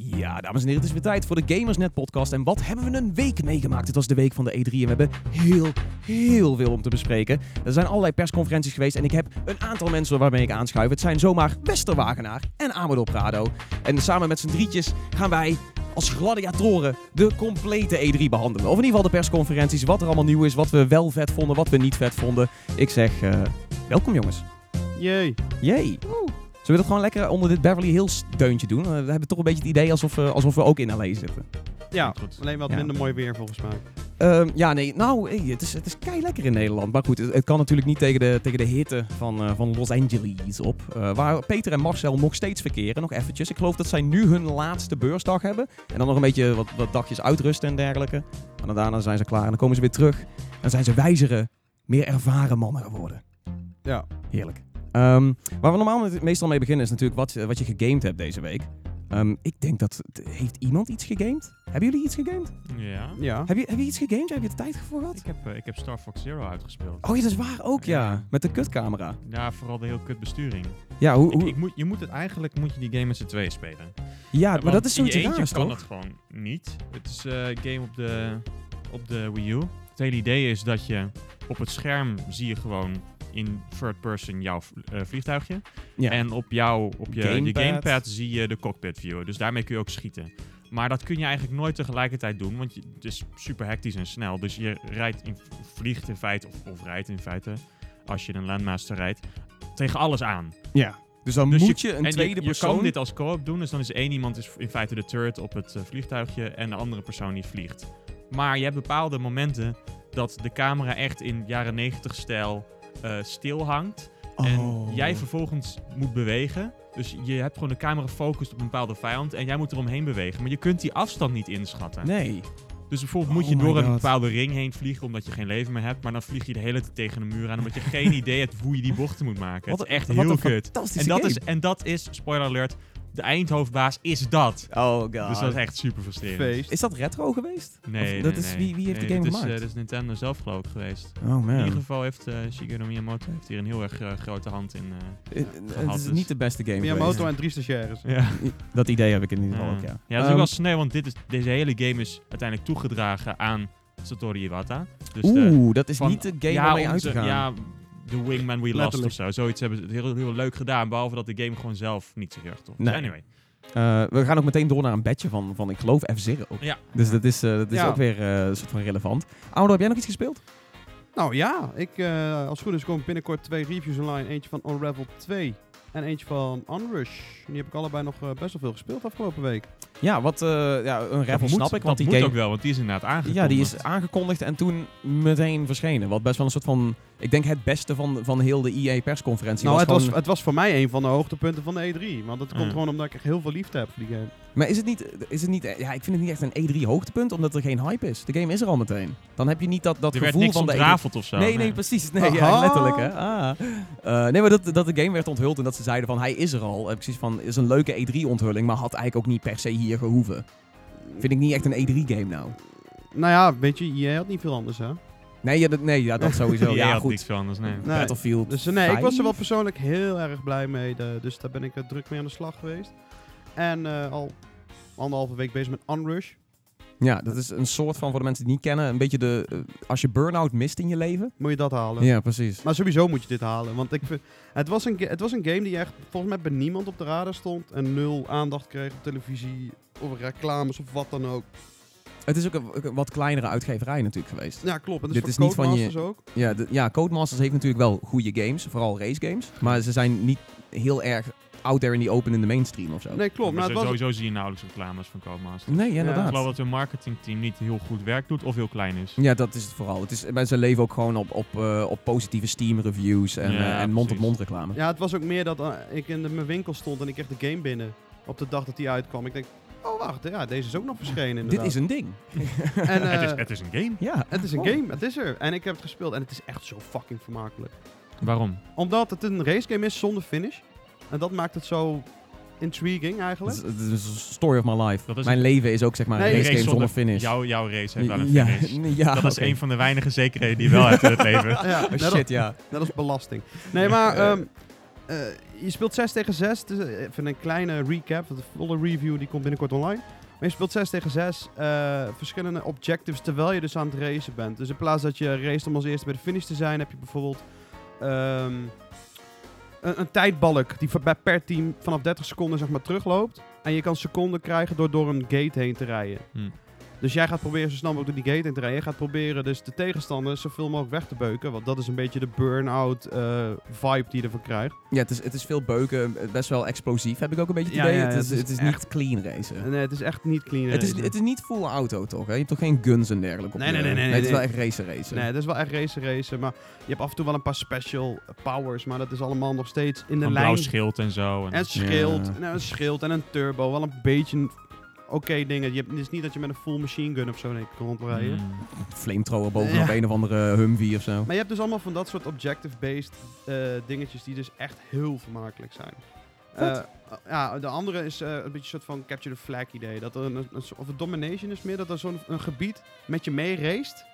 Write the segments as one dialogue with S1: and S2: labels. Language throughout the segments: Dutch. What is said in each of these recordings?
S1: Ja, dames en heren, het is weer tijd voor de Gamersnet podcast. En wat hebben we een week meegemaakt? Het was de week van de E3 en we hebben heel, heel veel om te bespreken. Er zijn allerlei persconferenties geweest en ik heb een aantal mensen waarmee ik aanschuif. Het zijn zomaar Westerwagenaar en Amador Prado. En samen met z'n drietjes gaan wij als gladiatoren de complete E3 behandelen. Of in ieder geval de persconferenties, wat er allemaal nieuw is, wat we wel vet vonden, wat we niet vet vonden. Ik zeg, eh, welkom jongens.
S2: Jee.
S1: Jee. Zullen we dat gewoon lekker onder dit Beverly Hills deuntje doen? Eh, We hebben toch een beetje het idee alsof, we- alsof we ook in LA zitten.
S2: Ja,
S3: Goed.
S2: alleen wat
S1: Ja.
S2: minder mooi weer volgens mij.
S1: Ehm, ja, nee, nou, hey, het is, het is kei lekker in Nederland. Maar goed, het, het kan natuurlijk niet tegen de, tegen de hitte van, eh, van Los Angeles op. Eh, waar Peter en Marcel nog steeds verkeren, nog eventjes. Ik geloof dat zij nu hun laatste beursdag hebben. En dan nog een beetje wat, wat dagjes uitrusten en dergelijke. En dan daarna zijn ze klaar en dan komen ze weer terug. En dan zijn ze wijzere, meer ervaren mannen geworden.
S2: Ja.
S1: Heerlijk. Ehm, waar we normaal met- meestal mee beginnen is natuurlijk wat, eh, wat je gegamed hebt deze week. Ehm, ik denk dat... Heeft iemand iets gegamed? Hebben jullie iets gegamed?
S3: Ja.
S2: Ja.
S1: Heb je, heb je iets gegamed? Heb je de tijd voor gehad?
S3: Ik heb, eh, ik heb Star Fox Zero uitgespeeld.
S1: Oh ja, dat is waar ook, ja.
S3: Ja.
S1: Met de kutcamera.
S3: Ja, vooral de heel kut besturing.
S1: Ja, hoe,
S3: Ik,
S1: hoe,
S3: ik moet, je moet het eigenlijk moet je die game met z'n tweeën spelen.
S1: ja
S3: Want
S1: maar dat is
S3: in
S1: zoiets
S3: je eentje
S1: raars,
S3: kan
S1: toch?
S3: dat gewoon niet. Het is eh, game op de, op de Wii U. Het hele idee is dat je op het scherm zie je gewoon in third person jouw v- eh, vliegtuigje.
S1: Ja.
S3: En op, jou, op je gamepad.
S1: Gamepad.
S3: je gamepad zie je de cockpit view. Dus daarmee kun je ook schieten. Maar dat kun je eigenlijk nooit tegelijkertijd doen, want je, het is super hectisch en snel. Dus je rijdt in, vliegt in feite, of, of rijdt in feite, als je een landmaster rijdt, tegen alles aan.
S1: Ja. Dus dan
S3: Dus
S1: moet je, een
S3: en
S1: tweede
S3: je, je
S1: persoon...
S3: kan dit als co-op doen, dus dan is één iemand is in feite de turret op het eh, vliegtuigje en de andere persoon die vliegt. Maar je hebt bepaalde momenten dat de camera echt in jaren 90 stijl eh, stil hangt. En
S1: Oh.
S3: jij vervolgens moet bewegen. Dus je hebt gewoon de camera gefocust op een bepaalde vijand en jij moet eromheen bewegen. Maar je kunt die afstand niet inschatten.
S1: Nee.
S3: Dus bijvoorbeeld
S1: Oh
S3: moet je
S1: my
S3: door een
S1: God.
S3: bepaalde ring heen vliegen omdat je geen leven meer hebt. Maar dan vlieg je de hele tijd tegen de muur aan omdat je geen idee hebt hoe je die bochten moet maken.
S1: Wat
S3: het is echt
S1: Wat
S3: heel
S1: een
S3: kut.
S1: fantastische
S3: En dat,
S1: game.
S3: is, en dat is, spoiler alert, de eindhoofdbaas is dat.
S1: Oh god.
S3: Dus dat is echt super frustrerend.
S2: Feest.
S1: Is dat retro geweest?
S3: Nee,
S1: Of
S3: nee,
S1: dat is-
S3: nee.
S1: wie- wie heeft de
S3: Nee,
S1: game
S3: dat Is,
S1: gemaakt?
S3: eh, dat is Nintendo zelf geloof ik geweest.
S1: Oh man.
S3: In ieder geval heeft eh Shigeru Miyamoto heeft hier een heel erg eh, grote hand in. eh.
S1: Eh, eh,
S3: gehad
S1: het is
S3: dus.
S1: niet de beste game
S2: Miyamoto
S1: geweest.
S2: en drie stagiaires.
S3: ja.
S1: Dat idee heb ik in ieder geval ook, ja.
S3: Ja, dat is
S1: Ehm,
S3: ook wel sneu, want dit is, deze hele game is uiteindelijk toegedragen aan Satoru Iwata. Dus de-
S1: Oeh, dat is
S3: van-
S1: niet de game
S3: ja,
S1: waarmee
S3: onze-
S1: uit te gaan.
S3: Ja, The Wingman We Lost
S2: Letterlijk.
S3: of zo. Zoiets hebben ze heel, heel leuk gedaan, behalve dat de game gewoon zelf niet zo heel erg tof is.
S1: Nee.
S3: Anyway.
S1: Eh, we gaan ook meteen door naar een badge van, van ik geloof F-Zero.
S3: Ja.
S1: Dus dat is, eh, dat is
S2: Ja.
S1: ook weer eh, een soort van relevant. Oudo, heb jij nog iets gespeeld?
S2: Nou ja, ik, eh, als het goed is komen binnenkort twee reviews online. Eentje van Unravel 2 en eentje van Unrush. Die heb ik allebei nog eh, best wel veel gespeeld afgelopen week.
S1: Ja, wat, eh, ja een
S3: Dat
S1: raffle
S3: moet-
S1: snap ik, want
S3: dat
S1: die
S3: moet
S1: game...
S3: ook wel, want die is inderdaad aangekomen.
S1: Ja, die is aangekondigd en toen meteen verschenen. Wat best wel een soort van, ik denk het beste van, van heel de EA-persconferentie
S2: nou,
S1: was,
S2: het, was,
S1: gewoon-
S2: het was voor mij een van de hoogtepunten van de E3. Want dat komt
S3: Ja.
S2: gewoon omdat ik echt heel veel liefde heb voor die game.
S1: Maar is het niet, is het niet, ja, ik vind het niet echt een E3-hoogtepunt, omdat er geen hype is. De game is er al meteen. Dan heb je niet dat, dat
S3: er werd
S1: gevoel
S3: niks
S1: van de E3.
S3: ontrafeld of zo.
S1: Nee, nee, precies. Nee,
S2: Aha.
S1: ja, letterlijk, hè. Ah. Eh, nee, maar dat, dat de game werd onthuld en dat ze zeiden van, hij is er al. Eh, precies van, is een leuke E3-onthulling, maar had eigenlijk ook niet per se hier gehoeven. Vind ik niet echt een E3-game nou.
S2: Nou ja, weet je, jij had niet veel anders hè.
S1: Nee, ja, dat, nee, ja, dat sowieso.
S3: ja,
S1: ja, goed.
S3: niks van anders, nee.
S2: Nee.
S1: Battlefield
S2: Dus eh, nee, ik was er wel
S1: 5?
S2: persoonlijk heel erg blij mee. eh, dus daar ben ik eh, druk mee aan de slag geweest. En eh, al anderhalve week bezig met Unrush.
S1: Ja, dat is een soort van, voor de mensen die het niet kennen, een beetje de... eh, als je burn-out mist in je leven.
S2: Moet je dat halen.
S1: Ja, precies.
S2: Maar sowieso moet je dit halen. Want ik vind, het, was een, ga- het was een game die echt volgens mij bij niemand op de radar stond. En nul aandacht kreeg op televisie. Of reclames of wat dan ook.
S1: Het is ook een, ook een wat kleinere uitgeverij natuurlijk geweest.
S2: Ja, klopt. En dat
S1: Dit
S2: is
S1: is
S2: voor
S1: niet van je-
S2: Codemasters ook.
S1: Ja, de, ja, Codemasters heeft natuurlijk wel goede games, vooral race games. Maar ze zijn niet heel erg out there in the open in de mainstream of zo.
S2: Nee, klopt.
S3: Maar
S2: Maar
S3: zo-
S2: het was,
S3: Dus sowieso zie je nauwelijks reclames van Codemaster.
S1: Nee,
S3: Ik
S1: inderdaad.
S3: geloof
S1: Ja,
S3: dat hun marketingteam niet heel goed werk doet of heel klein is.
S1: dat is het vooral. Het is, mensen leven ook gewoon op, op, eh, op positieve Steam-reviews en
S3: Ja,
S1: eh, en mond-op-mond
S3: precies.
S1: reclame.
S2: ja, het was ook meer dat eh, ik in de- mijn winkel stond en ik kreeg de game binnen. Op de dag dat die uitkwam. Ik denk, oh wacht, ja, deze is ook nog verschenen
S1: Dit is
S2: inderdaad.
S1: een ding.
S2: En,
S3: het, is,
S2: eh,
S3: het is een game.
S1: Ja.
S2: Het is een
S1: Oh.
S2: game, het is er. En ik heb het gespeeld en het is echt zo fucking vermakelijk.
S3: Waarom?
S2: Omdat het een racegame is zonder finish. En dat maakt het zo intriguing
S1: Het
S2: eigenlijk.
S1: is, het is een story of my life.
S3: Dat is-
S1: Mijn leven is ook zeg maar
S2: Nee,
S1: een race
S2: race
S1: game zonder finish.
S3: Jouw, jouw race heeft wel een
S1: ja,
S3: finish.
S1: ja,
S3: dat is
S1: oké.
S3: een van de weinige zekerheden die je wel hebt in het leven.
S2: Ja,
S1: Oh
S2: net, als,
S1: shit, ja.
S2: net als belasting. Nee, maar ehm, eh, je speelt 6 tegen 6. Dus eh, even een kleine recap. want De volle review die komt binnenkort online. Maar je speelt 6 tegen 6. eh, verschillende objectives terwijl je dus aan het racen bent. Dus in plaats dat je race om als eerste bij de finish te zijn, heb je bijvoorbeeld ehm, een, een tijdbalk die voor- bij- per team vanaf 30 seconden zeg maar, terugloopt. En je kan seconden krijgen door door een gate heen te rijden.
S3: Hm.
S2: Dus jij gaat proberen zo snel mogelijk door die gate heen te rijden. Je gaat proberen dus de tegenstander zoveel mogelijk weg te beuken. Want dat is een beetje de burn-out eh, vibe die je ervan krijgt.
S1: Ja, het is, het is veel beuken, eh, best wel explosief, heb ik ook een beetje het
S2: Ja,
S1: idee.
S2: ja,
S1: het, is,
S2: het is
S1: het is
S2: echt-
S1: niet clean racen.
S2: Nee, eh, het is echt niet clean
S1: Het is,
S2: racen.
S1: het is niet full auto toch? Hè? Je hebt toch geen guns en dergelijke op
S2: Nee,
S1: de-
S2: nee, nee, nee,
S1: Het is
S2: nee.
S1: wel echt racen racen.
S2: Nee, het is wel echt race racen. Maar je hebt af en toe wel een paar special powers. Maar dat is allemaal nog steeds in de
S3: Een blauw
S2: lijn.
S3: schild en zo. En,
S2: En schild.
S1: Ja.
S2: Nou, een schild en een turbo. Wel een beetje een oké dingen. Je hebt, het is niet dat je met een full machine gun of zo nee, kan rondrijden.
S3: Mm.
S1: Flamethrower bovenop
S2: Ja.
S1: een of andere eh, Humvee of zo.
S2: Maar je hebt dus allemaal van dat soort objective-based eh, dingetjes die dus echt heel vermakelijk zijn.
S1: Vet.
S2: Eh, ja, de andere is eh, een beetje een soort van capture the flag idee. Dat er een, een soort- of een domination is meer, dat er zo'n een gebied met je mee raced.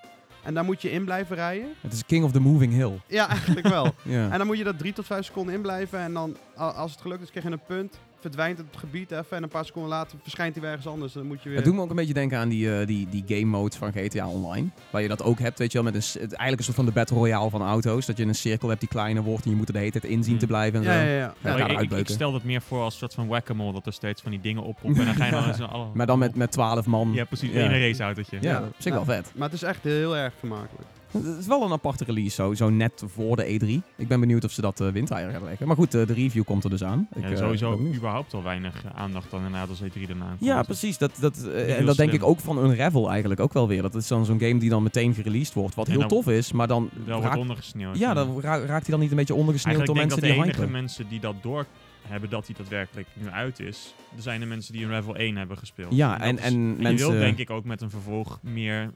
S2: En daar moet je in blijven rijden.
S1: Het is King of the Moving Hill.
S2: Ja, eigenlijk wel.
S1: Ja.
S2: En dan moet je dat 3 tot 5 seconden in blijven. En dan, a- als het gelukt is, krijg je een punt. Verdwijnt het gebied even. En een paar seconden later verschijnt hij weer ergens anders. Dan moet je weer.
S1: Het doet me ook een beetje denken aan die, eh, die, die game modes van GTA Online. Waar je dat ook hebt, weet je wel, met een, s- het- eigenlijk een soort van de battle royale van auto's. Dat je een cirkel hebt die kleiner wordt en je moet er de hele tijd in zien te blijven en
S2: Hmm. ja,
S1: zo.
S2: ja,
S1: Ja,
S2: ja. ja.
S1: gaan
S3: Maar Oh, ik- ik, ik
S1: uitbeuken.
S3: stel dat meer voor als een soort van whack-a-mole, dat er steeds van die dingen oppoppen en dan ga je dan eens naar alle...
S1: Maar dan met, met 12 man.
S3: Ja, precies,
S1: Ja.
S3: één raceautootje.
S1: Ja,
S2: Ja.
S1: op zich wel
S2: Ja.
S1: vet.
S2: Maar het is echt heel erg vermakelijk.
S1: Het is wel een aparte release, zo, zo net voor de E3. Ik ben benieuwd of ze dat eh windeier gaan leggen. Maar goed, eh, de review komt er dus aan. Ik,
S3: Ja,
S1: eh, ben
S3: sowieso
S1: benieuwd.
S3: überhaupt al weinig eh, aandacht dan inderdaad als E3 daarna aankomt.
S1: Ja, precies. Dat, dat, eh,
S3: heel
S1: en dat denk
S3: slim.
S1: ik ook van Unravel eigenlijk ook wel weer. Dat is dan zo'n game die dan meteen gereleased wordt. Wat
S3: En
S1: heel
S3: dan-
S1: tof is, maar dan
S3: Wel
S1: raakt-
S3: wat ondergesneeuwd. Mm.
S1: ja, dan ra- raakt hij dan niet een beetje ondergesneeuwd
S3: Eigenlijk
S1: door
S3: denk ik
S1: mensen
S3: dat
S1: die
S3: de
S1: hypen.
S3: enige mensen die dat door hebben dat die daadwerkelijk nu uit is, er zijn de mensen die Unravel 1 hebben gespeeld.
S1: Ja,
S3: dat
S1: en,
S3: is-
S1: en
S3: je
S1: mensen...
S3: wilt denk ik ook met een vervolg meer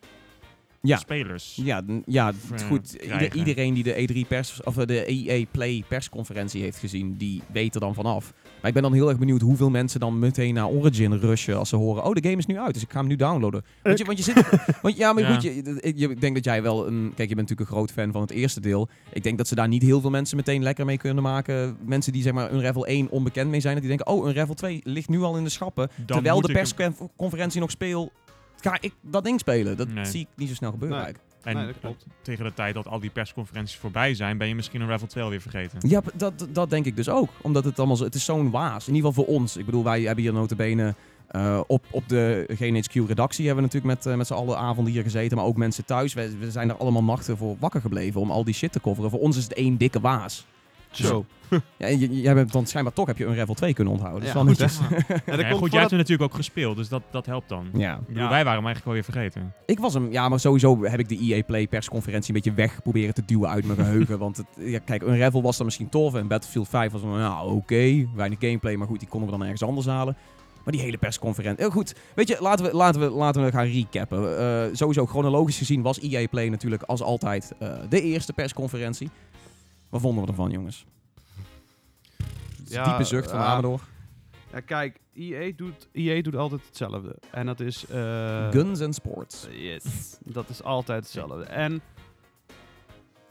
S1: Ja.
S3: spelers.
S1: Ja, n- ja t-
S3: eh,
S1: goed. Ieder-
S3: krijgen.
S1: iedereen die de E3 pers, of eh, de EA Play persconferentie heeft gezien, die weet er dan vanaf. Maar ik ben dan heel erg benieuwd hoeveel mensen dan meteen naar Origin rushen als ze horen, oh, de game is nu uit, dus ik ga hem nu downloaden. Want je, want je zit... want, ja, maar
S3: Ja.
S1: goed, je, je- je- ik denk dat jij wel een... Kijk, je bent natuurlijk een groot fan van het eerste deel. Ik denk dat ze daar niet heel veel mensen meteen lekker mee kunnen maken. Mensen die zeg maar Unravel 1 onbekend mee zijn, dat die denken, oh, Unravel 2 ligt nu al in de schappen.
S3: Dan
S1: terwijl
S3: moet
S1: de
S3: ik hem-
S1: persconferentie nog speel, ga ik dat ding spelen. Dat
S3: Nee.
S1: zie ik niet zo snel gebeuren
S2: Nee.
S1: eigenlijk.
S3: En
S2: Nee, dat klopt.
S3: tegen de tijd dat al die persconferenties voorbij zijn, ben je misschien Unravel 2 alweer vergeten.
S1: Ja, p- dat, dat denk ik dus ook. Omdat het allemaal zo... Het is zo'n waas. In ieder geval voor ons. Ik bedoel, wij hebben hier notabene... eh op, op de GNHQ-redactie hebben we natuurlijk met, eh, met z'n allen avonden hier gezeten. Maar ook mensen thuis. We, we zijn er allemaal nachten voor wakker gebleven om al die shit te coveren. Voor ons is het één dikke waas.
S2: Zo.
S1: Ja, en j- jij bent dan schijnbaar toch heb je een Revel 2 kunnen onthouden. Dat is
S2: Ja,
S1: wel
S2: goed,
S1: netjes.
S3: Ja.
S2: Ja, dat komt
S3: Ja, goed, jij hebt
S2: voordat-
S3: hem natuurlijk ook gespeeld, dus dat, dat helpt dan.
S1: Ja.
S3: Ik bedoel,
S2: Ja.
S3: Wij waren hem eigenlijk alweer vergeten.
S1: Ik was hem, ja, maar sowieso heb ik de EA Play persconferentie een beetje weg proberen te duwen uit mijn geheugen. Want het, ja, kijk, Unravel was dan misschien tof en Battlefield 5 was dan, nou oké, weinig gameplay, maar goed, die konden we dan ergens anders halen. Maar die hele persconferentie, eh, goed, weet je, laten we, laten we, laten we gaan recappen. Eh, sowieso, chronologisch gezien was EA Play natuurlijk als altijd eh, de eerste persconferentie. Wat vonden we ervan, jongens?
S2: Ja, eh,
S1: Diepe zucht van
S2: ja.
S1: Amador.
S2: Ja, kijk, EA doet, EA doet altijd hetzelfde. En dat is. eh,
S1: Guns and Sports.
S2: Yes. Dat is altijd hetzelfde. En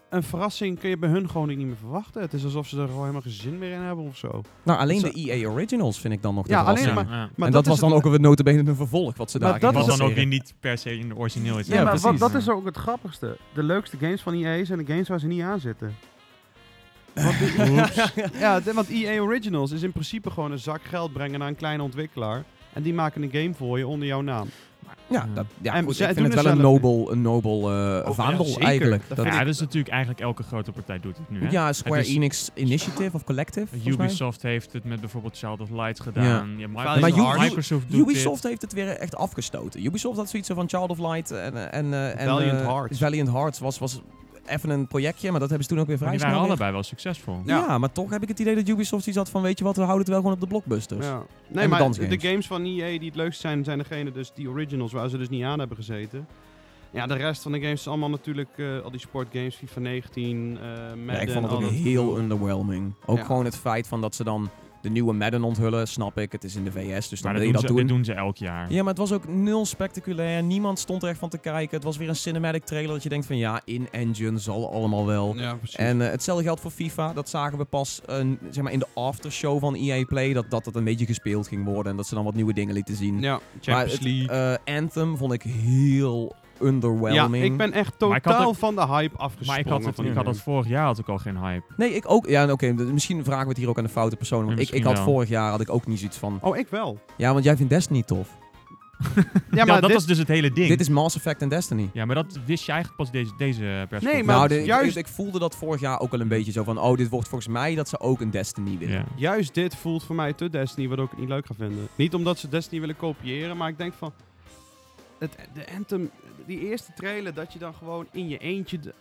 S2: een verrassing kun je bij hun gewoon niet meer verwachten. Het is alsof ze er gewoon helemaal geen zin meer in hebben of zo.
S1: Nou, alleen
S2: Zo-
S1: de EA Originals vind ik dan nog de
S2: Ja, alleen
S1: verrassing.
S2: maar-
S3: ja.
S2: Maar
S1: en dat,
S2: is
S1: was dan
S2: het-
S1: ook weer notabene een vervolg wat ze
S2: Maar
S1: daar
S2: dat
S3: Wat
S2: is
S3: eh, dan ook weer niet per se in de origineel is.
S1: Ja, Ja, maar precies.
S2: wat, dat is ook het grappigste. De leukste games van EA zijn de games waar ze niet aan zitten. Want die- ja, de- want EA Originals is in principe gewoon een zak geld brengen naar een kleine ontwikkelaar. En die maken een game voor je onder jouw naam.
S1: Ja,
S3: Ja.
S1: dat, ja
S2: En
S1: goed,
S2: zij
S1: ik vind
S2: doen
S1: het
S2: het
S1: wel een
S2: zelf.
S1: nobel, een nobel eh,
S2: Oh, ja,
S1: vaandel
S2: zeker.
S1: eigenlijk.
S2: Dat
S1: Dat-
S2: vind
S3: Ja,
S2: ik-
S3: dat is natuurlijk eigenlijk elke grote partij doet het nu. Hè?
S1: ja, Square
S3: Het is-
S1: Enix Initiative of Collective. volgens mij.
S3: Ubisoft heeft het met bijvoorbeeld Child of Light gedaan. Ja.
S2: Maar
S3: Microsoft,
S1: Ubi-
S3: Microsoft doet
S1: Ubisoft heeft het weer echt afgestoten. Ubisoft had zoiets van Child of Light en, eh, en, eh, en
S2: Valiant
S1: eh,
S2: Hearts.
S1: Valiant Hearts was, was even een projectje, maar dat hebben ze toen ook weer
S3: dit. Maar
S1: vrij
S3: die waren
S1: snel weer-
S3: allebei wel succesvol.
S2: Ja.
S1: Ja. maar toch heb ik het idee dat Ubisoft iets had van, weet je wat, we houden het wel gewoon op de blockbusters.
S2: Ja.
S1: dus. de
S2: Nee, maar
S1: dansgames.
S2: de games van EA die het leukst zijn, zijn degene dus die originals waar ze dus niet aan hebben gezeten. Ja, de rest van de games is allemaal natuurlijk eh, al die sportgames, FIFA 19, eh
S1: Ja,
S2: Madden,
S1: ik vond het
S2: al
S1: ook
S2: dat
S1: heel
S2: gedoe.
S1: underwhelming. Ook
S2: Ja.
S1: gewoon het feit van dat ze dan de nieuwe Madden onthullen, snap ik. Het is in de VS, dus dan
S3: Maar
S1: wil
S3: dat
S1: je dat
S3: doen, ze,
S1: doen.
S3: dit doen ze elk jaar.
S1: Ja, maar het was ook nul spectaculair. Niemand stond er echt van te kijken. Het was weer een cinematic trailer dat je denkt van ja, in-engine zal allemaal wel.
S2: Ja, precies.
S1: En eh, hetzelfde geldt voor FIFA. Dat zagen we pas eh, zeg maar in de aftershow van EA Play. Dat, dat dat een beetje gespeeld ging worden. En dat ze dan wat nieuwe dingen lieten zien.
S2: ja,
S1: maar
S2: Champions
S1: het,
S2: League.
S1: eh, Anthem vond ik heel
S2: ja,
S1: underwhelming.
S2: ik ben echt
S3: Maar ik had
S2: totaal
S3: ook-
S2: van de hype afgesprongen.
S3: Maar ik had, het,
S2: van
S3: ik
S2: die
S3: had dat vorig jaar had ik al geen hype.
S1: Nee, ik ook. Ja, oké. d- misschien vragen we het hier ook aan de foute persoon. Want
S3: Ja,
S1: ik, ik
S3: misschien
S1: had
S3: wel.
S1: vorig jaar had ik ook niet zoiets van.
S2: game. Oh, ik wel.
S1: Ja, want jij vindt Destiny tof.
S2: Ja,
S3: Ja,
S2: maar
S3: dat
S2: dit-
S3: was dus het hele ding.
S1: Dit is Mass Effect en Destiny.
S3: Ja, maar dat wist je eigenlijk pas deze, deze eh, pers.
S2: Nee, maar-
S1: nou, de-
S2: juist-
S1: ik, ik voelde dat vorig jaar ook al een beetje zo van. Oh, dit wordt volgens mij dat ze ook een Destiny willen.
S3: Ja.
S2: Juist dit voelt voor mij te Destiny, waardoor ik het niet leuk ga vinden. Niet omdat ze Destiny willen kopiëren, maar ik denk van... Het, de Anthem, die eerste trailer, dat je dan gewoon in je eentje... de-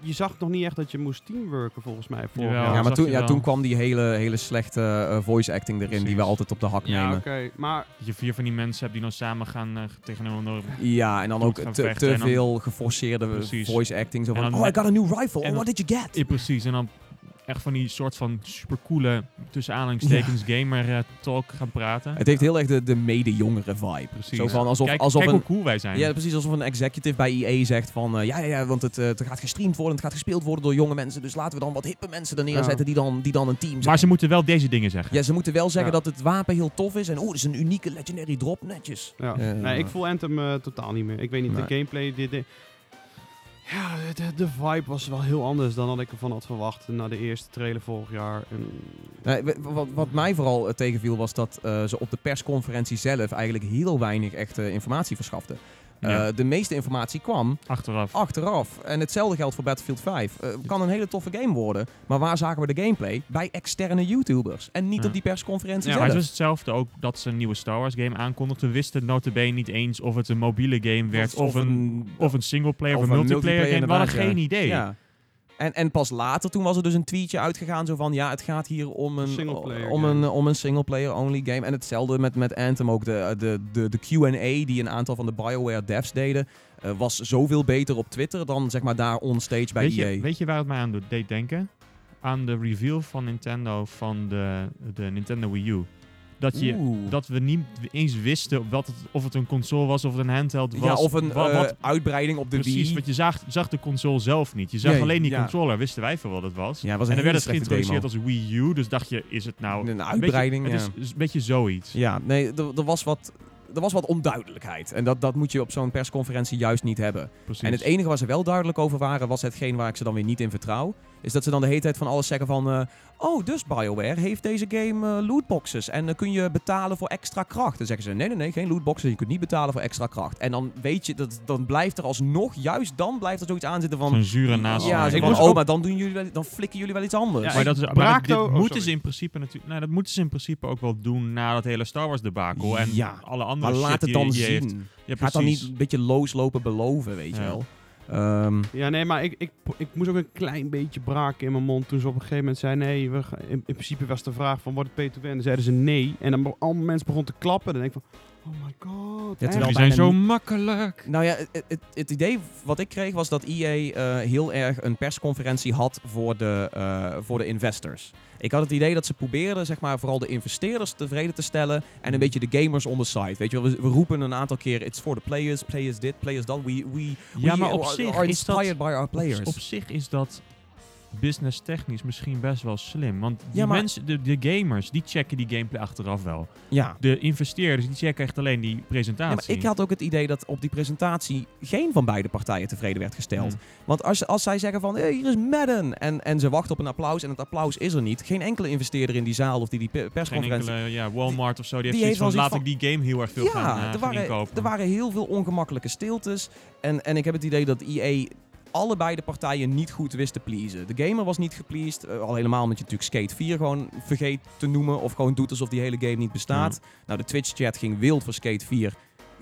S2: je zag nog niet echt dat je moest teamworken, volgens mij. Vorig
S3: Jawel.
S2: jaar.
S3: Ja,
S1: Ja,
S3: dat
S1: maar
S3: zag
S1: toen,
S3: je
S1: ja,
S3: wel.
S1: toen kwam die hele, hele slechte eh, voice acting erin die we
S3: Precies.
S1: altijd op de hak
S2: Ja,
S1: nemen.
S2: oké. Maar
S3: Dat je vier van die mensen hebt die dan samen gaan eh, tegen elkaar.
S1: Ja, en dan
S3: Moet
S1: ook
S3: gaan
S1: te,
S3: vechten
S1: te
S3: en dan-
S1: veel geforceerde
S3: Precies.
S1: voice acting. Zo
S3: En
S1: van,
S3: dan
S1: oh, I
S3: met-
S1: got a new rifle.
S3: en
S1: Oh,
S3: dan-
S1: what did you get?
S3: Ja, precies. En dan echt van die soort van supercoole, tussen aanhalingstekens, gamer eh, talk gaan praten.
S1: Het heeft heel erg de, de mede-jongere vibe.
S3: Precies.
S1: Zo van alsof,
S3: kijk
S1: alsof
S3: kijk
S1: een...
S3: hoe cool wij zijn.
S1: Ja, precies alsof een executive bij EA zegt van... eh, ja, ja, ja, want het, eh, het gaat gestreamd worden, het gaat gespeeld worden door jonge mensen. Dus laten we dan wat hippe mensen er neerzetten die, dan, die dan een team zijn.
S3: maar ze moeten wel deze dingen zeggen.
S1: Ja, ze moeten wel zeggen
S2: Ja.
S1: dat het wapen heel tof is. En oeh, het is een unieke legendary drop, netjes.
S2: ja.
S1: Eh,
S2: nee, ik voel Anthem eh, totaal niet meer. Ik weet niet,
S1: Nee.
S2: de gameplay... Dit, dit- ja, de- de, de vibe was wel heel anders dan dat ik ervan had verwacht na de eerste trailer vorig jaar. En,
S1: Nee, w- w- wat, wat mij vooral eh, tegenviel was dat eh, ze op de persconferentie zelf eigenlijk heel weinig echte informatie verschaften. Eh,
S3: Ja,
S1: de meeste informatie kwam
S3: achteraf.
S1: achteraf. En hetzelfde geldt voor Battlefield 5. Eh, kan een hele toffe game worden. Maar waar zagen we de gameplay? Bij externe YouTubers. En niet
S3: Ja.
S1: op die persconferentie
S3: Ja, maar
S1: zelf.
S3: het was hetzelfde ook dat ze een nieuwe Star Wars game aankondigden. We wisten notabene niet eens of het een mobiele game werd, of, een, of een singleplayer, of,
S1: of
S3: een
S1: een
S3: multiplayer, game. We
S1: multiplayer
S3: hadden geen idee.
S1: Ja. En, en pas later, toen was er dus een tweetje uitgegaan zo van... Ja, het gaat hier om een,
S2: Singleplayer
S1: om
S2: game.
S1: een, om een singleplayer-only game. En hetzelfde met, met Anthem ook. De, de, de, de Q&A die een aantal van de Bioware devs deden... eh, was zoveel beter op Twitter dan zeg maar daar onstage bij E
S3: weet,
S1: EA.
S3: je, weet je waar het mij aan doet- deed denken? Aan de reveal van Nintendo van de, de Nintendo Wii U. Dat, je,
S1: Oeh.
S3: dat we niet eens wisten wat het, of het een console was, of het een handheld was.
S1: ja, of een
S3: wa-
S1: eh,
S3: wat
S1: uitbreiding op de
S3: precies,
S1: Wii.
S3: want je zag, zag de console zelf niet. Je zag
S1: Nee,
S3: alleen die
S1: ja.
S3: controller, wisten wij veel wat het was.
S1: Ja, was
S3: en
S1: een
S3: dan werd het
S1: hele slechte
S3: geïntroduceerd
S1: demo.
S3: als Wii U, dus dacht je, is het nou...
S1: Een
S3: Een beetje-
S1: uitbreiding, ja.
S3: Het is, is een beetje zoiets.
S1: Ja, nee, er er was wat... Er was wat onduidelijkheid. En dat, dat moet je op zo'n persconferentie juist niet hebben.
S3: Precies.
S1: En het enige waar ze wel duidelijk over waren, was hetgeen waar ik ze dan weer niet in vertrouw. Is dat ze dan de hele tijd van alles zeggen van... eh, oh, dus Bioware heeft deze game eh, lootboxes. En eh, kun je betalen voor extra kracht. Dan zeggen ze, nee, nee, nee, geen lootboxes. Je kunt niet betalen voor extra kracht. En dan weet je, dat, dan blijft er alsnog, juist dan blijft er zoiets aan zitten van...
S3: Zo'n zure naast.
S1: ja,
S2: ik
S1: zo van,
S2: moest
S1: oh,
S2: ook-
S1: maar dan, doen jullie wel- dan flikken jullie wel iets anders.
S2: Ja,
S3: maar
S2: ik
S3: dat, is, maar
S2: braakte-
S3: dit
S2: oh,
S3: moeten
S2: sorry.
S3: ze in principe natuurlijk. Nee, dat moeten ze in principe ook wel doen na dat hele Star Wars debakel. En
S1: Ja,
S3: alle andere
S1: Maar
S3: shit
S1: laat het
S3: die
S1: dan
S3: EA heeft.
S1: zien.
S3: Ja,
S1: Gaat dan niet
S3: precies.
S1: een beetje looslopen beloven, weet je
S3: Ja.
S1: wel. Ehm,
S2: Ja, nee, maar ik, ik, ik moest ook een klein beetje braken in mijn mond toen ze op een gegeven moment zeiden... Nee, we gaan- in, in principe was de vraag van wordt het P2N? En zeiden ze nee. En dan be- allemaal mensen begonnen te klappen. En dan denk ik van, oh my god.
S1: Ja,
S2: echt?
S1: terwijl-
S3: Jullie
S1: bijna
S3: zijn zo
S1: niet-
S3: makkelijk.
S1: nou ja, het, het, het idee wat ik kreeg was dat EA eh, heel erg een persconferentie had voor de, eh, voor de investors. Ik had het idee dat ze probeerden zeg maar, vooral de investeerders tevreden te stellen en
S3: Mhm.
S1: een beetje de gamers on the side. Weet je wel, we, we roepen een aantal keer, it's for the players, players dit, players dat. We, we,
S3: Ja,
S1: we
S3: maar op
S1: are-
S3: zich
S1: are
S3: is dat-
S1: inspired by our players.
S3: Op, op zich is dat business technisch misschien best wel slim. Want die
S1: Ja, maar-
S3: mensen, de, de gamers, die checken die gameplay achteraf wel.
S1: ja.
S3: De investeerders, die checken echt alleen die
S1: Ja, maar
S3: presentatie.
S1: ik had ook het idee dat op die presentatie geen van beide partijen tevreden werd gesteld.
S3: Hmm.
S1: Want als, als zij zeggen van, hey, hier is Madden. En, en ze wachten op een applaus en het applaus is er niet. Geen enkele investeerder in die zaal of die die pe-
S3: Geen
S1: persconferentie...
S3: enkele, ja, Walmart of zo, die,
S1: die
S3: heeft
S1: heeft wel
S3: zoiets van, laat
S1: zoiets
S3: ik die game heel erg veel
S1: Ja,
S3: gaan, eh,
S1: er,
S3: gaan
S1: waren,
S3: inkopen.
S1: er waren heel veel ongemakkelijke stiltes. En, en ik heb het idee dat EA allebei de partijen niet goed wist te pleasen. De gamer was niet gepleased. eh, al helemaal omdat je natuurlijk Skate 4 gewoon vergeet te noemen. Of gewoon doet alsof die hele game niet bestaat. Nou, de Twitch-chat ging wild voor Skate 4.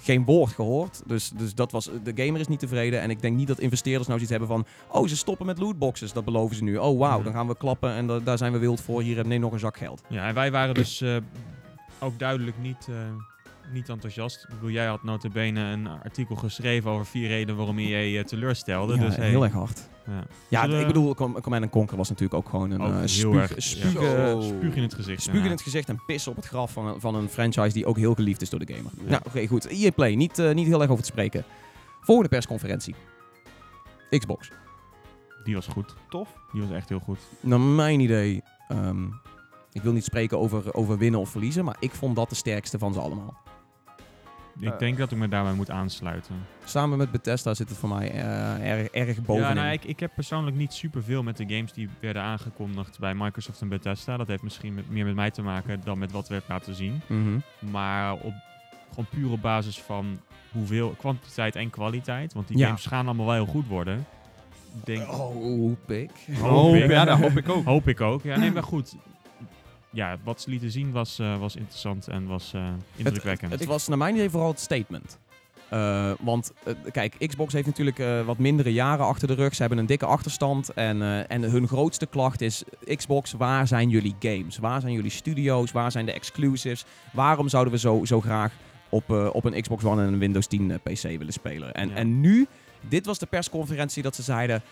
S1: Geen woord gehoord. Dus, dus dat was, de gamer is niet tevreden. En ik denk niet dat investeerders nou zoiets hebben van... Oh, ze stoppen met lootboxes. Dat beloven ze nu. Oh, wauw.
S3: Mhm.
S1: Dan gaan we klappen en da- daar zijn we wild voor. Hier, neem nog een zak geld.
S3: Ja, en wij waren dus eh, ook duidelijk niet eh, niet enthousiast. Ik bedoel, jij had nota bene een artikel geschreven over vier redenen waarom je je eh, teleurstelde.
S1: Ja,
S3: dus, hey,
S1: heel erg hard.
S3: Ja,
S1: Ja,
S3: Zullen we-
S1: ik bedoel, Com- Command Conquer was natuurlijk ook gewoon een
S3: Ook
S1: eh,
S3: heel
S1: spuug,
S3: erg, ja.
S1: spuug,
S3: Zo.
S1: eh,
S3: spuug in het gezicht.
S1: Spuug in
S3: ja.
S1: het gezicht en pissen op het graf van, een- van een franchise die ook heel geliefd is door de gamer.
S2: Ja.
S1: Nou, oké, goed. EA Play, niet, eh, niet heel erg over te spreken. Volgende persconferentie. Xbox.
S3: Die was goed.
S2: Tof.
S3: Die was echt heel goed.
S1: Naar mijn idee, ehm, ik wil niet spreken over, over winnen of verliezen, maar ik vond dat de sterkste van ze allemaal.
S3: Ik
S2: Eh.
S3: denk dat ik me daarbij moet aansluiten.
S1: Samen met Bethesda zit het voor mij eh, erg, erg bovenin.
S3: Ja, nou, ik, ik heb persoonlijk niet superveel met de games die werden aangekondigd bij Microsoft en Bethesda. Dat heeft misschien met- meer met mij te maken dan met wat werd laten zien.
S1: Mhm.
S3: Maar op, gewoon puur op basis van hoeveel kwantiteit en kwaliteit. Want die
S1: Ja.
S3: games gaan allemaal wel heel goed worden. Ik Denk,
S1: Oh, pik.
S3: Hoop ik.
S2: ja, dat hoop ik ook.
S3: Hoop ik ook. Ja, nee, maar goed. Ja, wat ze lieten zien was, eh, was interessant en was eh, indrukwekkend.
S1: Het was naar mijn idee vooral het statement. Eh, want eh, kijk, Xbox heeft natuurlijk eh, wat mindere jaren achter de rug. Ze hebben een dikke achterstand. En, eh, en hun grootste klacht is: Xbox, waar zijn jullie games? Waar zijn jullie studio's? Waar zijn de exclusives? Waarom zouden we zo, zo graag op, eh, op een Xbox One en een Windows 10 eh, PC willen spelen? En,
S3: Ja.
S1: en nu, dit was de persconferentie dat ze zeiden: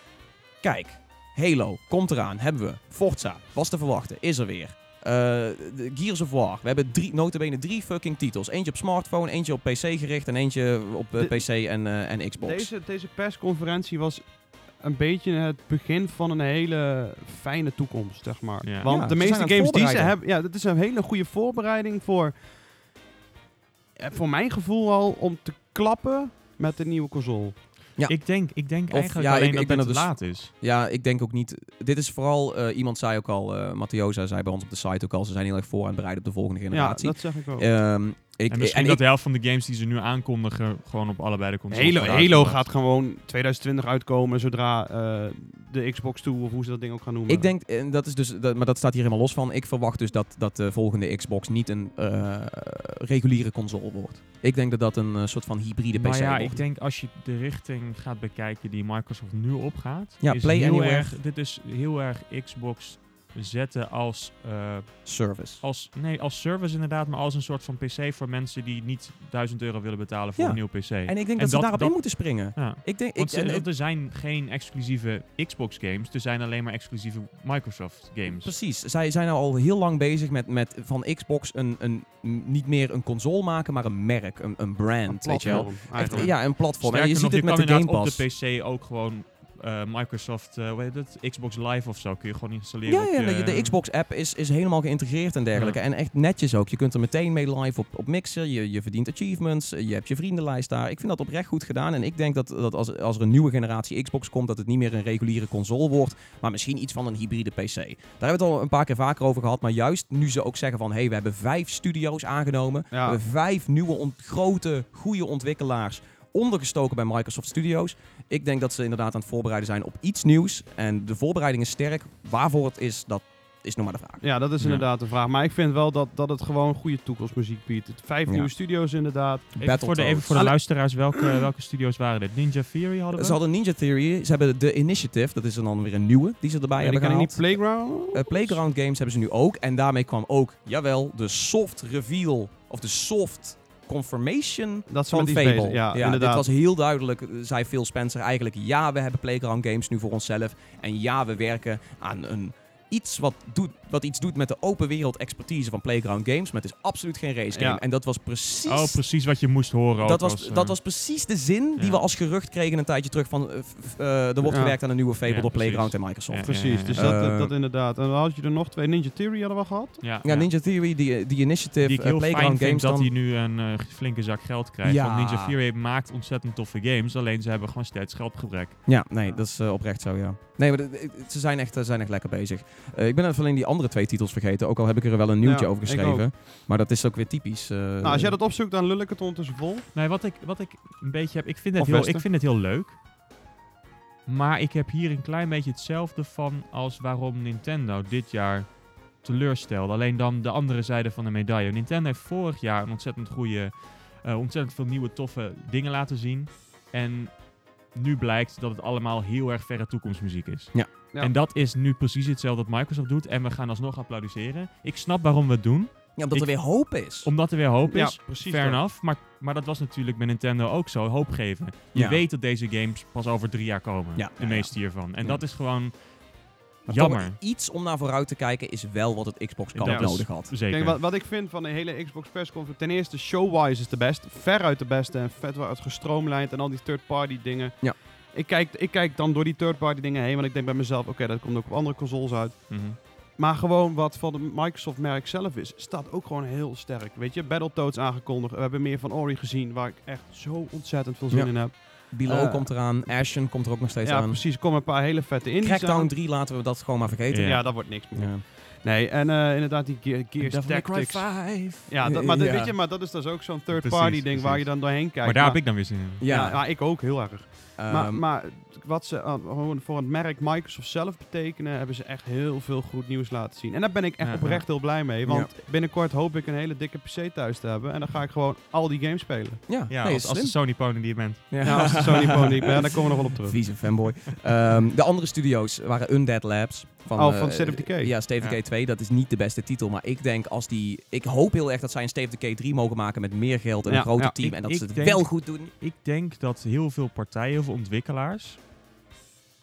S1: Kijk, Halo komt eraan, hebben we. Forza, was te verwachten, is er weer. Eh, de Gears of War. We hebben drie, notabene drie fucking titels. Eentje op smartphone, eentje op PC gericht en eentje op eh,
S2: De-
S1: PC en, eh, en Xbox.
S2: Deze, deze persconferentie was een beetje het begin van een hele fijne toekomst, zeg maar.
S3: Ja.
S1: Ja,
S2: Want de
S1: ze zijn
S2: meeste
S1: aan het
S2: games die ze
S1: voorbereiden.
S2: hebben, ja, dat is een hele goede voorbereiding voor, eh, voor mijn gevoel al, om te klappen met de nieuwe console.
S3: Ja. Ik denk, ik denk
S1: Of-
S3: eigenlijk
S1: ja,
S3: alleen
S1: ik-
S3: dat
S1: ik ben
S3: het
S1: er dus-
S3: laat is.
S1: Ja, ik denk ook niet. Dit is vooral, eh, iemand zei ook al, eh Mattiosa zei bij ons op de site ook al, ze zijn heel erg voor aan het bereiden op de volgende
S2: Ja,
S1: generatie.
S2: dat zeg ik ook.
S1: Ehm, ik,
S3: en misschien
S1: en
S3: dat
S1: ik-
S3: de helft van de games die ze nu aankondigen gewoon op allebei de consoles
S2: Halo,
S3: vooruit
S2: Halo
S3: gaat.
S2: gaat gewoon 2020 uitkomen zodra eh, de Xbox Two, of hoe ze dat ding ook gaan noemen.
S1: ik denk, en dat is dus, dat, maar dat staat hier helemaal los van. Ik verwacht dus dat, dat de volgende Xbox niet een eh, reguliere console wordt. Ik denk dat dat een eh, soort van hybride PC
S3: Maar ja,
S1: wordt.
S3: ik denk als je de richting gaat bekijken die Microsoft nu opgaat,
S1: Ja,
S3: is
S1: Play
S3: heel
S1: Anywhere.
S3: erg, dit is heel erg Xbox zetten als, eh,
S1: Service.
S3: als, nee, als service inderdaad, maar als een soort van PC voor mensen die niet 1000 euro willen betalen voor
S1: Ja.
S3: een nieuw PC.
S1: En ik denk dat,
S3: En
S1: ze
S3: dat-
S1: daarop
S3: dat-
S1: in moeten springen.
S3: ja.
S1: Ik denk, ik,
S3: Want ze-
S1: en- en-
S3: er zijn geen exclusieve Xbox games, er zijn alleen maar exclusieve Microsoft games.
S1: Precies, zij zijn nou al heel lang bezig met, met van Xbox een, een, niet meer een console maken, maar een merk, een, een brand, weet je wel. Echt,
S2: Eigenlijk.
S1: ja, een platform.
S3: Sterker
S1: en je ziet
S3: nog,
S1: het
S3: je
S1: met
S3: kan
S1: de Game
S3: inderdaad
S1: Pass.
S3: op de PC ook gewoon eh, Microsoft, eh, hoe heet het, Xbox Live of zo, kun je gewoon installeren.
S1: ja,
S3: op
S1: ja, de,
S3: je-
S1: de Xbox-app is, is helemaal geïntegreerd en dergelijke. En echt netjes ook. Je kunt er meteen mee live op, op mixen. Je, je verdient achievements. eh, Je hebt je vriendenlijst daar. Ik vind dat oprecht goed gedaan. En ik denk dat, dat als, als er een nieuwe generatie Xbox komt, dat het niet meer een reguliere console wordt. Maar misschien iets van een hybride PC. Daar hebben we het al een paar keer vaker over gehad. Maar juist nu ze ook zeggen van... Hé, hey, we hebben vijf studio's aangenomen.
S2: Ja.
S1: We hebben vijf nieuwe, ont- grote, goede ontwikkelaars ondergestoken bij Microsoft Studios. Ik denk dat ze inderdaad aan het voorbereiden zijn op iets nieuws. En de voorbereiding is sterk. Waarvoor het is, dat is nog maar de vraag.
S2: Ja, dat is
S3: Ja.
S2: inderdaad de vraag. Maar ik vind wel dat, dat het gewoon goede toekomstmuziek biedt. Het Vijf
S1: Ja.
S2: nieuwe studio's inderdaad.
S3: Even voor, de, even voor de
S1: Alle-
S3: luisteraars, welke, welke studio's waren dit? Ninja Theory hadden we?
S1: Ze hadden Ninja Theory, ze hebben The Initiative, dat is er dan weer een nieuwe die ze erbij
S2: Ja, die
S1: hebben
S2: kan ik
S1: gehaald.
S2: niet Playground.
S1: Eh, Playground Games hebben ze nu ook. En daarmee kwam ook, jawel, de soft reveal, of de soft confirmation
S2: dat is
S1: van
S2: met die
S1: Fable.
S2: spelen. Ja, inderdaad.
S1: dit was heel duidelijk, eh, zei Phil Spencer eigenlijk. Ja, we hebben Playground Games nu voor onszelf. En ja, we werken aan een, iets wat, doet, wat iets doet met de open wereld expertise van Playground Games. Maar het is absoluut geen race game.
S2: Ja.
S1: En dat was precies...
S3: Oh, precies wat je moest horen. ook
S1: Dat was,
S3: als, eh,
S1: dat was precies de zin die
S3: ja.
S1: we als gerucht kregen een tijdje terug van... eh, f- f- eh, er wordt
S2: Ja.
S1: gewerkt aan een nieuwe Fable
S3: Ja,
S1: door Playground
S3: precies.
S1: en Microsoft.
S3: Ja.
S2: Precies, dus
S1: ja.
S2: dat,
S1: Eh,
S2: dat inderdaad. En dan had je er nog twee. Ninja Theory hadden we gehad.
S3: Ja,
S1: Ja, Ninja Theory, die, die Initiative,
S3: Die ik
S1: eh,
S3: heel fijn
S1: Playground
S3: vind
S1: Games
S3: dat
S1: dan...
S3: hij nu een eh, flinke zak geld krijgt.
S1: Ja.
S3: Want Ninja Theory maakt ontzettend toffe games, alleen ze hebben gewoon steeds geldgebrek.
S1: Ja, nee, dat is eh, oprecht zo, ja. Nee, maar de- de- ze zijn echt, eh, zijn echt lekker bezig. Eh, ik ben even alleen die andere twee titels vergeten, ook al heb ik er wel een nieuwtje
S2: Ja,
S1: over
S2: ik
S1: geschreven. Maar dat is ook weer typisch. eh,
S2: nou, als jij dat opzoekt, dan lul ik het ondertussen vol.
S3: Nee, wat ik, wat ik een beetje heb, ik vind, het
S2: Of
S3: heel,
S2: Westen.
S3: ik vind het heel leuk. Maar ik heb hier een klein beetje hetzelfde van als waarom Nintendo dit jaar teleurstelde. Alleen dan de andere zijde van de medaille. Nintendo heeft vorig jaar een ontzettend goede, eh, ontzettend veel nieuwe toffe dingen laten zien. En nu blijkt dat het allemaal heel erg verre toekomstmuziek is.
S1: Ja.
S2: Ja.
S3: En dat is nu precies hetzelfde dat Microsoft doet. En we gaan alsnog applaudisseren. Ik snap waarom we het doen.
S1: Ja, omdat
S3: Ik-
S1: er weer hoop is.
S3: Omdat er weer hoop
S2: Ja,
S3: is,
S2: precies
S3: fair
S2: dat.
S3: enough. Maar, maar dat was natuurlijk bij Nintendo ook zo, hoop geven. Je
S1: Ja.
S3: weet dat deze games pas over drie jaar komen,
S1: Ja,
S3: de
S1: ja,
S3: meeste hiervan. En
S1: Ja.
S3: dat is gewoon
S1: Maar toch
S3: jammer.
S1: iets om naar vooruit te kijken is wel wat het Xbox Kamp
S2: dus-
S3: Dat is-
S1: nodig had.
S3: Zeker.
S2: Kijk, wat, wat ik vind van de hele Xbox persconferentie, ten eerste showwise is de best, veruit de beste en vet wel uit gestroomlijnd en al die third-party dingen.
S1: Ja.
S2: Ik kijk, ik kijk dan door die third-party dingen heen, want ik denk bij mezelf, oké, dat komt ook op andere consoles uit.
S3: Mhm.
S2: Maar gewoon wat van de Microsoft-merk zelf is, staat ook gewoon heel sterk. Weet je, Battletoads aangekondigd, we hebben meer van Ori gezien, waar ik echt zo ontzettend veel zin
S1: Ja.
S2: in heb.
S1: Below
S2: Eh,
S1: komt eraan, Ashen komt er ook nog steeds
S2: ja,
S1: aan.
S2: precies, er komen een paar hele vette indies
S1: Crackdown
S2: aan.
S1: 3 laten we dat gewoon maar vergeten.
S2: Ja.
S3: Ja.
S2: dat wordt niks meer.
S1: Ja.
S2: Nee, en eh, inderdaad die Ge- Gears
S1: Devil May Cry
S2: Tactics.
S1: 5.
S2: Ja, dat, maar, dat-
S1: Ja.
S2: Weet je, maar dat is dus ook zo'n
S3: Precies,
S2: third-party ding waar je
S3: precies.
S2: dan doorheen kijkt.
S3: maar daar heb ik dan weer zin in.
S2: Ja,
S1: Ja,
S2: ja, ik ook heel erg. maar,
S1: ehm,
S2: maar wat ze aan- gewoon voor het merk Microsoft zelf betekenen, hebben ze echt heel veel goed nieuws laten zien. En daar ben ik echt
S3: Ja,
S2: oprecht heel blij mee. Want binnenkort hoop ik een hele dikke PC thuis te hebben. En dan ga ik gewoon al die games spelen.
S1: ja,
S3: Ja,
S1: nee,
S3: als,
S1: is
S3: als de
S1: slim.
S3: Sony pony die je bent.
S1: Ja.
S2: Ja, als het zo niet gewoon ik ben, daar komen we nog wel op terug.
S1: Vieze fanboy. Ehm, de andere studio's waren Undead Labs. Van,
S2: Oh,
S1: eh,
S2: van State of Decay.
S1: Ja, State of Decay
S3: Ja.
S1: 2. Dat is niet de beste titel. Maar ik denk als die... Ik hoop heel erg dat zij een State of Decay 3 mogen maken met meer geld en
S2: Ja,
S1: een groter
S2: ja.
S1: team.
S3: Ik-
S1: en dat
S3: ik
S1: ze het
S3: denk-
S1: wel goed doen.
S3: Ik denk dat heel veel partijen, heel veel ontwikkelaars,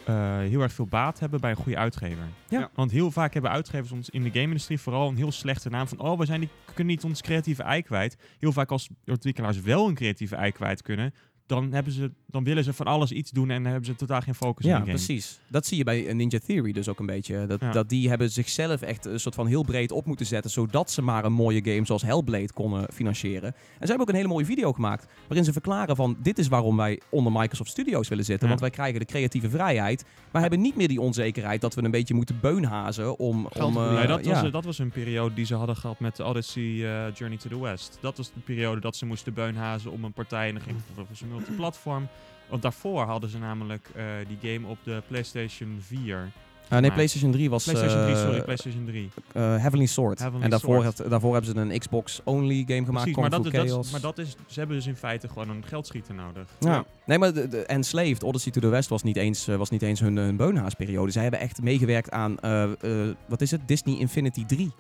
S3: eh, heel erg veel baat hebben bij een goede uitgever.
S1: Ja.
S2: Ja.
S3: Want heel vaak hebben uitgevers ons in de game-industrie vooral een heel slechte naam van, oh, we zijn niet, kunnen niet ons creatieve ei kwijt. Heel vaak als ontwikkelaars wel een creatieve ei kwijt kunnen, dan, hebben ze, dan willen ze van alles iets doen en dan hebben ze totaal geen focus op
S1: Ja,
S3: de game.
S1: precies. Dat zie je bij eh, Ninja Theory dus ook een beetje. Dat,
S3: Ja.
S1: dat die hebben zichzelf echt een soort van heel breed op moeten zetten. Zodat ze maar een mooie game zoals Hellblade konden financieren. En ze hebben ook een hele mooie video gemaakt. Waarin ze verklaren van dit is waarom wij onder Microsoft Studios willen zitten.
S3: Ja.
S1: Want wij krijgen de creatieve vrijheid. Maar hebben niet meer die onzekerheid dat we een beetje moeten beunhazen om...
S2: Geld
S1: om eh,
S2: verdienen.
S3: Nee, dat,
S1: ja.
S3: was, dat was een periode die ze hadden gehad met de Odyssey eh, Journey to the West. Dat was de periode dat ze moesten beunhazen om een partij en dan ging het volgens een multiplatform. Want daarvoor hadden ze namelijk eh, die game op de PlayStation 4.
S1: Ah, nee,
S3: Maar-
S1: PlayStation 3 was...
S3: PlayStation 3,
S1: eh,
S3: sorry, PlayStation 3.
S1: eh, Heavenly Sword.
S3: Heavenly
S1: en daarvoor,
S3: Sword.
S1: had- daarvoor hebben ze een Xbox-only game gemaakt.
S3: Precies, maar
S1: Kung
S3: dat,
S1: Fu
S3: dat is-
S1: Chaos.
S3: maar dat is, ze hebben dus in feite gewoon een geldschieter nodig.
S1: Ja. Nee, maar de, de Enslaved, Odyssey to the West, was niet eens, eh, was niet eens hun, hun beunhaasperiode. Zij hebben echt meegewerkt aan, eh, eh, wat is het, Disney Infinity 3.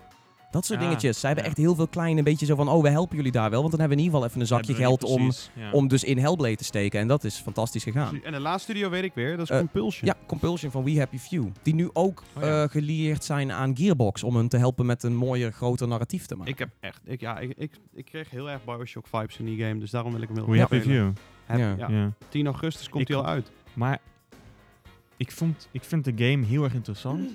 S1: Dat soort
S3: Ja,
S1: dingetjes. Zij hebben
S3: ja.
S1: echt heel veel kleine, beetje zo van, oh, we helpen jullie daar wel. Want dan hebben we in ieder geval even een zakje
S3: Hebben we
S1: geld
S3: niet
S1: om,
S3: precies, ja.
S1: om dus in Hellblade te steken. En dat is fantastisch gegaan.
S2: En de laatste studio weet ik weer, dat is
S1: Eh,
S2: Compulsion.
S1: Ja, Compulsion van We Happy Few. Die nu ook
S3: Oh ja.
S1: eh, gelieerd zijn aan Gearbox om hun te helpen met een mooier, groter narratief te maken.
S2: Ik heb echt, ik, ja, ik, ik, ik kreeg heel erg Bioshock vibes in die game, dus daarom wil ik hem heel
S3: Hoe
S2: graag
S3: happy
S2: spelen.
S3: view.
S2: Heb-
S1: Ja.
S2: ja.
S3: Ja.
S2: 10 augustus komt
S3: Ik-
S2: hij al uit.
S3: Maar ik, vond, ik vind de game heel erg interessant.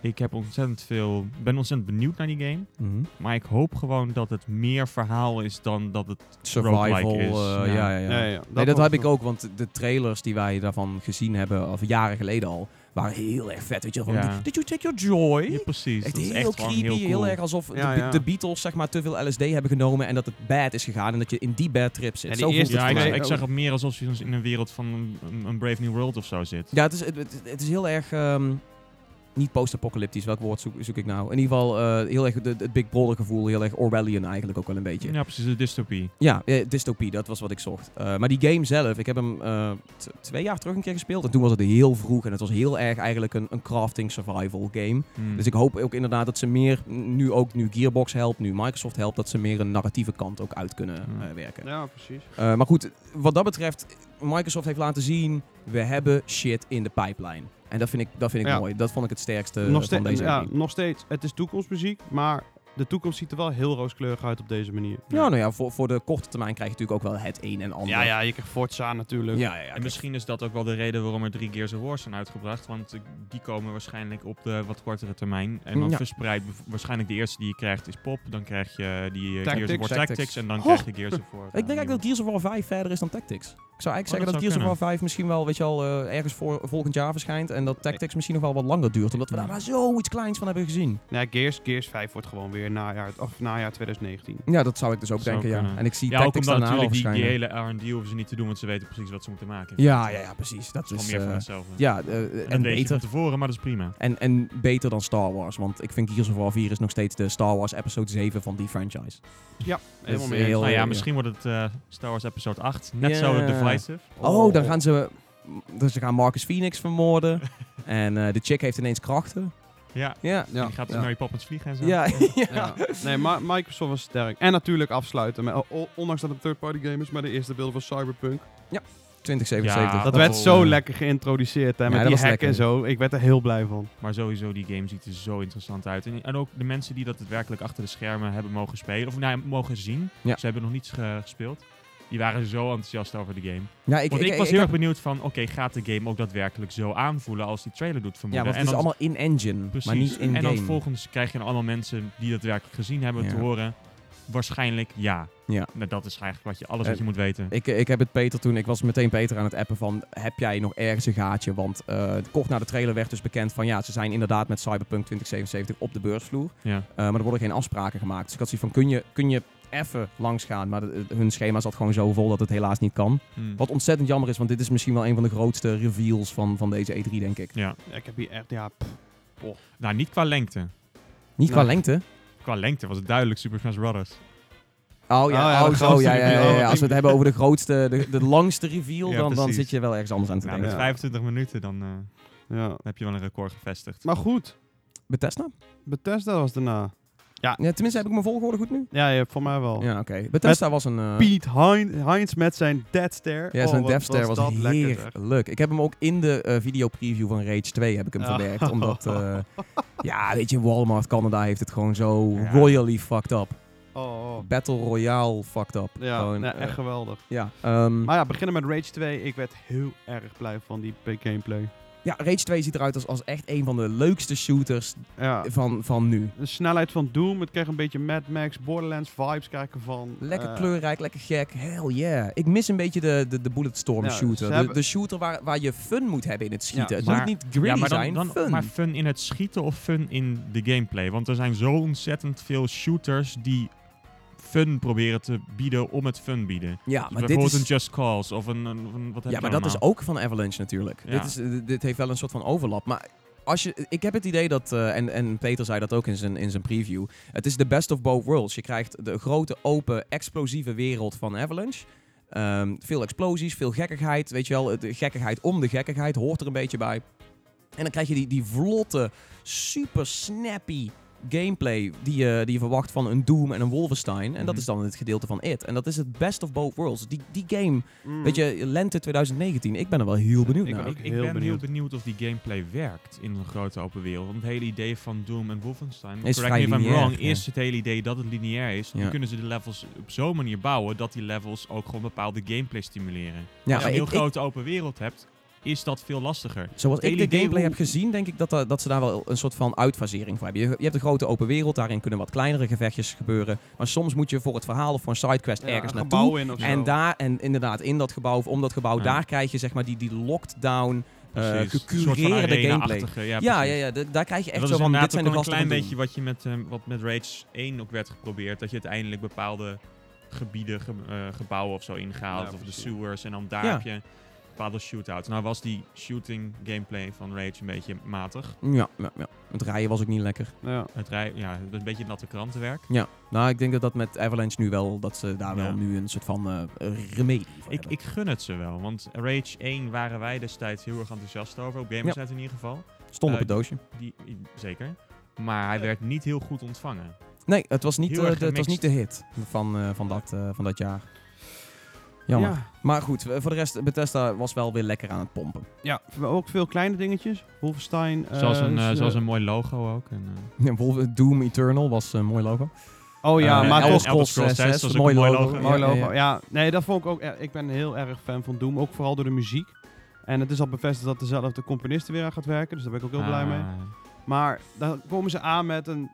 S3: Ik heb ontzettend veel, ben ontzettend benieuwd naar die game.
S1: Mhm.
S3: Maar ik hoop gewoon dat het meer verhaal is dan dat het...
S1: Survival,
S3: Roguelike is,
S1: eh,
S3: ja.
S1: ja, ja, ja.
S2: Ja, ja, ja.
S1: nee, dat
S2: was
S1: heb ik
S2: wel-
S1: ook, want de trailers die wij daarvan gezien hebben, of jaren geleden al, waren heel erg vet. Weet je, wel, van,
S3: Ja.
S1: did you take your joy?
S3: Ja, precies.
S1: echt
S3: dat is
S1: heel
S3: echt gewoon
S1: creepy, heel,
S3: heel cool.
S1: erg alsof de,
S2: Ja,
S1: Be-
S2: ja.
S1: de Beatles zeg maar te veel LSD hebben genomen en dat het bad is gegaan en dat je in die bad trip zit.
S2: Ja, die
S1: Zo voelt
S2: eerste
S1: het
S3: Ja,
S1: voor
S2: twee-
S3: ik,
S1: mij.
S2: mij
S3: ik
S2: ook.
S3: zeg het meer alsof je in een wereld van een, een Brave New World of zo zit.
S1: ja het, is, het, het- het is heel erg... ehm, niet post-apocalyptisch, welk woord zoek, zoek ik nou? In ieder geval eh, heel erg de- de- het Big Brother gevoel, heel erg Orwellian eigenlijk ook wel een beetje.
S3: Ja, precies, de dystopie.
S1: Ja, eh, dystopie, dat was wat ik zocht. Eh, maar die game zelf, ik heb hem eh, t- twee jaar terug een keer gespeeld. En toen was het heel vroeg en het was heel erg eigenlijk een, een crafting survival game.
S3: Hmm.
S1: Dus ik hoop ook inderdaad dat ze meer, nu ook nu Gearbox helpt, nu Microsoft helpt, dat ze meer een narratieve kant ook uit kunnen
S3: Hmm.
S1: eh, werken.
S2: Ja, precies.
S1: Eh, maar goed, wat dat betreft, Microsoft heeft laten zien, we hebben shit in de pipeline. En dat vind ik, dat vind ik
S2: Ja.
S1: mooi. Dat vond ik het sterkste
S2: nog,
S1: van
S2: steeds,
S1: deze
S2: ja,
S1: game.
S2: nog steeds, het is toekomstmuziek, maar de toekomst ziet er wel heel rooskleurig uit op deze manier.
S1: Ja, nou ja, voor, voor de korte termijn krijg je natuurlijk ook wel het een en ander.
S2: ja, ja, je krijgt Forza natuurlijk.
S1: ja, ja, ja,
S3: En misschien is dat ook wel de reden waarom er drie Gears of War zijn uitgebracht. Want eh, die komen waarschijnlijk op de wat kortere termijn. En dan
S1: Ja.
S3: verspreid bev- waarschijnlijk de eerste die je krijgt is Pop. Dan krijg je die eh, Gears of
S2: Tactics.
S3: War Tactics.
S1: Tactics.
S3: En dan
S1: Ho!
S3: krijg je Gears of War.
S1: Ik denk eigenlijk dat Gears of War 5 verder is dan Tactics. Ik zou eigenlijk zeggen
S3: dat
S1: Oh, dat,
S3: zou
S1: Gears of War
S3: kunnen.
S1: 5 misschien wel, weet je al, ergens voor, volgend jaar verschijnt. En dat Tactics misschien nog wel wat langer duurt. Omdat we daar
S3: Ja.
S1: maar zoiets kleins van hebben gezien.
S2: Nee, Gears, Gears 5 wordt gewoon weer najaar, of najaar 2019.
S1: Ja, dat zou ik dus ook
S3: Zou
S1: denken, ja.
S3: kunnen.
S1: En ik zie
S3: Ja, ook
S1: Tactics
S3: omdat
S1: daarna al
S3: natuurlijk die, die
S1: verschijnen.
S3: hele R&D hoeven ze niet te doen, want ze weten precies wat ze moeten maken.
S1: Ja, ja, ja, precies. Dat
S3: Het is
S1: is...
S3: gewoon meer
S1: eh,
S3: van hetzelfde.
S1: ja, eh,
S3: en,
S1: en
S3: weet je van
S1: beter.
S3: tevoren, maar dat is prima.
S1: En, en beter dan Star Wars. Want ik vind Gears of War 4 is nog steeds de Star Wars episode 7 van die franchise.
S2: Helemaal
S1: is
S2: mee. eens.
S1: heel-
S3: Nou ja,
S1: ja.
S3: misschien wordt het eh, Star Wars Episode 8 net
S1: Ja.
S3: zo divisive.
S1: Oh, dan gaan ze... Dus ze gaan Marcus Phoenix vermoorden. en eh, de chick heeft ineens krachten.
S3: Ja.
S1: Ja.
S2: Ja.
S3: En die gaat dus
S2: Ja.
S3: Mary Poppins vliegen en zo.
S1: Ja.
S2: Ja. Nee, maar Microsoft was sterk. En natuurlijk afsluiten. Met, o- ondanks dat het een third-party game is, maar de eerste beelden van Cyberpunk.
S1: 2077.
S3: Ja,
S2: Dat
S3: dat
S2: werd
S3: wel,
S2: zo
S3: eh,
S2: lekker geïntroduceerd, hè,
S1: Oh, Ja,
S2: met
S1: dat
S2: die
S1: was
S2: hack
S1: lekker.
S2: en zo. Ik werd er heel blij van.
S3: Maar sowieso, die game ziet er zo interessant uit. En, en ook de mensen die dat daadwerkelijk achter de schermen hebben mogen spelen. Of nou, ja, mogen zien.
S1: Ja.
S3: Ze hebben nog niets ge- gespeeld. Die waren zo enthousiast over de game.
S1: Ja, ik,
S3: Want ik,
S1: ik-
S3: was
S1: ik
S3: heel
S1: heb-
S3: erg benieuwd van, oké, gaat de game ook daadwerkelijk zo aanvoelen als die trailer doet
S1: Ja,
S3: vermoeden?
S1: want
S3: en
S1: het is
S3: dan-
S1: allemaal in-engine,
S3: precies.
S1: maar niet in-game.
S3: En dan vervolgens krijg je dan allemaal mensen die dat werkelijk gezien hebben te
S1: Ja.
S3: horen, waarschijnlijk ja.
S1: Ja.
S3: Nou, dat is eigenlijk wat je, alles
S1: Eh,
S3: wat je moet weten.
S1: Ik, ik heb het Peter toen, ik was meteen Peter aan het appen van, heb jij nog ergens een gaatje? Want eh, kort na de trailer werd dus bekend van, ja, ze zijn inderdaad met Cyberpunk 2077 op de beursvloer.
S3: Ja.
S1: Eh, maar er worden geen afspraken gemaakt. Dus ik had zoiets van, kun je, kun je even langs gaan? Maar de- hun schema zat gewoon zo vol dat het helaas niet kan.
S3: Hmm.
S1: Wat ontzettend jammer is, want dit is misschien wel een van de grootste reveals van, van deze E3, denk ik.
S3: Ja.
S2: Ja, ik heb hier echt, ja,
S3: Nou, niet qua lengte.
S1: Niet qua
S2: Nee.
S1: lengte.
S3: Qua lengte was het duidelijk Super Smash Brothers.
S1: Oh
S2: Oh ja,
S1: ja, oh,
S2: de
S1: zo,
S2: grootste
S1: ja, ja, ja,
S2: reveal.
S1: ja. Als we het hebben over de grootste, de, de langste reveal,
S3: Ja,
S1: dan, dan
S3: precies.
S1: zit je wel ergens anders aan te
S3: Nou,
S1: denken.
S3: met
S2: Ja.
S3: 25 minuten dan, eh, dan
S2: ja.
S3: heb je wel een record gevestigd.
S2: Maar goed,
S1: Bethesda?
S2: Bethesda was daarna.
S1: Ja, tenminste, heb ik mijn volgorde goed nu?
S2: Ja, ja voor mij wel.
S1: Ja, oké. Bethesda was een... eh,
S2: Piet Hein- Heinz met zijn Dead Stare.
S1: ja,
S2: Oh,
S1: zijn
S2: wat
S1: Death Star was,
S2: dat lekker, zeg.
S1: heerlijk. Ik heb hem ook in de eh videopreview van Rage 2 heb ik hem
S2: Oh.
S1: verwerkt. Omdat, eh, ja, weet je, Walmart Canada heeft het gewoon zo
S3: Ja.
S1: royally fucked up.
S2: Oh, oh.
S1: Battle Royale fucked up.
S2: Ja,
S1: Gewoon,
S2: nee,
S1: eh,
S2: echt geweldig.
S1: ja, ehm,
S2: Maar ja, beginnen met Rage 2. Ik werd heel erg blij van die gameplay.
S1: ja, Rage 2 ziet eruit als, als echt een van de leukste shooters
S2: Ja.
S1: van, van nu.
S2: De snelheid van Doom. Het kreeg een beetje Mad Max, Borderlands vibes krijg ik ervan.
S1: Lekker
S2: Eh,
S1: kleurrijk, lekker gek. Hell yeah. Ik mis een beetje de, de, de bulletstorm
S2: Ja, ze
S1: shooter. De- De,
S2: hebben-
S1: shooter waar, waar je fun moet hebben in het schieten.
S2: Ja,
S1: het
S3: maar-
S1: moet niet gritty
S3: ja, maar dan,
S1: zijn,
S3: dan
S1: fun.
S3: maar fun in het schieten of fun in de gameplay. Want er zijn zo ontzettend veel shooters die fun proberen te bieden om het fun bieden.
S1: ja,
S3: Dus
S1: maar dit
S3: bijvoorbeeld
S1: is...
S3: een Just Cause of een, een- of een- wat heb
S1: Ja,
S3: je nou?
S1: maar dat
S3: allemaal?
S1: is ook van Avalanche natuurlijk.
S3: Ja.
S1: Dit, is, eh, dit heeft wel een soort van overlap. Maar als je, ik heb het idee dat, eh, en, en Peter zei dat ook in zijn, in zijn preview, het is de best of both worlds. Je krijgt de grote, open, explosieve wereld van Avalanche. Ehm, veel explosies, veel gekkigheid, weet je wel. De gekkigheid om de gekkigheid hoort er een beetje bij. En dan krijg je die, die vlotte, super snappy gameplay die je, die je verwacht van een Doom en een Wolfenstein. En dat
S3: Mhm.
S1: is dan het gedeelte van It. En dat is het best of both worlds. Die, die game
S2: mm.
S1: Weet je, lente 2019, ik ben er wel Nou, heel benieuwd
S2: Ik
S1: naar.
S2: ook.
S3: Ik, ik
S2: Heel
S3: ben
S2: benieuwd.
S3: heel benieuwd of die gameplay werkt in een grote open wereld. Want het hele idee van Doom en Wolfenstein,
S1: Is
S3: correct
S1: vrij
S3: me if I'm
S1: lineair,
S3: wrong,
S1: ja.
S3: is het hele idee dat het lineair is.
S1: Ja.
S3: Dan kunnen ze de levels op zo'n manier bouwen dat die levels ook gewoon bepaalde gameplay stimuleren.
S1: Ja,
S3: Als je
S1: maar
S3: een heel
S1: ik- ik-
S3: grote open wereld hebt, is dat veel lastiger.
S1: zoals
S3: hele
S1: ik de
S3: idee
S1: gameplay
S3: hoe-
S1: heb gezien, denk ik dat, da- dat ze daar wel een soort van uitfasering voor hebben. Je, je hebt een grote open wereld, daarin kunnen wat kleinere gevechtjes gebeuren. Maar soms moet je voor het verhaal of voor een sidequest
S2: Ja,
S1: ergens
S2: een
S1: naartoe.
S2: gebouw in of zo.
S1: En daar, en inderdaad, in dat gebouw of om dat gebouw,
S3: Ja.
S1: daar krijg je zeg maar die, die lockdown, eh,
S3: Precies. Een soort van
S1: gecureerde gameplay.
S3: arena-achtige, Ja,
S1: Ja, ja,
S3: precies.
S1: ja, d- daar krijg je echt
S3: dat
S1: zo
S3: is
S1: van, dit
S3: inderdaad
S1: zijn de
S3: ook wel
S1: gasten
S3: een
S1: van
S3: klein beetje wat je met, ehm, wat met Rage 1 ook werd geprobeerd. Dat je uiteindelijk bepaalde gebieden, ge- eh, gebouwen of zo ingehaald.
S2: Ja,
S3: of de
S2: precies.
S3: sewers. En dan daar
S1: Ja.
S3: heb je bepaalde shootouts. Nou was die shooting gameplay van Rage een beetje matig.
S1: Doom. Ja, ja, ja, het rijden was ook niet lekker.
S2: Ja.
S3: Het rij, ja, het is een beetje natte krantenwerk.
S1: Ja, nou ik denk dat dat met Avalanche nu wel, dat ze daar
S3: Ja.
S1: wel nu een soort van eh remedie voor
S3: Ik,
S1: hebben.
S3: ik gun het ze wel, want Rage 1 waren wij destijds heel erg enthousiast over. Op Gamersnet in ieder geval.
S1: Stond op
S3: eh,
S1: het doosje.
S3: Die, i- zeker. Maar hij werd niet heel goed ontvangen.
S1: Nee, het was niet,
S3: Heel
S1: eh,
S3: erg
S1: de, het was niet
S3: gemixt.
S1: de hit van, eh, van, dat, eh, van dat jaar. Jammer.
S2: Ja.
S1: Maar goed, eh, voor de rest, Bethesda was wel weer lekker aan het pompen.
S2: Ja, we- ook veel kleine dingetjes. Wolfenstein. eh,
S3: zoals, een, eh,
S1: dus,
S2: s-
S3: zoals een mooi logo ook. En, eh,
S1: Ja, bijvoorbeeld Doom Eternal was een mooi logo.
S2: Oh ja,
S1: Eh,
S2: maar
S3: en
S1: Elder
S2: toch.
S1: Scrolls
S3: Scrolls
S1: 6,
S3: 6 was ook
S1: mooi
S3: een mooi
S1: logo.
S3: logo.
S2: Mooi
S1: Ja,
S2: logo.
S1: ja, ja.
S2: Ja, nee, dat vond ik ook. eh, Ik ben heel erg fan van Doom. Ook vooral door de muziek. En het is al bevestigd dat dezelfde componist er weer aan gaat werken. Dus daar ben ik ook heel blij
S3: ah,
S2: mee. Maar dan komen ze aan met een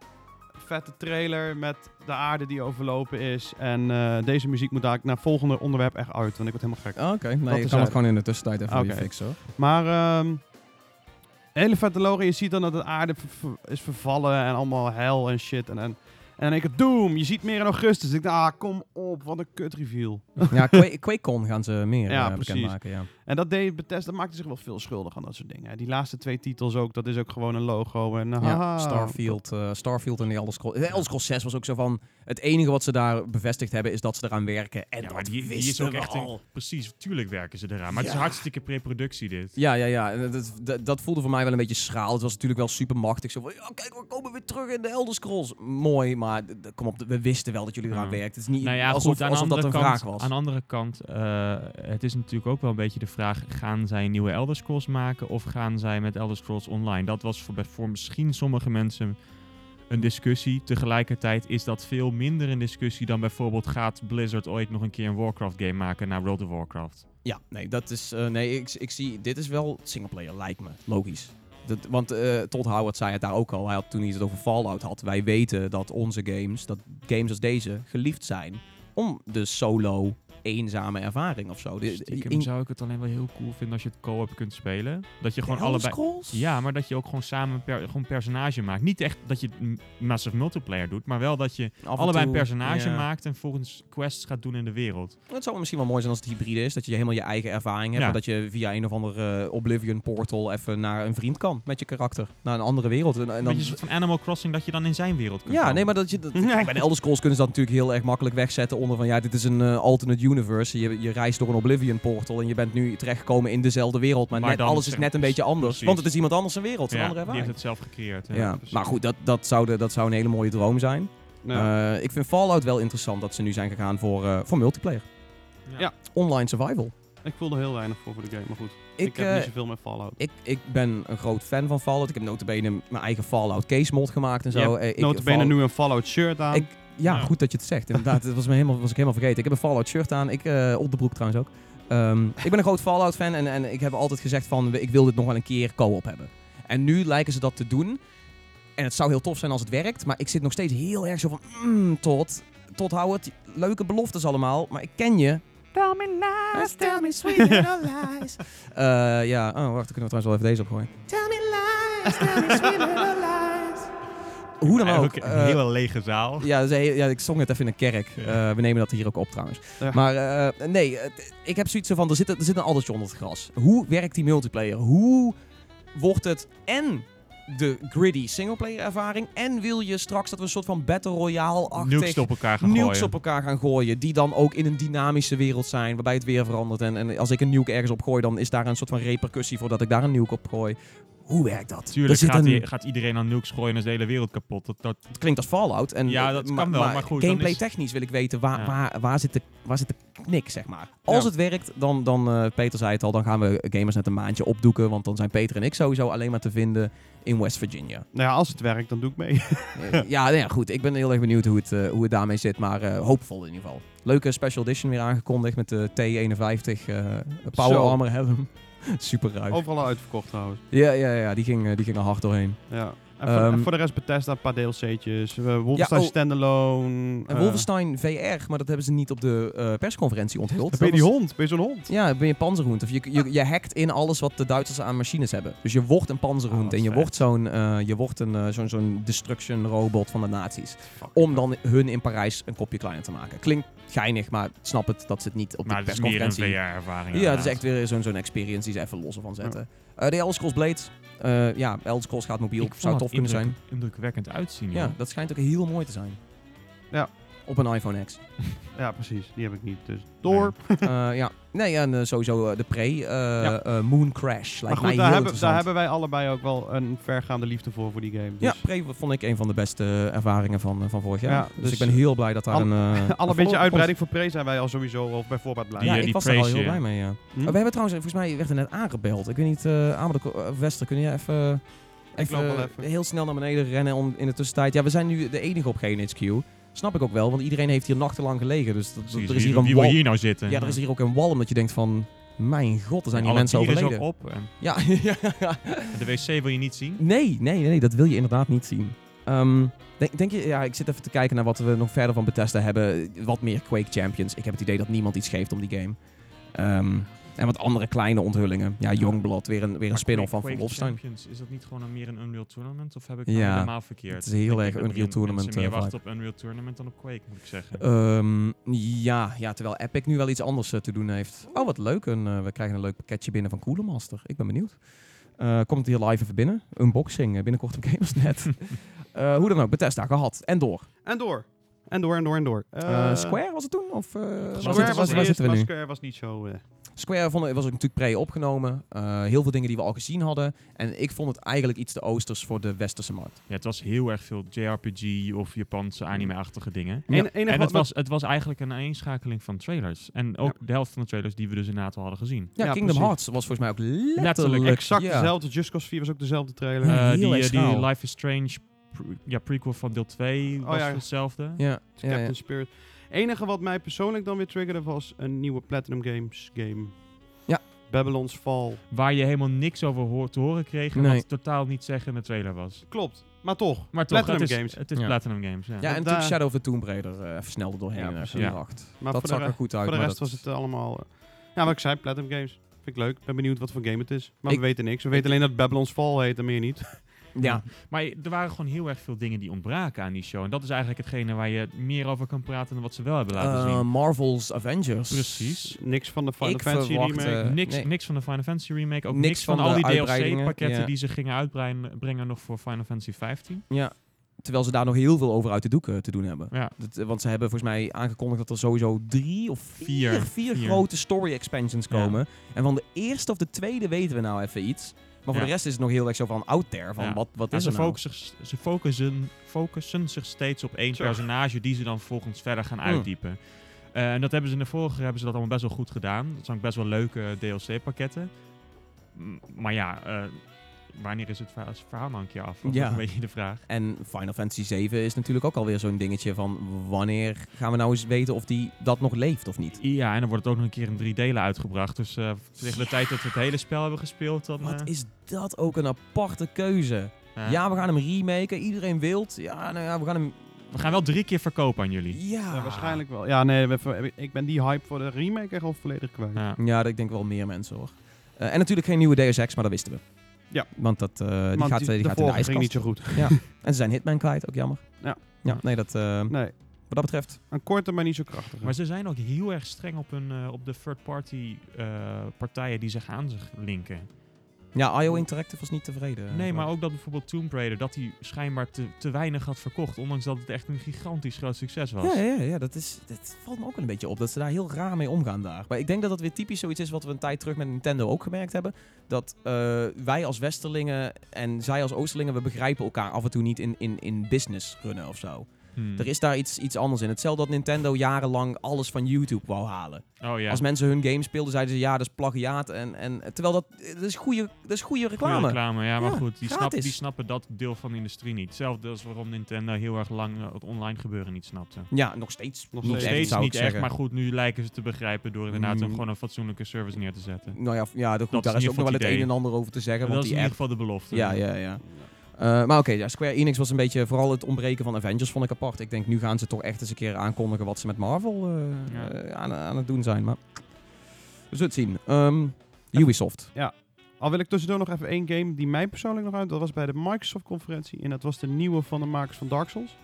S2: vette trailer met de aarde die overlopen is. En eh, deze muziek moet daar naar het volgende onderwerp echt uit. Want ik word helemaal gek.
S1: Ah, Oké, nee,
S2: Dat
S1: ik kan
S2: is
S1: het
S2: uit.
S1: gewoon in de tussentijd even weer
S2: Oké.
S1: fixen. hoor.
S2: Maar ehm, hele vette logo. Je ziet dan dat de aarde ver- ver- is vervallen en allemaal hel en shit. En, en, en dan denk ik, Doom, je ziet meer in augustus. Ik dacht, ah, kom op, wat een kut reveal.
S1: Ja, Quake- QuakeCon gaan ze meer
S2: Ja,
S1: eh,
S2: precies.
S1: bekendmaken. Ja.
S2: En dat deed Bethesda, maakte zich wel veel schuldig aan dat soort dingen. Die laatste twee titels ook, dat is ook gewoon een logo. En, haha,
S1: Ja, Starfield, eh, Starfield en de Elder Scrolls. De Elder Scrolls 6 was ook zo van... Het enige wat ze daar bevestigd hebben is dat ze eraan werken. En
S3: ja, maar
S1: dat
S3: die, die is
S1: wisten
S3: ook
S1: we
S3: echt
S1: al.
S3: een, precies, tuurlijk werken ze eraan. Maar het
S1: Ja.
S3: is hartstikke pre-productie dit.
S1: Ja, ja, ja. En Dat, dat, dat voelde voor mij wel een beetje schraal. Het was natuurlijk wel super machtig. Zo van, ja, kijk, we komen weer terug in de Elder Scrolls. Mooi, maar d- d- kom op, we wisten wel dat jullie eraan
S3: Ja.
S1: werken. Het is niet
S3: Nou ja,
S1: alsof,
S3: goed, aan
S1: alsof
S3: de
S1: dat een
S3: andere
S1: vraag
S3: kant,
S1: was.
S3: Aan de andere kant, eh, het is natuurlijk ook wel een beetje de vraag... gaan zij een nieuwe Elder Scrolls maken of gaan zij met Elder Scrolls Online? Dat was voor, voor misschien sommige mensen een discussie. Tegelijkertijd is dat veel minder een discussie dan bijvoorbeeld... gaat Blizzard ooit nog een keer een Warcraft-game maken naar World of Warcraft?
S1: Ja, nee, dat is. eh, nee, ik, ik zie. Dit is wel singleplayer, lijkt me. Logisch. Dat, want eh Todd Howard zei het daar ook al. Hij had, toen hij het over Fallout had. Wij weten dat onze games, dat games als deze, geliefd zijn om de solo, eenzame ervaring of zo. De- de-
S3: Stiekem
S1: in-
S3: zou ik het alleen wel heel cool vinden als je het co-op kunt spelen. Dat je gewoon
S1: Elder
S3: allebei...
S1: Scrolls?
S3: Ja, maar dat je ook gewoon samen per, gewoon personage maakt. Niet echt dat je m- massive multiplayer doet, maar wel dat je
S1: Af en
S3: allebei een
S1: toe,
S3: personage
S1: ja.
S3: maakt en volgens quests gaat doen in de wereld.
S1: Het zou misschien wel mooi zijn als het hybride is. Dat je helemaal je eigen ervaring hebt.
S3: Ja.
S1: en Dat je via een of andere eh, Oblivion portal even naar een vriend kan met je karakter. Naar een andere wereld. En, en
S3: Een
S1: dan
S3: beetje Mhm. soort van Animal Crossing dat je dan in zijn wereld kunt
S1: Ja,
S3: komen.
S1: nee, maar dat je. Dat, kijk, bij de Elder Scrolls kunnen ze dat natuurlijk heel erg makkelijk wegzetten onder van ja, dit is een eh, alternate universe. Je, je reist door een Oblivion portal en je bent nu terechtgekomen in dezelfde wereld. Maar,
S3: Maar
S1: net,
S3: dan
S1: alles is
S3: zeg-
S1: net een beetje anders.
S3: precies.
S1: Want het is iemand anders zijn wereld. Een
S3: Ja,
S1: andere
S3: die heeft
S1: ervaring.
S3: het zelf gecreëerd. Dus hè.
S1: Ja,
S2: precies.
S1: maar goed, dat, dat, zou de, dat zou een hele mooie droom zijn.
S2: Ja.
S1: Eh, ik vind Fallout wel interessant dat ze nu zijn gegaan voor, eh, voor multiplayer.
S3: Ja.
S2: Ja.
S1: Online survival.
S2: ik voelde heel weinig voor voor de game, maar goed. Ik, heb
S1: eh,
S2: niet zoveel met Fallout.
S1: ik, ik ben een groot fan van Fallout. Ik heb notabene mijn eigen Fallout case mod gemaakt en
S2: Je
S1: zo. Eh, ik-
S2: Notabene
S1: Fallout-
S2: nu een Fallout shirt aan.
S1: Ik- Ja,
S3: Ja.
S1: goed dat je het zegt. Inderdaad, dat was, me helemaal, was ik helemaal vergeten. Ik heb een Fallout shirt aan. Ik, eh, op de broek trouwens ook. Ehm, ik ben een groot Fallout fan en, en ik heb altijd gezegd van ik wil dit nog wel een keer co-op hebben. En nu lijken ze dat te doen. En het zou heel tof zijn als het werkt. Maar ik zit nog steeds heel erg zo van mm, tot, tot Howard. Leuke beloftes allemaal, maar ik ken je. Tell me lies, tell me sweet little lies. Eh, ja, oh, wacht, dan kunnen we trouwens wel even deze opgooien. Tell me lies, tell me sweet little lies. Hoe dan ook.
S3: Eigenlijk Een
S1: eh,
S3: hele lege zaal.
S1: ja, dat is een heel- ja, ik zong het even in een kerk.
S3: Ja.
S1: Eh, we nemen dat hier ook op trouwens.
S2: Ja.
S1: Maar eh, nee, het- ik heb zoiets van, er zit, er zit een addertje onder het gras. Hoe werkt die multiplayer? Hoe wordt het en de gritty singleplayer ervaring... en wil je straks dat we een soort van battle royale-achtig...
S3: Nukes op elkaar gaan
S1: Nukes
S3: gooien.
S1: op elkaar gaan gooien, die dan ook in een dynamische wereld zijn, waarbij het weer verandert. En, en als ik een nuke ergens op gooi, dan is daar een soort van repercussie voor dat ik daar een nuke op gooi. Hoe werkt dat? Er
S3: Tuurlijk
S1: zit
S3: gaat,
S1: een-
S3: die- gaat iedereen aan nukes gooien en is de hele wereld kapot. Dat, dat,
S1: het klinkt als Fallout. En,
S3: Ja, dat kan wel, maar goed, dan
S1: Gameplay
S3: is-
S1: technisch wil ik weten waar,
S3: Ja.
S1: waar, waar, zit de, waar zit de knik, zeg maar. Als
S2: Ja.
S1: het werkt, dan, dan eh, Peter zei het al, dan gaan we gamers net een maandje opdoeken. Want dan zijn Peter en ik sowieso alleen maar te vinden in West Virginia.
S2: nou ja, als het werkt, dan doe ik mee.
S1: Eh, ja, nou ja, goed. Ik ben heel erg benieuwd hoe het, eh, hoe het daarmee zit. Maar eh, hoopvol in ieder geval. Leuke special edition weer aangekondigd met de T51 eh, Power
S2: Zo.
S1: Armor helm. Super ruik.
S2: Overal uitverkocht trouwens.
S1: Ja, ja, ja. Die ging, eh, die ging er hard doorheen.
S2: Ja. En, voor,
S1: Ehm,
S2: en voor de rest Bethesda, een paar DLC'tjes. eh, Wolfenstein
S1: oh.
S2: Standalone.
S1: En
S2: eh,
S1: Wolfenstein VR, maar dat hebben ze niet op de eh, persconferentie onthuld.
S2: Ben je
S1: Dat
S2: die
S1: was-
S2: hond? Ben je zo'n hond?
S1: Ja, ben je panzerhoend. Of je, je, je hackt in alles wat de Duitsers aan machines hebben. Dus je wordt een
S3: Ah,
S1: panzerhoend
S3: wat
S1: en je
S3: vet.
S1: wordt zo'n eh, je wordt een eh, zo'n zo'n destruction robot van de nazi's. Om dan hun in Parijs een kopje kleiner te maken. Klinkt geinig, maar ik snap het dat ze het niet op
S3: maar
S1: de
S3: het is meer een
S1: persconferentie...
S3: VR-ervaring.
S1: ja, het is echt weer zo'n zo'n experience die ze even los van zetten. Eh, de Elder Scrolls Blades. Eh, ja, Elder Scrolls gaat mobiel. Zou tof kunnen zijn.
S3: Indrukwekkend uitzien.
S1: Ja,
S3: joh.
S1: dat schijnt ook heel mooi te zijn.
S2: Ja.
S1: Op een iPhone X.
S2: Ja, precies. Die heb ik niet. Dus door.
S1: Eh, ja, nee, en eh, sowieso eh, de Pre, eh, eh, Moon Crash.
S2: maar
S1: Lijkt
S2: goed,
S1: mij heel
S2: daar hebben, daar
S1: interessant.
S2: hebben wij allebei ook wel een vergaande liefde voor, voor die game. Dus.
S1: Ja, Pre vond ik een van de beste ervaringen van, eh, van vorig jaar.
S2: Ja,
S1: dus,
S2: dus,
S1: ik ben heel blij dat daar
S2: al-
S1: een... eh,
S2: Alle
S1: een
S2: beetje
S1: follow-up
S2: uitbreiding voor Pre zijn wij al sowieso al bij voorbaat blij.
S1: komt. Ja,
S3: Die, eh,
S1: ik
S3: die
S1: was daar al
S3: praise,
S1: heel
S3: ja.
S1: blij mee, ja.
S2: Hm?
S1: Oh, we hebben trouwens, volgens mij werd er net aangebeld. Ik weet niet, eh Amanda Ko- eh, Wester, kun je even...
S2: Ik loop wel even.
S1: Heel snel naar beneden rennen om, in de tussentijd. Ja, we zijn nu de enige op GNHQ. Snap ik ook wel, want iedereen heeft hier nachtenlang gelegen. Dus dat-
S3: Precies,
S1: er is
S3: wie-
S1: hier een
S3: wie wil
S1: wal.
S3: hier nou zitten?
S1: Ja, er is hier ook een wal omdat je denkt van... Mijn god, er zijn hier
S3: Alle
S1: mensen
S3: bier is ook
S1: overleden.
S3: op en
S1: Ja, ja, ja.
S3: de wc wil je niet zien.
S1: Nee, nee, nee, dat wil je inderdaad niet zien. Ehm, denk, denk je, ja, ik zit even te kijken naar wat we nog verder van Bethesda hebben. Wat meer Quake Champions. Ik heb het idee dat niemand iets geeft om die game. Ehm, En wat andere kleine onthullingen. Ja, Youngblood, weer een, weer een
S3: Maar
S1: spin-off van
S3: Quake-
S1: Van
S3: Quake
S1: Wolfenstein.
S3: Champions, is dat niet gewoon een- meer een Unreal Tournament? Of heb ik het
S1: Ja,
S3: helemaal verkeerd?
S1: het is heel
S3: Ik denk
S1: erg
S3: dat er
S1: Unreal
S3: mensen
S1: Tournament,
S3: meer
S1: eh,
S3: wachten op Unreal Tournament dan op Quake, moet ik zeggen.
S1: Ehm, ja, ja, terwijl Epic nu wel iets anders eh, te doen heeft. Oh, wat leuk. Een, eh, we krijgen een leuk pakketje binnen van Cooler Master. Ik ben benieuwd. Eh, komt hier live even binnen. Unboxing eh, binnenkort op Gamersnet. Eh, hoe dan ook, Bethesda gehad. En door.
S2: En door. En door, en door, en door. Eh,
S1: Eh, Square was het toen? Of, eh, waar
S3: was
S1: zitten-
S2: Square
S1: waar-
S2: was
S1: waar
S2: eerst,
S1: zitten we
S2: maar
S1: nu?
S2: Square was niet zo... eh,
S1: Square vond, was ook natuurlijk pre-opgenomen. Eh, heel veel dingen die we al gezien hadden. En ik vond het eigenlijk iets te oosters voor de westerse markt.
S3: Ja, het was heel erg veel JRPG of Japanse anime-achtige dingen.
S1: Ja.
S2: en- enige
S3: en
S2: wat-
S3: het was, het was eigenlijk een aanschakeling van trailers. En ook de helft van de trailers die we dus inderdaad al hadden gezien.
S1: Ja,
S2: Ja,
S1: Kingdom
S2: precies.
S1: Hearts was volgens mij ook letterlijk...
S3: Letterlijk,
S2: exact
S1: ja.
S2: dezelfde. Just Cause 4 was ook dezelfde trailer.
S1: Ja,
S3: Eh,
S1: heel
S3: die,
S1: erg
S3: eh, die
S1: schaal.
S3: Life is Strange pr- ja, prequel van deel 2
S2: Oh,
S3: was
S2: ja.
S3: hetzelfde.
S1: Ja,
S2: Het is
S1: ja,
S2: Captain
S1: ja.
S2: Spirit. enige wat mij persoonlijk dan weer triggerde was een nieuwe Platinum Games game.
S1: Ja.
S2: Babylon's Fall.
S3: Waar je helemaal niks over hoor- te horen kreeg. En
S1: Nee.
S3: wat totaal niet zeggen in de trailer was.
S2: Klopt, maar toch.
S3: Maar toch,
S2: Platinum
S3: het is,
S2: Games.
S3: Het is
S1: Ja.
S3: Platinum Games, ja.
S1: Ja, en
S2: Want
S1: natuurlijk
S2: daar-
S1: Shadow of the Tomb Raider eh even snel er doorheen.
S2: Ja,
S1: Ja,
S2: precies.
S3: Ja.
S2: Maar
S1: dat
S2: voor de,
S1: zag er
S2: re-
S1: goed uit.
S2: voor de
S1: maar
S2: rest
S1: dat-
S2: was het eh, allemaal... eh, ja, wat ik zei, Platinum Games. Vind ik leuk. Ben benieuwd wat voor game het is. Maar
S1: Ik-
S2: we weten niks. We
S1: ik-
S2: weten alleen dat Babylon's Fall heet en meer niet.
S1: Ja,
S3: Maar er waren gewoon heel erg veel dingen die ontbraken aan die show. En dat is eigenlijk hetgene waar je meer over kan praten dan wat ze wel hebben laten
S1: eh,
S3: zien.
S1: Marvel's Avengers.
S3: Precies.
S2: niks van de Final
S1: Ik
S2: Fantasy
S1: verwacht,
S2: remake.
S1: eh,
S3: niks,
S1: nee.
S3: niks van de Final Fantasy remake. Ook
S1: Niks
S3: niks,
S1: van
S3: van,
S1: de
S3: al die
S1: uitbreidingen,
S3: DLC-pakketten
S1: ja.
S3: die ze gingen uitbrengen nog voor Final Fantasy 15.
S1: Ja. Terwijl ze daar nog heel veel over uit de doeken te doen hebben.
S3: Ja.
S1: Dat, eh, want ze hebben volgens mij aangekondigd dat er sowieso drie of vier,
S3: Vier.
S1: vier,
S3: Vier.
S1: grote story expansions
S3: Ja.
S1: komen. En van de eerste of de tweede weten we nou even iets. Maar voor
S3: Ja.
S1: de rest is het nog heel erg zo van out there. Van
S3: Ja.
S1: wat, wat
S3: En
S1: is
S3: ze
S1: er nou?
S3: focussen, ze focussen, focussen zich steeds op één
S2: Zo.
S3: personage die ze dan volgens verder gaan
S1: Mm.
S3: uitdiepen. Eh, en dat hebben ze in de vorige hebben ze dat allemaal best wel goed gedaan. Dat zijn ook best wel leuke DLC-pakketten. M- Maar ja, eh, wanneer is het verha- is het verhaal nou een keer af? Dat
S1: Ja.
S3: is een beetje de vraag.
S1: En Final Fantasy 7 is natuurlijk ook alweer zo'n dingetje van... wanneer gaan we nou eens weten of die dat nog leeft of niet?
S3: Ja, en dan wordt het ook nog een keer in drie delen uitgebracht. Dus eh, tegen de tijd dat we het hele spel hebben gespeeld, dan... eh,
S1: Wat is dat ook een aparte keuze.
S3: eh,
S1: Ja, we gaan hem remaken. Iedereen wilt. Ja, nou ja, we gaan hem...
S3: We gaan wel drie keer verkopen aan jullie.
S1: Ja,
S2: Ja, waarschijnlijk wel. Ja, nee, we- we- ik ben die hype voor de remake echt al volledig kwijt.
S3: Ja.
S1: Ja, dat- ik denk wel meer mensen hoor. Eh, en natuurlijk geen nieuwe Deus Ex, maar dat wisten we.
S2: Ja.
S1: Want dat, eh, die
S2: Want
S1: gaat, die,
S2: de
S1: gaat in de
S2: vorige ging
S1: ijskast.
S2: niet zo goed.
S1: En ze zijn Hitman kwijt, ook jammer.
S2: Ja.
S1: Ja, nee, dat, eh,
S2: Nee,
S1: wat dat betreft.
S2: een korte, maar niet zo krachtige.
S3: Maar ze zijn ook heel erg streng op, hun, eh, op de third-party eh, partijen die zich aan zich linken.
S1: Ja, IO Interactive was niet tevreden.
S3: nee, maar ook dat bijvoorbeeld Tomb Raider, dat hij schijnbaar te, te weinig had verkocht. Ondanks dat het echt een gigantisch groot succes was.
S1: Ja, ja, ja, ja dat, is, dat valt me ook wel een beetje op. Dat ze daar heel raar mee omgaan daar. Maar ik denk dat dat weer typisch zoiets is wat we een tijd terug met Nintendo ook gemerkt hebben. Dat eh, wij als Westerlingen en zij als Oosterlingen, we begrijpen elkaar af en toe niet in, in, in business runnen of zo.
S3: Hmm.
S1: Er is daar iets, iets anders in. Hetzelfde dat Nintendo jarenlang alles van YouTube wou halen.
S3: oh, ja.
S1: Als mensen hun game speelden, zeiden ze ja, dat is plagiaat. En, en, terwijl dat, dat is goede, dat is goede
S3: Goeie
S1: reclame.
S3: reclame. Ja, maar
S1: Ja,
S3: goed, die,
S1: gratis.
S3: snappen- die snappen dat deel van de industrie niet. Hetzelfde als waarom Nintendo heel erg lang eh, het online gebeuren niet snapte.
S1: Ja, nog steeds.
S2: Nog
S1: niet
S3: Nog
S2: steeds
S1: echt,
S3: steeds
S1: zou
S3: niet
S1: ik
S3: echt,
S1: zeggen.
S3: maar goed, nu lijken ze te begrijpen door inderdaad
S1: Mm.
S3: een- gewoon een fatsoenlijke service neer te zetten.
S1: Nou ja, ja goed, daar
S3: Dat is
S1: is
S3: in
S1: ook nog
S3: ieder
S1: wel
S3: geval
S1: het
S3: het
S1: een
S3: idee.
S1: en ander over te zeggen.
S3: dat
S1: Want
S3: is in
S1: die
S3: ieder
S1: app.
S3: geval de belofte.
S1: Ja, ja, ja. Eh, maar oké, ja, Square Enix was een beetje, vooral het ontbreken van Avengers vond ik apart. Ik denk, nu gaan ze toch echt eens een keer aankondigen wat ze met Marvel eh,
S3: Ja.
S1: eh, aan, aan het doen zijn. Maar we zullen het zien. Ehm, Ubisoft.
S2: Al wil ik tussendoor nog even één game die mij persoonlijk nog uit. Dat was bij de Microsoft-conferentie. En dat was de nieuwe van de makers van Dark Souls.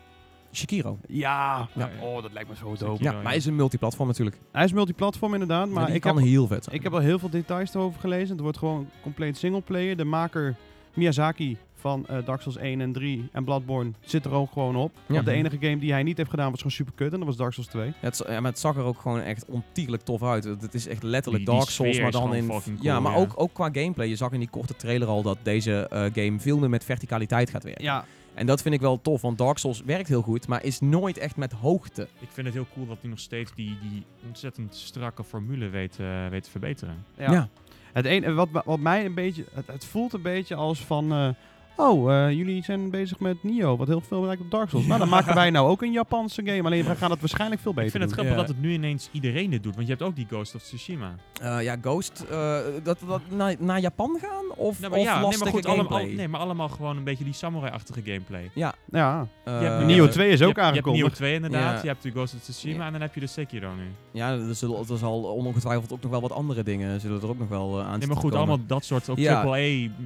S1: Shikiro.
S2: Ja.
S3: Ja.
S2: Oh, dat lijkt me zo
S3: dope.
S1: Ja,
S3: Ja,
S1: maar
S3: ja.
S1: hij is een multiplatform natuurlijk.
S2: Hij is multiplatform inderdaad.
S1: Maar
S2: Maar
S1: die
S2: ik
S1: kan
S2: heb,
S1: heel vet zijn.
S2: ik heb al heel veel details erover gelezen. Het wordt gewoon compleet singleplayer. De maker Miyazaki van eh, Dark Souls 1 en 3 en Bloodborne zit er ook gewoon op. Want de enige game die hij niet heeft gedaan was gewoon super kut. En dat was Dark Souls 2.
S1: Ja, het, z- ja, maar het zag er ook gewoon echt ontiegelijk tof uit. Het het is echt letterlijk
S3: Die- die
S1: Dark Souls,
S3: sfeer
S1: maar
S3: is
S1: dan
S3: gewoon
S1: in...
S3: fucking
S1: ja,
S3: cool,
S1: maar
S3: ja.
S1: Ook, ook qua gameplay. Je zag in die korte trailer al dat deze eh, game veel meer met verticaliteit gaat werken.
S2: Ja.
S1: En dat vind ik wel tof, want Dark Souls werkt heel goed, maar is nooit echt met hoogte.
S3: Ik vind het heel cool dat hij nog steeds die, die ontzettend strakke formule weet, eh, weet te verbeteren.
S2: ja. Het een, wat, wat mij een beetje... Het, het voelt een beetje als van... eh, Oh, eh, jullie zijn bezig met Nio, wat heel veel lijkt op Dark Souls. Nou, dan maken wij nou ook een Japanse game. Alleen wij gaan het waarschijnlijk veel beter
S3: Ik vind het
S2: doen.
S3: grappig
S1: Ja.
S3: dat het nu ineens iedereen dit doet. Want je hebt ook die Ghost of Tsushima. Nou,
S1: Eh, ja, Ghost, eh, dat, dat naar, naar Japan gaan? Of,
S3: Nou,
S1: of
S3: nee, maar
S1: lastige
S3: goed, allemaal,
S1: gameplay?
S3: nee, maar allemaal gewoon een beetje die samurai-achtige gameplay.
S2: Ja,
S1: Eh,
S3: Je hebt nu
S2: Nio
S3: eh,
S2: 2 is ook
S3: je hebt, je hebt Neo
S2: aangekondigd.
S3: 2 inderdaad,
S1: Ja.
S3: je hebt de Ghost of Tsushima
S1: Ja.
S3: en dan heb je de Sekiro nu.
S1: Ja, er, zullen, er zal ongetwijfeld ook nog wel wat andere dingen zullen er ook nog wel eh, aan
S3: Nee, maar goed,
S1: komen.
S3: allemaal dat soort ook
S1: Ja.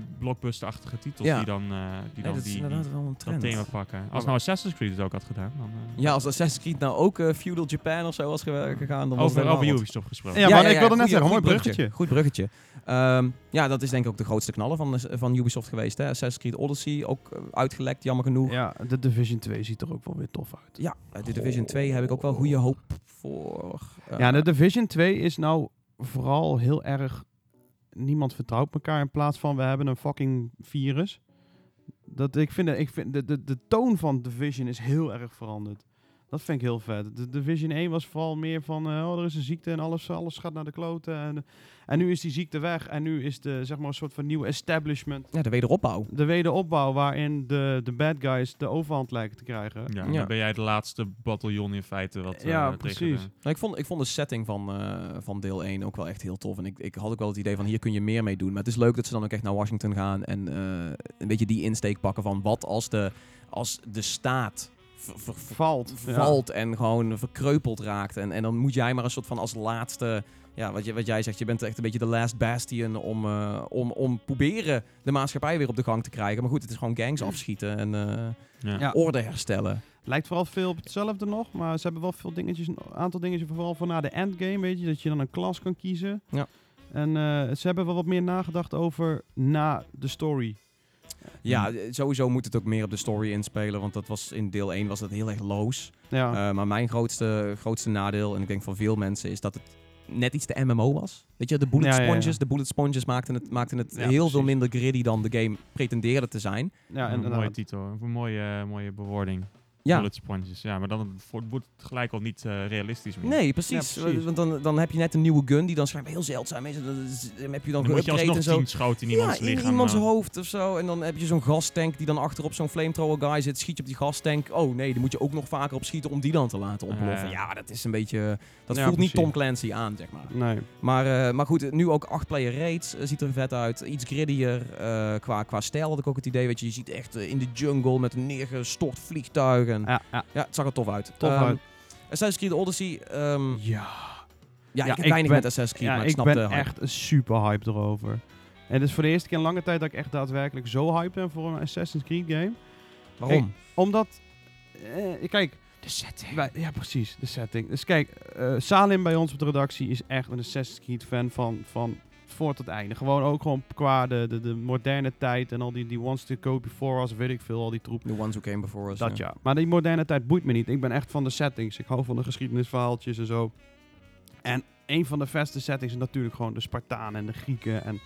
S3: AAA-blockbuster-achtige titels
S1: Ja.
S3: die dan, eh, die,
S1: Nee,
S3: dan
S1: dat is
S3: die, die-
S1: inderdaad wel een
S3: dat
S1: trend.
S3: thema pakken. Als nou Assassin's Creed het ook had gedaan, dan... eh,
S1: Ja, als Assassin's Creed nou ook eh, Feudal Japan of zo was ge- gegaan, dan was
S3: over,
S1: het
S3: over
S1: helemaal wat.
S3: Ubisoft gesproken.
S2: Ja, maar ik wilde net
S1: goeie-
S2: zeggen, mooi
S1: goed
S2: bruggetje.
S1: Goed bruggetje. Ehm, ja, dat is denk ik ook de grootste knaller van, van Ubisoft geweest. Hè? Assassin's Creed Odyssey, ook eh, uitgelekt, jammer genoeg. Ja,
S2: Ja, de Division 2 ziet er ook wel weer tof uit.
S1: eh, de Division 2 heb ik ook wel goede hoop voor. Eh,
S2: Ja, de Division 2 is nou vooral heel erg... Niemand vertrouwt elkaar in plaats van we hebben een fucking virus. Dat, ik vind, ik vind de, de, de toon van Division is heel erg veranderd. Dat vind ik heel vet. De Division 1 was vooral meer van, eh, oh, er is een ziekte en alles, alles gaat naar de kloten. En, en nu is die ziekte weg en nu is de, zeg maar, een soort van nieuw establishment.
S1: ja, de wederopbouw.
S2: De wederopbouw waarin de, de bad guys de overhand lijken te krijgen.
S3: Ja,
S1: Ja.
S3: dan ben jij de laatste bataljon in feite. Wat, eh,
S2: Ja,
S3: tegen
S2: precies.
S3: de-
S1: Nou, ik, vond, ik vond de setting van, eh, van deel 1 ook wel echt heel tof. En ik, ik had ook wel het idee van hier kun je meer mee doen. Maar het is leuk dat ze dan ook echt naar Washington gaan. En eh, een beetje die insteek pakken van wat als de, als de staat ver- ver- ver-
S2: Valt. ja.
S1: valt en gewoon verkreupeld raakt. En, en dan moet jij maar een soort van als laatste... Ja, wat, je, wat jij zegt, je bent echt een beetje de last bastion om, eh, om, om proberen de maatschappij weer op de gang te krijgen. Maar goed, het is gewoon gangs afschieten en eh,
S3: Ja.
S2: Ja.
S1: orde herstellen.
S2: Lijkt vooral veel op hetzelfde nog, maar ze hebben wel veel dingetjes, een aantal dingetjes vooral voor na de endgame, weet je, dat je dan een klas kan kiezen.
S1: Ja.
S2: En eh, ze hebben wel wat meer nagedacht over na de story.
S1: Ja, eh, sowieso moet het ook meer op de story inspelen. Want dat was in deel 1 was dat heel erg loos.
S2: Ja,
S1: Eh, maar mijn grootste, grootste nadeel, en ik denk van veel mensen, is dat het net iets te MMO was. Weet je, de bullet
S2: Ja, ja, ja.
S1: sponges, de bullet sponges maakten het, maakten het heel
S2: Ja, precies.
S1: veel minder gritty dan de game pretendeerde te zijn.
S2: ja
S3: een mooie
S2: inderdaad.
S3: titel, een mooie, eh, mooie bewoording.
S1: Ja,
S3: Bullet sponges. Ja, maar dan voor- wordt het gelijk al niet eh, realistisch meer.
S1: nee, precies.
S2: Ja, precies.
S1: Want dan, dan heb je net een nieuwe gun die dan schijnbaar heel zeldzaam is. En dan is- dan heb je dan,
S3: Dan moet je
S1: geüpgrade
S3: alsnog
S1: en zo.
S3: tien schoten in
S1: Ja,
S3: iemands
S1: in
S3: lichaam.
S1: iemands
S3: eh,
S1: hoofd of zo. En dan heb je zo'n gastank die dan achterop zo'n flamethrower guy zit. Schiet je op die gastank. Oh nee, daar moet je ook nog vaker op schieten om die dan te laten ontploffen.
S3: Ja.
S1: ja, dat is een beetje... Dat
S2: Ja,
S1: voelt niet
S2: precies.
S1: Tom Clancy aan, zeg maar.
S2: Nee.
S1: Maar, eh, maar goed, nu ook 8-player raids. eh, ziet er vet uit. Iets griddier eh, qua, qua stijl had ik ook het idee. Weet je, je ziet echt eh, in de jungle met een neergestort vliegtuig. En,
S2: Ja, ja.
S1: ja, het zag er tof uit.
S2: Tof
S1: Ehm,
S2: uit.
S1: Assassin's Creed Odyssey. ehm,
S2: ja.
S1: ja,
S2: Ja,
S1: ik heb
S2: ik
S1: weinig
S2: ben-
S1: met Assassin's Creed, maar ik,
S2: ik
S1: snap de
S2: ben
S1: hype.
S2: echt super hyped erover. En het is voor de eerste keer in lange tijd dat ik echt daadwerkelijk zo hyped ben voor een Assassin's Creed game.
S1: Waarom?
S2: Omdat, eh, kijk,
S1: De setting.
S2: Wij- ja, precies. De setting. Dus kijk, eh, Salim bij ons op de redactie is echt een Assassin's Creed fan van, van voor tot einde. Gewoon ook gewoon qua de, de, de moderne tijd en al die, die ones to go before us, weet ik veel, al die troep.
S1: The ones who came before us.
S2: Dat ja. Maar die moderne tijd boeit me niet. Ik ben echt van de settings. Ik hou van de geschiedenisverhaaltjes en zo. En een van de beste settings is natuurlijk gewoon de Spartanen en de Grieken. En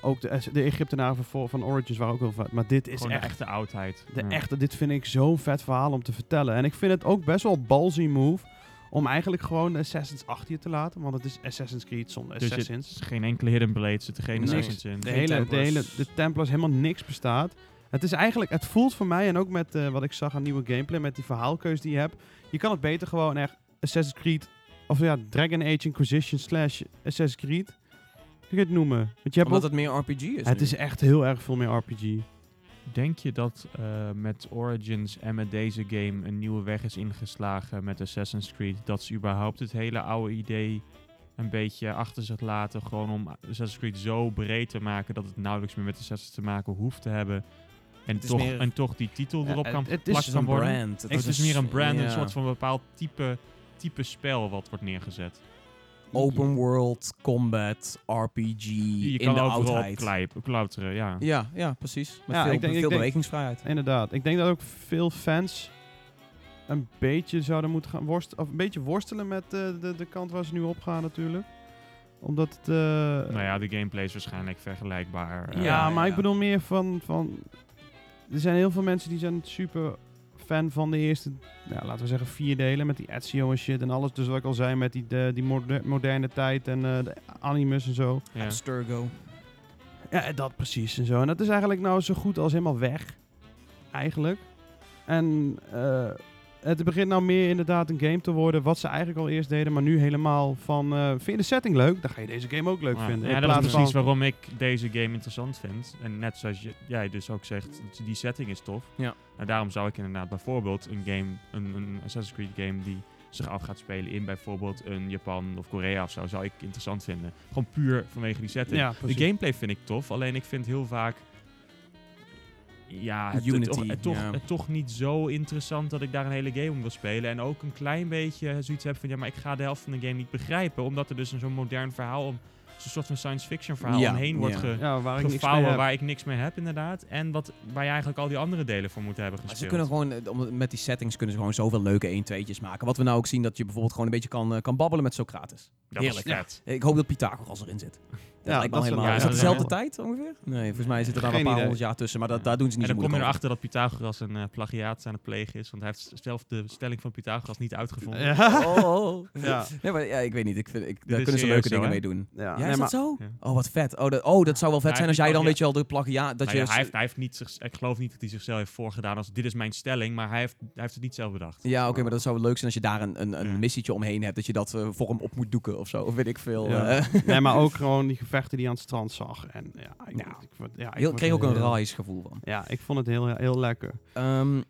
S2: ook de, de Egyptenaren van, voor- van Origins waren ook heel vet. Maar dit is
S3: Gewoon
S2: echt...
S3: de echte oudheid.
S2: De
S1: Hmm.
S3: Ja.
S2: echte, dit vind ik zo'n vet verhaal om te vertellen. En ik vind het ook best wel ballsy move om eigenlijk gewoon de Assassins achter je te laten. Want het is Assassin's Creed zonder
S3: Dus het
S2: Assassins.
S3: is geen enkele Hidden Blade, zit er geen
S1: Niks.
S3: Assassins in.
S2: De
S1: geen
S2: hele, de
S1: Templars.
S2: hele de Templars helemaal niks bestaat. Het is eigenlijk, het voelt voor mij en ook met eh, wat ik zag aan nieuwe gameplay, met die verhaalkeus die je hebt. Je kan het beter gewoon echt Assassin's Creed, of ja, Dragon Age Inquisition slash Assassin's Creed. Hoe kun je het noemen? Want je hebt
S1: Omdat
S2: ook-
S1: het meer RPG is
S2: het
S1: nu.
S2: is echt heel erg veel meer RPG.
S3: Denk je dat eh, met Origins en met deze game een nieuwe weg is ingeslagen met Assassin's Creed? Dat ze überhaupt het hele oude idee een beetje achter zich laten. Gewoon om Assassin's Creed zo breed te maken dat het nauwelijks meer met Assassin's te maken hoeft te hebben. En,
S1: Het is
S3: toch,
S1: meer-
S3: en toch die titel
S2: Ja,
S3: erop
S2: het-
S3: kan
S2: het is
S3: geplakt
S1: Het is dus
S3: kan
S1: een
S3: worden.
S1: brand.
S3: Het is meer een brand,
S1: ja.
S3: een soort van bepaald type, type spel wat wordt neergezet.
S1: Open world, combat, RPG,
S3: Je
S1: in
S3: kan
S1: de
S3: overal op
S1: oudheid.
S3: klei- klauteren, ja.
S1: Ja, ja, precies. Met
S2: Ja,
S1: veel,
S2: ik denk-
S1: veel
S2: ik denk-
S1: bewegingsvrijheid.
S2: Inderdaad. Ik denk dat ook veel fans een beetje zouden moeten gaan worstelen. Of een beetje worstelen met eh, de, de kant waar ze nu op gaan natuurlijk. Omdat het... eh,
S3: Nou ja, de gameplay is waarschijnlijk vergelijkbaar.
S2: ja,
S3: eh,
S1: ja,
S2: maar
S1: ja.
S2: ik bedoel meer van, van... Er zijn heel veel mensen die zijn super fan van de eerste, nou, laten we zeggen, vier delen. Met die Ezio en shit en alles. Dus wat ik al zei met die, de, die moder- moderne tijd en eh, de animus en zo.
S3: ja.
S1: Abstergo.
S2: Ja, dat precies en zo. En dat is eigenlijk nou zo goed als helemaal weg. Eigenlijk. En eh, het begint nou meer inderdaad een game te worden wat ze eigenlijk al eerst deden, maar nu helemaal van, eh, vind je de setting leuk? Dan ga je deze game ook leuk
S3: Ja.
S2: vinden.
S3: Ja,
S2: In
S3: dat is
S2: plaats
S3: precies
S2: van-
S3: waarom ik deze game interessant vind. En net zoals je- jij dus ook zegt, die setting is tof.
S1: Ja.
S3: En daarom zou ik inderdaad bijvoorbeeld een game, een, een Assassin's Creed game die zich af gaat spelen in bijvoorbeeld een Japan of Korea of zo, zou ik interessant vinden. Gewoon puur vanwege die setting.
S2: Ja,
S3: de
S2: precies.
S3: gameplay vind ik tof, alleen ik vind heel vaak ja, het, het
S1: Unity,
S3: toch, het toch,
S1: ja.
S3: het toch niet zo interessant dat ik daar een hele game om wil spelen. En ook een klein beetje zoiets heb van, ja, maar ik ga de helft van de game niet begrijpen. Omdat er dus een zo'n modern verhaal, om, zo'n soort van science fiction verhaal
S1: Ja,
S3: omheen wordt
S1: ja.
S3: ge,
S2: ja, waar ik niks mee
S3: gevouwen
S2: heb.
S3: waar ik niks mee heb inderdaad. En wat, waar je eigenlijk al die andere delen voor moet hebben
S1: Maar
S3: gespeeld.
S1: ze kunnen gewoon, eh, om- met die settings kunnen ze gewoon zoveel leuke 1-2'tjes maken. Wat we nou ook zien, dat je bijvoorbeeld gewoon een beetje kan, eh, kan babbelen met Socrates.
S3: dat
S1: heerlijk.
S3: was vet.
S1: Eh, Ik hoop dat Pythagoras erin zit. Dat
S2: Ja,
S1: lijkt me
S2: dat
S1: helemaal...
S2: zou-
S1: is
S3: ja,
S1: dat
S3: dat
S1: dezelfde tijd ongeveer? Nee, volgens mij zitten daar
S2: Geen
S1: een paar
S2: idee.
S1: honderd jaar tussen, maar dat, daar doen ze
S3: En
S1: niet
S3: dan
S1: zo
S3: kom je
S1: moeilijk
S3: erachter dat Pythagoras een eh, plagiaat aan het plegen is. Want hij heeft zelf de stelling van Pythagoras niet uitgevonden.
S2: Ja.
S1: over. Oh, oh.
S2: Ja.
S1: Nee, maar ja, ik weet niet. Ik vind, ik, daar
S3: is
S1: kunnen ze
S3: serieus
S1: leuke
S3: zo,
S1: dingen
S3: hè?
S1: mee doen.
S2: Ja,
S1: Ja,
S2: nee,
S1: is
S2: maar-
S1: dat zo?
S3: Ja.
S1: Oh, wat vet. Oh, dat, oh, dat zou wel vet
S3: Ja,
S1: zijn
S3: die
S1: als jij dan,
S3: plagia-
S1: weet je wel, de plagiaat... Dat
S3: Nou
S1: je,
S3: ja, hij, heeft, hij heeft niet zich, ik geloof niet dat hij zichzelf heeft voorgedaan als dit is mijn stelling, maar hij heeft, hij heeft het niet zelf bedacht.
S1: Ja, oké, maar dat zou wel leuk zijn als je daar een, een, een
S3: Ja.
S1: missietje omheen hebt. Dat je dat eh, voor hem op moet doeken of zo. Of weet ik veel.
S2: Ja.
S1: eh.
S2: nee, maar ook gewoon die gevechten die je aan het strand zag. En ja, ik,
S1: Nou,
S2: ik vond- ja, ik
S1: heel,
S2: vond
S1: kreeg
S2: het
S1: ook een
S2: heel-
S1: rise gevoel van.
S2: Ja, ik vond het heel, heel lekker.
S1: Ehm,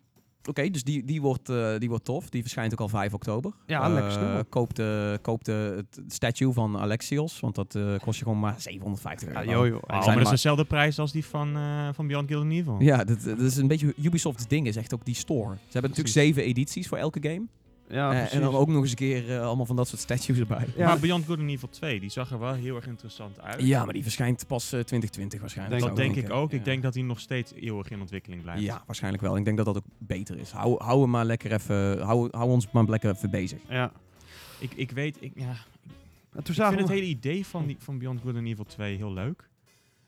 S1: Oké, dus die, die, wordt, eh, die wordt tof. Die verschijnt ook al 5 oktober.
S2: Ja,
S1: Eh,
S2: lekker snel.
S1: Koop de, koop de het statue van Alexios, want dat eh, kost je gewoon maar 750 euro.
S2: Ja, joh, joh.
S3: Oh,
S1: zijn
S3: maar
S1: er
S3: dat is
S1: maar-
S3: dezelfde prijs als die van, eh, van Beyond Good and Evil.
S1: Ja, dat, dat is een beetje Ubisoft's ding, is echt ook die store. Ze hebben natuurlijk
S3: Precies.
S1: zeven edities voor elke game.
S2: Ja,
S1: Eh, en
S2: precies.
S1: dan ook nog eens een keer eh, allemaal van dat soort statues erbij.
S2: Ja.
S3: Maar Beyond Good and Evil 2, die zag er wel heel erg interessant uit.
S1: Ja, maar die verschijnt pas eh, 2020 waarschijnlijk.
S3: dat
S2: Denk
S1: zou
S3: denk ik
S1: denken.
S3: ook.
S1: Ja.
S3: Ik denk dat die nog steeds eeuwig in ontwikkeling blijft.
S1: Ja, waarschijnlijk wel. Ik denk dat dat ook beter is. Hou, hou hem maar lekker even, hou, hou ons maar lekker even bezig.
S2: Ja.
S3: Ik, ik weet, ik, ja,
S2: En toen
S3: ik
S2: zagen
S3: vind het
S2: we...
S3: hele idee van, die, van Beyond Good and Evil 2 heel leuk.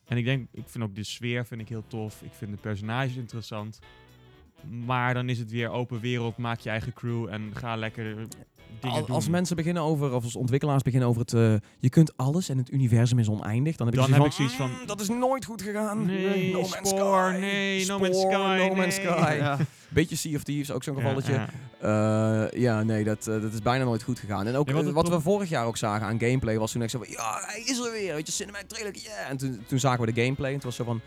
S3: En ik denk, ik vind ook de sfeer vind ik heel tof. Ik vind de personages interessant. Maar dan is het weer open wereld, maak je eigen crew en ga lekker eh, dingen
S1: Al-
S3: doen.
S1: als mensen beginnen over, of als ontwikkelaars beginnen over het, eh, je kunt alles en het universum is oneindig, dan heb ik
S3: Dan
S1: zoiets van,
S3: heb ik zoiets van-
S1: "Mm, dat is nooit goed gegaan.
S3: Nee,
S1: No Man's
S3: Spore,
S1: Sky.
S3: nee, No Man's
S1: Spore,
S3: Sky,
S1: No Man's
S3: nee.
S1: Sky.
S2: Ja.
S1: Beetje Sea of Thieves, ook zo'n geval
S3: Ja,
S1: dat je,
S3: ja.
S1: eh, ja, nee, dat, eh, dat is bijna nooit goed gegaan. En ook
S3: Ja, want
S1: eh,
S3: het
S1: wat we
S3: pro-
S1: vorig jaar ook zagen aan gameplay was toen ik zo van, ja, hij is er weer, weet je, cinematic trailer, yeah. En toen, toen zagen we de gameplay en het was zo van,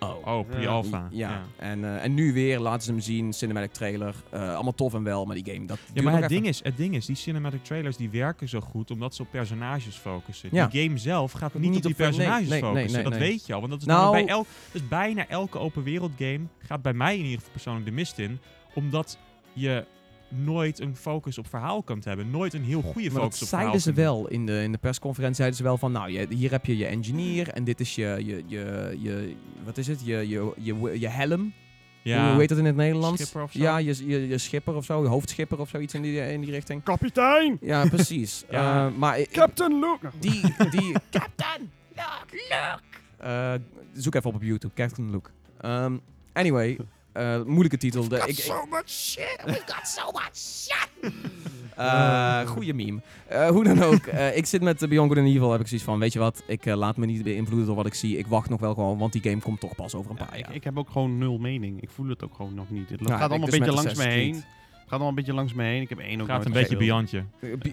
S1: oh,
S3: Oh, pre-alpha.
S1: Ja, En, eh, en nu weer laten ze hem zien, cinematic trailer. Eh, allemaal tof en wel, maar die game, dat
S3: Ja,
S1: duurt
S3: maar
S1: nog
S3: het
S1: even.
S3: ding, is, het ding is, die cinematic trailers die werken zo goed omdat ze op personages focussen.
S1: Ja.
S3: Die game zelf gaat niet,
S1: Niet
S3: op die
S1: op per- nee,
S3: personages
S1: nee, nee,
S3: focussen.
S1: nee,
S3: dat
S1: nee.
S3: weet je al. Want dat is
S1: Nou-
S3: namelijk bij elk, dus bijna elke open wereld game gaat bij mij in ieder geval persoonlijk de mist in. Omdat je nooit een focus op verhaal kunt hebben. Nooit een heel goede
S1: Maar
S3: focus
S1: dat
S3: op verhaal.
S1: zeiden ze
S3: kunt hebben.
S1: wel in de, in de persconferentie. Zeiden ze wel van, nou, je, hier heb je je engineer en dit is je, je, je, je wat is het, je, je, je, je helm. Hoe,
S3: Ja.
S1: hoe heet dat in het Nederlands?
S3: Schipper of zo?
S1: Ja, je, je, je schipper of zo, je hoofdschipper of zoiets in die, in die richting.
S2: Kapitein!
S1: Ja, precies.
S3: Ja.
S1: Eh, maar ik-
S2: Captain Luke!
S1: die, die... Captain Luke, Luke! Eh, zoek even op op YouTube, Captain Luke. Ehm, anyway, eh, moeilijke titel. De, ik, ik-
S2: much shit!
S1: We've got so much shit! goeie meme. Eh, hoe dan ook, eh, ik zit met eh, Beyond Good and Evil, heb ik zoiets van, weet je wat, ik eh, laat me niet beïnvloeden door wat ik zie. Ik wacht nog wel gewoon, want die game komt toch pas over een paar
S2: ik,
S1: jaar.
S2: ik heb ook gewoon nul mening. Ik voel het ook gewoon nog niet. Het
S1: Nou,
S2: gaat allemaal
S1: ik
S2: een
S1: dus
S2: beetje
S1: met
S2: langs me heen.
S1: Assassin's
S2: Het gaat allemaal een beetje langs me heen. Ik heb één ook
S3: Gaat
S2: nooit
S3: een beetje
S2: gespeeld.
S3: beyondje.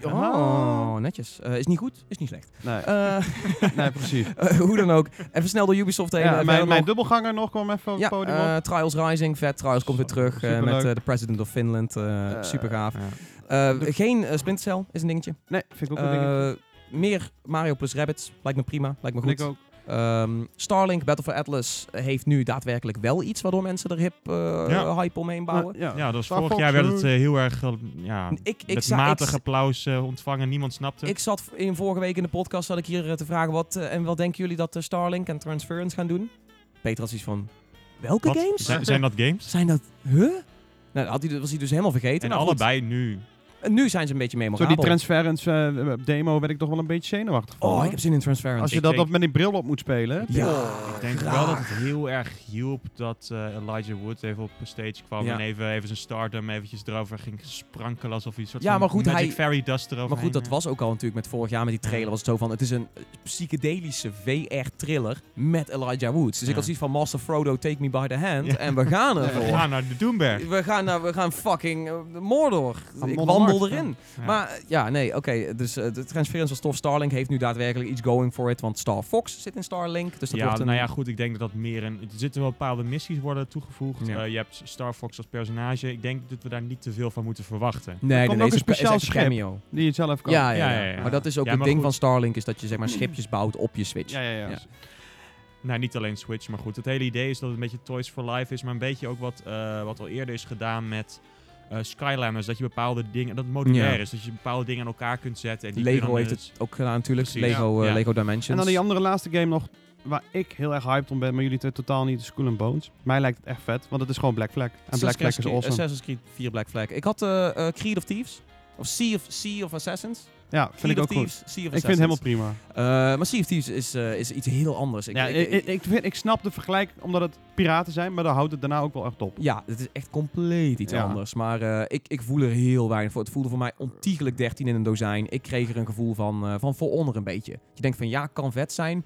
S1: Eh, bi-
S2: Ah.
S1: Oh, netjes. Eh, is niet goed, is niet slecht. Eh,
S2: Nee, nee, precies.
S1: eh, hoe dan ook, even snel door Ubisoft heen.
S2: Ja,
S1: eh, verder
S2: mijn, mijn
S1: nog.
S2: dubbelganger nog kwam even op
S1: ja,
S2: het podium
S1: eh,
S2: op.
S1: Trials Rising, vet. Trials komt weer terug eh, met
S2: Superleuk.
S1: eh, de President of Finland. eh,
S2: Eh,
S1: super gaaf.
S3: Ja.
S1: geen eh, Splinter Cell is een dingetje.
S2: Nee, vind ik ook een dingetje.
S1: Eh, meer Mario plus Rabbits. Lijkt me prima. Lijkt me
S2: Vind
S1: goed.
S2: ik ook.
S1: Ehm, Starlink Battle for Atlas eh, heeft nu daadwerkelijk wel iets waardoor mensen er hip eh,
S3: Ja.
S1: hype omheen bouwen.
S2: Nou, Ja,
S3: ja, dus
S2: Star
S3: vorig
S2: Fox,
S3: jaar werd
S2: eh,
S3: het eh, heel erg eh, ja,
S1: Ik, ik,
S3: met
S1: za-
S3: matig
S1: ik,
S3: applaus eh, ontvangen. Niemand snapte. het.
S1: ik zat in vorige week in de podcast zat ik hier eh, te vragen wat eh, en wat denken jullie dat eh, Starlink en Transference gaan doen? Peter had iets van welke
S3: Wat?
S1: games?
S3: Zijn, zijn dat games?
S1: Zijn dat huh? Nou, dat had hij, dat was hij dus helemaal vergeten.
S3: En
S1: Nou, goed.
S3: allebei nu.
S1: En nu zijn ze een beetje
S2: Zo
S1: memorabel.
S2: die transference eh, demo werd ik toch wel een beetje zenuwachtig van.
S1: Oh,
S2: hoor.
S1: ik heb zin in Transference.
S2: Als je
S3: Ik
S2: dat,
S3: denk-
S2: dat met die bril op moet spelen.
S1: Ja,
S3: Ik denk wel dat het heel erg hielp dat eh, Elijah Wood even op stage kwam
S1: Ja.
S3: en even, even zijn stardom eventjes erover ging sprankelen alsof hij een soort
S1: Ja,
S3: van
S1: maar goed,
S3: Magic
S1: hij-
S3: Fairy dust erover
S1: Maar goed, dat was ook al natuurlijk met vorig jaar met die trailer. Was het zo van, het is een eh, psychedelische VR-thriller met Elijah Woods. Dus ik
S3: Ja.
S1: had zoiets van, Master Frodo, take me by the hand.
S3: Ja.
S1: En we gaan ervoor.
S3: We gaan naar de Doomberg.
S1: We gaan, naar, we gaan fucking eh, Mordor.
S2: Gaan
S1: ik
S2: Mordor
S1: wandel
S2: Markt,
S1: erin.
S3: Ja.
S1: Maar eh, ja, nee, oké. dus eh, de transference van Stof Starlink heeft nu daadwerkelijk iets going for it. Want Star Fox zit in Starlink. Dus dat
S3: ja,
S1: wordt een...
S3: nou ja, goed. Ik denk dat dat meer een... Er zitten wel bepaalde missies worden toegevoegd.
S1: Ja.
S3: Eh, je hebt Star Fox als personage. Ik denk dat we daar niet te veel van moeten verwachten.
S1: Nee,
S2: komt
S1: nee,
S2: ook
S1: nee,
S2: een
S1: is is
S2: speciaal
S1: echt
S2: schip.
S1: cameo.
S2: Die je zelf kan.
S1: Ja ja, ja,
S3: Ja, ja, ja.
S1: maar dat is ook
S3: Ja,
S1: het
S3: maar
S1: ding
S3: goed.
S1: van Starlink, is dat je zeg maar schipjes bouwt op je Switch.
S2: ja, ja.
S1: Ja.
S3: Nou, niet alleen Switch, maar goed. Het hele idee is dat het een beetje Toys for Life is. Maar een beetje ook wat, eh, wat al eerder is gedaan met eh Skylanders. Dat je bepaalde dingen... Dat het modulair
S1: Ja.
S3: is. Dat je bepaalde dingen aan elkaar kunt zetten. En die
S1: Lego
S3: kunnen dus-
S1: heeft
S3: dan,
S1: het ook gedaan natuurlijk,
S3: Precies.
S1: Lego,
S3: Ja.
S1: eh,
S3: Ja.
S1: Lego Dimensions.
S2: En dan die andere laatste game nog, waar ik heel erg hyped om ben, maar jullie twee totaal niet, is Cool and Bones. Mij lijkt het echt vet, want het is gewoon Black Flag. En Black Flag
S1: Assassin's
S2: is
S1: Creed-
S2: awesome.
S1: Assassin's Creed 4 Black Flag. Ik had eh, eh, Creed of Thieves. Of Sea of, sea of Assassins.
S2: Ja, vind
S1: Creed
S2: ik
S1: of
S2: ook goed.
S1: Thieves, Sea of
S2: Ik vind het
S1: Assassins.
S2: helemaal prima.
S1: Eh, maar Sea of Thieves is, eh, is iets heel anders. Ik,
S2: ja, ik, ik, ik, vind, ik snap de vergelijking omdat het piraten zijn, maar dan houdt het daarna ook wel echt op.
S1: ja, het is echt compleet iets
S2: Ja.
S1: anders. Maar eh, ik, ik voel er heel weinig voor. Het voelde voor mij ontiegelijk 13 in een dozijn. Ik kreeg er een gevoel van, eh van voor onder een beetje. Je denkt van ja, kan vet zijn.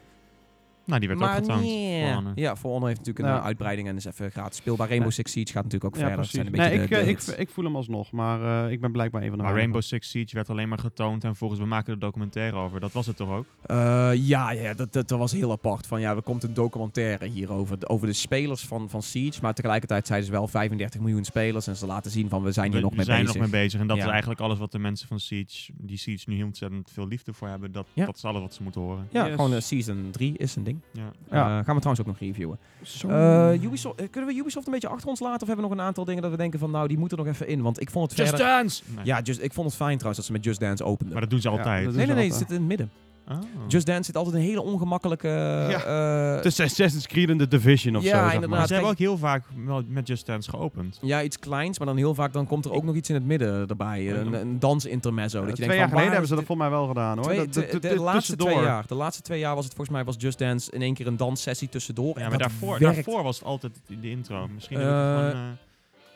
S3: Nou, die werd ook
S1: maar
S3: getoond. eh,
S1: nee.
S3: Voor Anne.
S1: Ja, voor onder heeft natuurlijk een
S2: Ja.
S1: eh, uitbreiding en is even gratis speelbaar. Rainbow Six Siege gaat natuurlijk ook
S2: Ja,
S1: verder. Dat
S2: precies.
S1: zijn een
S2: Nee,
S1: beetje
S2: ik,
S1: de-
S2: eh,
S1: de
S2: ik,
S1: hits.
S2: ik voel hem alsnog, maar eh, ik ben blijkbaar een van de
S3: Maar
S2: weinigen.
S3: Rainbow Six Siege werd alleen maar getoond en volgens we maken er documentaire over. Dat was het toch ook?
S1: Eh, ja, ja dat, dat, dat was heel apart. Van ja, er komt een documentaire hierover. de- Over de spelers van, van Siege. Maar tegelijkertijd zeiden ze wel 35 miljoen spelers. En ze laten zien van we zijn hier
S3: we
S1: nog
S3: we
S1: mee
S3: zijn
S1: bezig.
S3: nog mee bezig. En dat
S1: Ja.
S3: is eigenlijk alles wat de mensen van Siege, die Siege nu heel ontzettend veel liefde voor hebben. Dat,
S1: Ja.
S3: dat is alles wat ze moeten horen.
S1: Ja,
S2: Yes.
S1: gewoon eh, season 3 is een ding.
S3: Ja.
S1: Eh,
S2: Ja.
S1: gaan we trouwens ook nog reviewen.
S2: Zo.
S1: Eh, Ubisoft, eh, kunnen we Ubisoft een beetje achter ons laten? Of hebben we nog een aantal dingen dat we denken van nou, die moeten nog even in? Want ik vond het verder...
S3: Dance! Nee.
S1: Ja, just, ik vond het fijn trouwens dat ze met Just Dance openden.
S3: Maar dat doen ze
S2: Ja,
S3: altijd.
S2: dat dus
S1: nee, nee, nee, het
S2: altijd.
S1: zit in het midden.
S3: Oh.
S1: Just Dance zit altijd een hele ongemakkelijke... eh,
S2: Het is Assassin's Creed en The Division of
S1: Ja,
S2: zo, zeg maar.
S1: inderdaad.
S3: Maar ze hebben
S1: kijk-
S3: ook heel vaak wel met Just Dance geopend.
S1: Ja, iets kleins, maar dan heel vaak dan komt er ook nog iets in het midden erbij. Een, een
S2: Ja,
S1: dansintermezzo. dat je
S2: twee
S1: denkt, van,
S2: jaar geleden
S1: waar
S2: hebben ze
S1: is
S2: dat
S1: dit-
S2: voor mij wel gedaan, hoor.
S1: Twee-
S2: Dat- dat-
S1: de,
S2: dat-
S1: de laatste twee
S2: tussendoor.
S1: jaar. De laatste twee jaar was het volgens mij was Just Dance in één keer een danssessie tussendoor.
S3: Ja,
S1: En
S3: maar
S1: dat
S3: daarvoor,
S1: werkt.
S3: daarvoor was het altijd de intro. Misschien
S1: Eh,
S3: heb ik het gewoon... eh,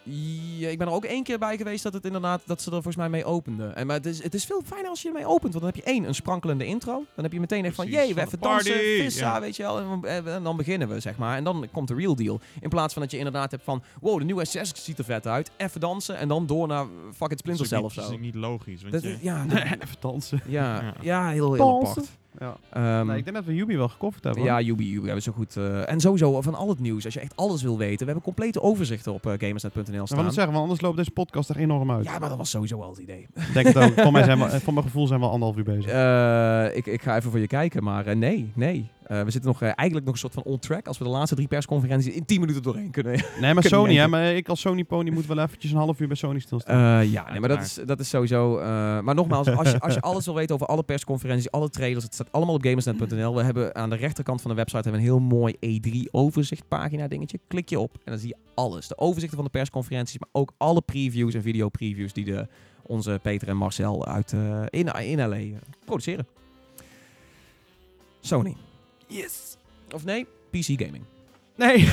S1: Ja, ik ben er ook één keer bij geweest dat het inderdaad dat ze er volgens mij mee openden. En, maar het is, het is veel fijner als je ermee opent. Want dan heb je één, een sprankelende intro. Dan heb je meteen echt van,
S3: Precies,
S1: jee, we
S3: van
S1: even
S3: de party,
S1: dansen, vissa,
S3: ja.
S1: weet je wel. En, en- en dan beginnen we, zeg maar. En dan komt de real deal. In plaats van dat je inderdaad hebt van, wow, de nieuwe Assassin's ziet er vet uit. Even dansen en dan door naar eh, fuck it, Splinter
S3: dat is
S1: Cell
S3: ook
S1: of
S3: niet-
S1: zo.
S3: Dat is ook niet logisch. Want
S1: Dat
S3: je-
S1: is- ja,
S2: Even dansen.
S1: ja, ja.
S3: Ja.
S1: heel, heel
S2: Dansen.
S1: apart.
S2: Ja.
S1: Ehm,
S2: Nee, ik denk dat we Yubi wel gecoverd hebben. hoor.
S1: ja, Yubi, Yubi hebben ze goed. eh, en sowieso van al het nieuws. Als je echt alles wil weten. We hebben complete overzichten op eh, gamersnet.nl
S2: Ik wil
S1: staan.
S2: het zeggen, want anders loopt deze podcast er enorm uit.
S1: Ja, maar dat was sowieso al het idee.
S2: Ik denk het ook. Voor, mij zijn we, eh, voor mijn gevoel zijn we al anderhalf uur bezig.
S1: Eh, ik, ik ga even voor je kijken, maar eh, nee, nee. Eh, we zitten nog, eh, eigenlijk nog een soort van on-track als we de laatste drie persconferenties in 10 minuten doorheen kunnen.
S2: nee, maar
S1: ik kan niet
S2: Sony, hè.
S1: denken.
S2: Maar ik als Sony pony moet wel eventjes een half uur bij Sony stilstaan.
S1: Eh, ja, nee, maar dat is, dat is sowieso... eh, maar nogmaals, als je, als je alles wil weten over alle persconferenties, alle trailers, het staat allemaal op gamersnet.nl. We hebben aan de rechterkant van de website hebben we een heel mooi E3-overzichtpagina dingetje. Klik je op en dan zie je alles. De overzichten van de persconferenties, maar ook alle previews en videopreviews die de, onze Peter en Marcel uit, eh, in, in LA eh, produceren. Sony. Yes. Of nee, PC Gaming.
S2: nee.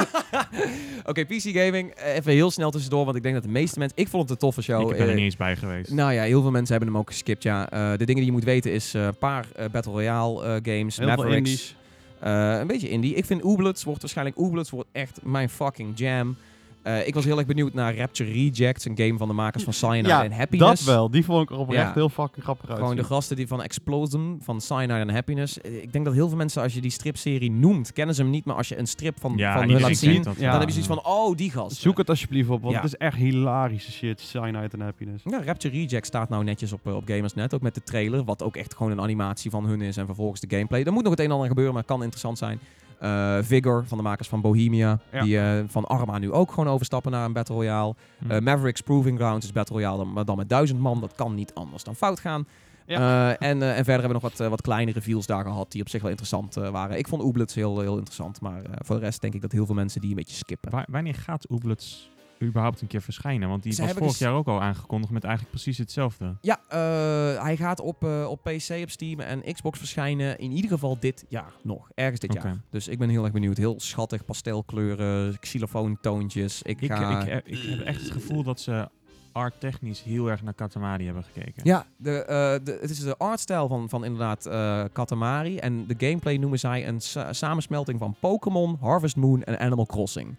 S1: Oké, PC Gaming. eh, Even heel snel tussendoor, want ik denk dat de meeste mensen... Ik vond het een toffe show.
S3: ik ben er
S1: eh,
S3: niet eens bij geweest.
S1: nou ja, heel veel mensen hebben hem ook geskipt, ja. Eh, de dingen die je moet weten is eh, een paar eh, Battle Royale eh, games,
S2: Heel veel
S1: Mavericks.
S2: indies.
S1: Eh, een beetje indie. Ik vind Ooblets wordt waarschijnlijk... Ooblets wordt echt mijn fucking jam. Eh, ik was heel erg benieuwd naar Rapture Rejects, een game van de makers van Cyanide
S2: Ja,
S1: en
S2: Dat
S1: Happiness.
S2: wel. Die vond ik er oprecht
S1: Ja.
S2: heel fucking grappig uit.
S1: Gewoon de gasten die van Explosion, van Cyanide en Happiness. Eh, Ik denk dat heel veel mensen, als je die stripserie noemt, kennen ze hem niet. Maar als je een strip van,
S3: ja,
S1: van hun
S3: iedereen
S1: laat
S3: weet
S1: zien,
S3: dat.
S2: dan
S1: dan
S2: Ja.
S1: heb je zoiets van, oh, die gast.
S2: Zoek het alsjeblieft op, want
S1: Ja.
S2: het is echt hilarische shit. Cyanide en Happiness.
S1: Ja, Rapture Reject staat nou netjes op, eh, op Gamersnet, ook met de trailer, wat ook echt gewoon een animatie van hun is en vervolgens de gameplay. Er moet nog het een en ander gebeuren, maar het kan interessant zijn. Eh, Vigor, van de makers van Bohemia,
S3: Ja.
S1: die eh, van Arma nu ook gewoon overstappen naar een Battle Royale.
S3: Hm.
S1: Eh, Mavericks Proving Grounds is Battle Royale, dan- maar dan met duizend man, dat kan niet anders dan fout gaan. Eh, en, eh, en verder hebben we nog wat, eh, wat kleine reveals daar gehad die op zich wel interessant eh, waren. Ik vond Ooblets heel, heel interessant, maar eh, voor de rest denk ik dat heel veel mensen die een beetje skippen.
S3: Wa- wanneer gaat Ooblets überhaupt een keer verschijnen? Want die
S1: Ze
S3: was
S1: hebben
S3: vorig
S1: dus-
S3: jaar ook al aangekondigd met eigenlijk precies hetzelfde.
S1: Ja, eh, hij gaat op, eh, op PC, op Steam en Xbox verschijnen. In ieder geval dit jaar nog. Ergens dit
S3: Oké.
S1: jaar. Dus ik ben heel erg benieuwd. Heel schattig, pastelkleuren, xylofoontoontjes. Ik eh,
S3: Ik,
S1: ga...
S3: ik, ik heb echt het gevoel dat ze arttechnisch heel erg naar Katamari hebben gekeken.
S1: Ja, de, eh, de, het is de artstijl van, van inderdaad eh, Katamari. En de gameplay noemen zij een sa- samensmelting van Pokémon, Harvest Moon en Animal Crossing.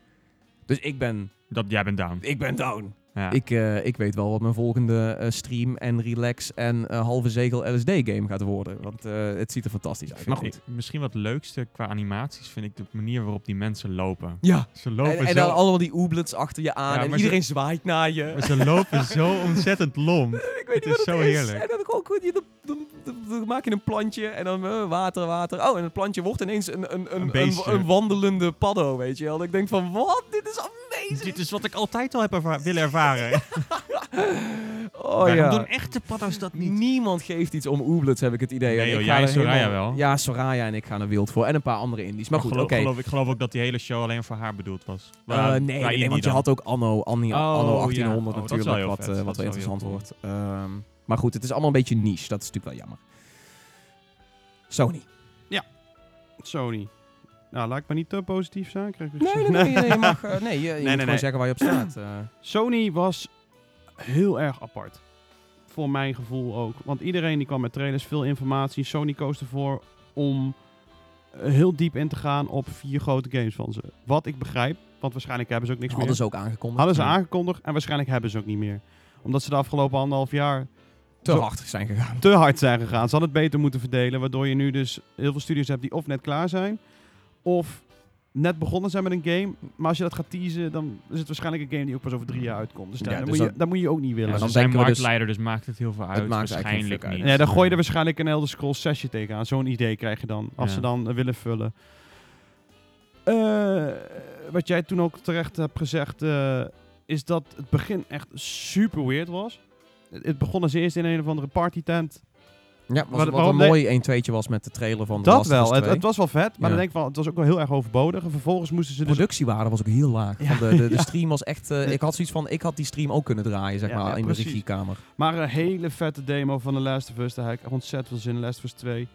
S1: Dus ik ben,
S3: Dat, jij bent down.
S1: ik ben down.
S3: Ja.
S1: Ik, eh, ik weet wel wat mijn volgende eh, stream en relax en eh, halve zegel LSD game gaat worden. Want eh, het ziet er fantastisch uit.
S3: Vind
S1: Maar goed.
S3: ik- misschien wat leukste qua animaties vind ik de manier waarop die mensen lopen.
S1: Ja,
S3: Ze
S1: en,
S3: lopen
S1: en
S3: zo...
S1: dan allemaal die ooblets achter je aan en
S3: Ja, maar ze-
S1: iedereen zwaait naar je.
S3: Maar ze lopen zo ontzettend lomp.
S1: Ik weet niet
S3: Het is
S1: wat
S3: zo
S1: het is.
S3: heerlijk.
S1: En dan, gewoon goed, je- dan, dan, dan- dan maak je een plantje en dan eh, water, water. Oh, en het plantje wordt ineens een, een, een,
S3: Een
S1: een,
S3: beestje.
S1: een wandelende paddo, weet je wel. Dat ik denk van, wat? Dit is amazing.
S3: Dit is wat ik altijd al heb erva- willen ervaren.
S1: Oh
S3: Waarom
S1: ja.
S3: doen echte paddo's dat niet?
S1: Niemand geeft iets om Ooblets, heb ik het idee.
S3: Nee,
S1: En ik
S3: joh,
S1: ga
S3: jij en
S1: er
S3: Soraya wel.
S1: Ja, Soraya en ik gaan er wild voor. En een paar andere indies. Maar goed, oké.
S3: geloof, geloof- ik geloof ook dat die hele show alleen voor haar bedoeld was.
S1: Eh,
S3: Waar-
S1: nee, nee,
S3: waar
S1: nee,
S3: Indie
S1: want je
S3: dan.
S1: had ook anno, anno,
S3: Oh,
S1: anno
S3: ja.
S1: 1800
S3: Oh, dat is wel
S1: natuurlijk,
S3: heel
S1: wat,
S3: vet.
S1: eh,
S3: Dat
S1: wat
S3: is
S1: wel
S3: wel heel
S1: interessant
S3: cool.
S1: wordt. Ehm, maar goed, het is allemaal een beetje niche. Dat is natuurlijk wel jammer. Sony.
S2: Sony. Nou, laat ik maar niet te positief zijn. Krijg ik weer
S1: Nee, nee, nee, nee, je mag, eh, nee, je, je moet
S2: nee,
S1: gewoon
S2: nee.
S1: zeggen waar je op staat. eh.
S2: Sony was heel erg apart. Voor mijn gevoel ook. Want iedereen die kwam met trailers, veel informatie. Sony koos ervoor om eh, heel diep in te gaan op vier grote games van ze. Wat ik begrijp, want waarschijnlijk hebben ze ook niks meer.
S1: hadden ze ook aangekondigd.
S2: Hadden ze
S1: Ja.
S2: aangekondigd en waarschijnlijk hebben ze ook niet meer. Omdat ze de afgelopen anderhalf jaar
S1: te
S2: Zo-
S1: hard zijn gegaan.
S2: te hard zijn gegaan. Ze hadden het beter moeten verdelen. Waardoor je nu dus heel veel studios hebt die of net klaar zijn. Of net begonnen zijn met een game. Maar als je dat gaat teasen, dan is het waarschijnlijk een game die ook pas over drie jaar uitkomt. Dus,
S1: Ja,
S2: daar
S1: dus
S2: dat, moet je,
S1: dat-
S2: dat moet je ook niet
S3: Ja,
S2: willen.
S1: dan
S3: ze zijn
S1: denken we dus-
S3: marktleider, dus maakt het heel veel uit.
S1: maakt eigenlijk geen
S3: Waarschijnlijk
S1: fuck
S3: niet.
S1: uit.
S2: Ja, dan gooi je er waarschijnlijk een Elder Scrolls 6 tegenaan. Zo'n idee krijg je dan, als
S3: Ja.
S2: ze dan eh, willen vullen. Eh, wat jij toen ook terecht hebt gezegd, eh, is dat het begin echt super weird was. Het het begon als eerst in een of andere partytent.
S1: Ja,
S2: Wat-
S1: wat, wat een
S2: waarom
S1: mooi 1-2'tje was met de trailer van The
S2: Dat
S1: Last of Us
S2: wel, het,
S1: 2.
S2: het was wel vet, maar
S1: Ja.
S2: dan denk ik wel, het was ook wel heel erg overbodig. En vervolgens moesten ze
S1: de
S2: dus...
S1: productiewaarde was ook heel laag.
S2: Ja,
S1: Want de, de, de
S2: ja.
S1: stream was echt... eh, ik had zoiets van, ik had die stream ook kunnen draaien, zeg
S2: Ja,
S1: maar,
S2: ja,
S1: in
S2: precies.
S1: de regiekamer.
S2: Maar een hele vette demo van The Last of Us, daar heb ik ontzettend veel zin in, Last of Us 2.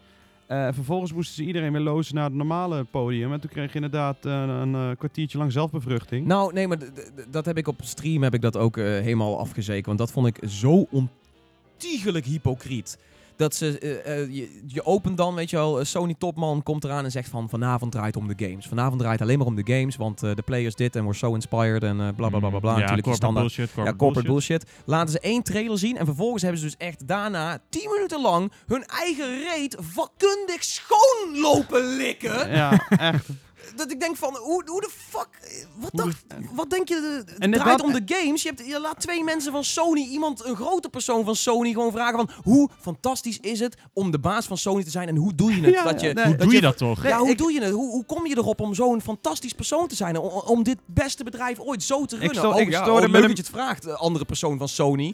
S2: Eh, vervolgens moesten ze iedereen weer lozen naar het normale podium. En toen kreeg je inderdaad eh, een eh, kwartiertje lang
S3: Hm?
S2: zelfbevruchting.
S1: Nou, nee, maar d- d- dat heb ik op stream heb ik dat ook eh, helemaal afgezeken. Want dat vond ik zo ontiegelijk hypocriet. Dat ze, eh, eh, je, je opent dan, weet je wel, eh, Sony Topman komt eraan en zegt van vanavond draait om de games. Vanavond draait alleen maar om de games, want eh, de players dit en we're so inspired en eh, bla bla bla bla bla.
S3: Mm. Ja,
S1: Natuurlijk die
S3: corporate
S1: standaard
S3: bullshit. Corporate
S1: ja, corporate bullshit. Laten ze één trailer zien en vervolgens hebben ze dus echt daarna 10 minuten lang hun eigen reet vakkundig schoon lopen likken.
S2: Ja,
S1: eh.
S2: echt.
S1: Dat ik denk van, hoe, hoe de fuck, eh, wat,
S2: Hoe
S1: dacht, wat denk je, eh, het
S2: En dit
S1: draait
S2: dat-
S1: om de games. Je, hebt, je laat twee mensen van Sony, iemand, een grote persoon van Sony gewoon vragen van, hoe fantastisch is het om de baas van Sony te zijn en hoe doe je Eh, het?
S2: Ja,
S1: dat je,
S2: ja, nee.
S3: Hoe
S2: Dat
S3: doe
S2: je-
S3: je dat toch?
S2: Nee,
S1: ja, hoe
S2: ik-
S1: doe je het? Hoe, hoe kom je erop om zo'n fantastisch persoon te zijn? Om, om dit beste bedrijf ooit zo te runnen?
S2: sto-
S1: oh,
S2: ik
S1: ja,
S2: stoorde
S1: oh, leuk
S2: met een-
S1: dat je het vraagt, eh, andere persoon van Sony. Nou.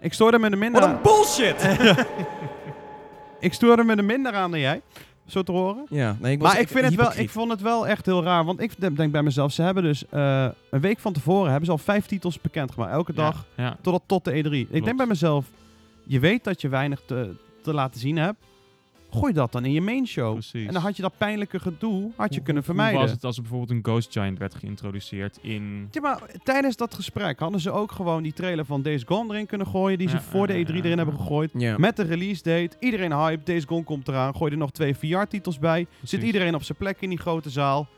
S2: Ik stoor er met een minder
S1: Wat een
S2: aan.
S1: bullshit!
S2: Ik stoor er met een minder aan dan jij. Zo te horen.
S1: Ja, nee, ik was
S2: Maar ik,
S1: echt
S2: vind het wel, ik
S1: hypocriet.
S2: vond het wel echt heel raar. Want ik denk bij mezelf, ze hebben dus eh, een week van tevoren hebben ze al vijf titels bekendgemaakt. Elke dag
S3: Ja, ja.
S1: Oh.
S2: totdat tot de E3. Ik denk
S3: Klopt.
S2: bij mezelf, je weet dat je weinig te, te laten zien hebt. Gooi dat dan in je main show.
S3: precies.
S2: En dan had je dat pijnlijke gedoe had je kunnen
S3: Hoe was
S2: vermijden.
S3: het als er bijvoorbeeld een Ghost Giant werd geïntroduceerd in...
S2: Ja, maar tijdens dat gesprek hadden ze ook gewoon die trailer van Days Gone erin kunnen gooien. Die ze
S3: Ja,
S2: voor de
S3: ja,
S2: E3
S3: ja,
S2: erin
S3: ja.
S2: hebben gegooid.
S1: Ja.
S2: Met de release date, iedereen hype, Days Gone komt eraan, gooi er nog twee VR-titels bij. Zit
S3: Precies.
S2: iedereen op zijn plek in die grote zaal.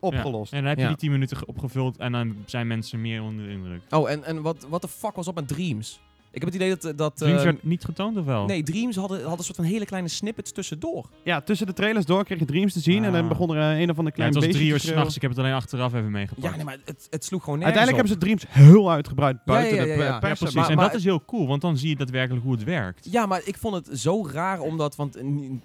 S2: Opgelost.
S3: En dan heb je
S1: Ja.
S3: die 10 minuten ge- opgevuld en dan zijn mensen meer onder de indruk.
S1: Oh, en, en wat, wat de fuck was op met Dreams? Ik heb het idee dat... eh, dat eh,
S3: Dreams werd niet getoond of wel?
S1: Nee, Dreams hadden, hadden een soort van hele kleine snippets tussendoor.
S2: Ja, tussen de trailers door kreeg je Dreams te zien en dan
S3: Ah.
S2: begon er eh, een of ander
S3: Ja,
S2: klein
S3: het was
S2: beestje
S3: drie
S2: te
S3: uur
S2: schreeuwen.
S3: s'nachts. Ik heb het alleen achteraf even meegepakt.
S1: Ja, nee, maar het, het sloeg gewoon nergens
S2: Uiteindelijk
S1: op.
S2: hebben ze Dreams heel uitgebreid
S1: Ja, ja,
S2: buiten
S1: ja,
S2: de
S1: ja, ja.
S2: pe- pers.
S3: precies.
S1: maar-
S3: Dus- en
S1: maar-
S3: dat is heel cool, want dan zie je daadwerkelijk hoe het werkt.
S1: Ja, maar ik vond het zo raar omdat... Want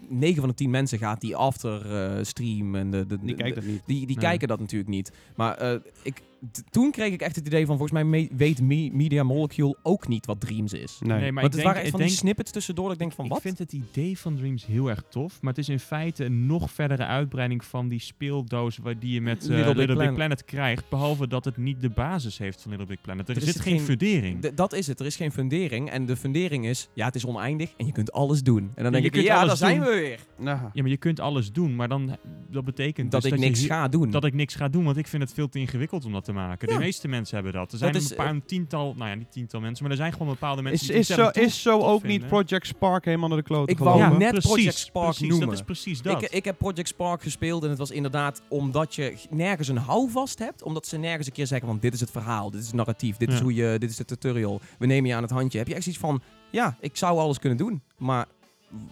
S1: 9 van de 10 mensen gaat die after eh, stream en de... de,
S2: Die
S1: de-
S2: kijkt dat niet.
S1: Die, die
S3: Nee.
S1: kijken dat natuurlijk niet. Maar eh, ik, t- toen kreeg ik echt het idee van, volgens mij me- weet Me- Media Molecule ook niet wat Dreams is.
S2: Nee.
S3: Nee, maar
S1: Want
S3: ik
S1: het
S3: denk,
S1: waren echt
S3: ik
S1: van
S3: denk,
S1: die snippets tussendoor dat ik denk van,
S3: ik
S1: wat?
S3: vind het idee van Dreams heel erg tof, maar het is in feite een nog verdere uitbreiding van die speeldoos waar die je met eh,
S1: Little
S3: Little,
S1: Big
S3: Big,
S1: Planet.
S3: Planet. krijgt, behalve dat het niet de basis heeft van Little Big Planet. Er,
S1: Er is
S3: zit
S1: er
S3: geen,
S1: geen-
S3: fundering.
S1: D- dat is het. Er is geen fundering. En de fundering is, ja, het is oneindig en je kunt alles doen. En dan denk
S3: je
S1: ik,
S3: kunt
S1: ja, daar
S3: alles
S1: zijn
S3: doen.
S1: we weer.
S2: Nou,
S3: Ja, maar je kunt alles doen, maar dan, dat betekent
S1: dat
S3: dus
S1: ik
S3: je
S1: niks
S3: hier-
S1: ga doen.
S3: dat ik niks ga doen, want ik vind het veel te ingewikkeld om dat te maken.
S1: Ja.
S3: De meeste mensen hebben dat. Er zijn
S1: is, eh,
S3: een paar een tiental, nou ja, niet tiental mensen, maar er zijn gewoon bepaalde mensen
S2: is,
S3: die
S2: is, zo,
S3: ontzettend tof-
S2: is zo ook
S3: vinden.
S2: niet Project Spark helemaal naar de klote
S1: Ik wou
S2: gelopen?
S1: net Project Spark
S3: precies,
S1: noemen.
S3: Dat is precies dat.
S1: Ik,
S2: eh,
S1: ik heb Project Spark gespeeld en het was inderdaad omdat je g- nergens een houvast hebt. Omdat ze nergens een keer zeggen, want dit is het verhaal, dit is het narratief, dit is
S3: Ja.
S1: hoe je, dit is de tutorial. We nemen je aan het handje. Heb je echt iets van, ja, ik zou alles kunnen doen, maar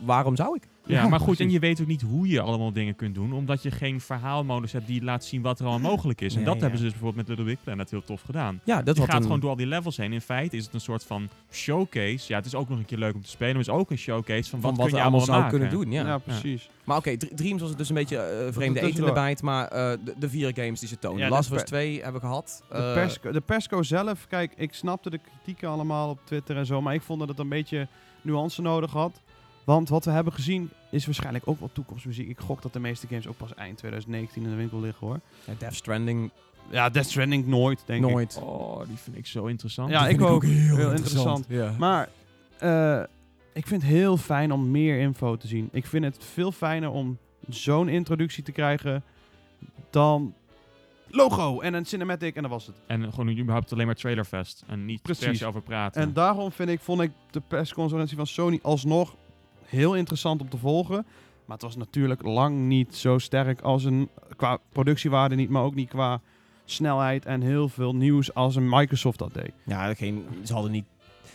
S1: waarom zou ik?
S3: ja,
S2: Ja,
S3: maar goed,
S2: precies.
S3: en je weet ook niet hoe je allemaal dingen kunt doen, omdat je geen verhaalmodus hebt die laat zien wat er allemaal mogelijk is. En
S1: Ja,
S3: dat
S1: ja.
S3: hebben ze dus bijvoorbeeld met Little Big Planet heel tof gedaan.
S1: Ja, dat
S3: je
S1: had
S3: gaat
S1: een-
S3: gewoon door al die levels heen. In feite is het een soort van showcase. Ja, het is ook nog een keer leuk om te spelen, maar het is ook een showcase van,
S1: van
S3: wat,
S1: wat
S3: kun
S1: je
S3: je
S1: allemaal zou
S3: maken.
S1: kunnen doen. Ja.
S2: Ja, precies.
S1: Maar oké, Dr- Dreams was het dus een beetje eh, vreemde eten
S2: tussendoor.
S1: erbij, maar eh, de, de vier games die ze tonen.
S2: Ja,
S1: Last
S2: de
S1: of Us
S2: per-
S1: 2 hebben we gehad.
S2: De,
S1: eh,
S2: persco, de persco zelf, kijk, ik snapte de kritieken allemaal op Twitter en zo, maar ik vond dat het een beetje nuance nodig had. Want wat we hebben gezien is waarschijnlijk ook wel toekomstmuziek. Ik gok dat de meeste games ook pas eind 2019 in de winkel liggen hoor.
S1: ja, Death Stranding,
S2: Ja, Death Stranding nooit, denk ik.
S1: nooit.
S3: Oh, die vind ik zo interessant.
S2: Ja,
S1: Die
S2: ik
S1: vind
S2: ook.
S1: heel,
S2: Heel interessant.
S1: Ja.
S2: Maar eh, ik vind het heel fijn om meer info te zien. Ik vind het veel fijner om zo'n introductie te krijgen dan logo en een cinematic en dat was het.
S3: En gewoon überhaupt alleen maar trailerfest en niet
S2: Precies.
S3: precies over praten.
S2: En daarom vind ik, vond ik de persconferentie van Sony alsnog heel interessant om te volgen. Maar het was natuurlijk lang niet zo sterk als een, qua productiewaarde niet, maar ook niet qua snelheid en heel veel nieuws als een Microsoft dat deed.
S1: Ja, geen, ze hadden niet.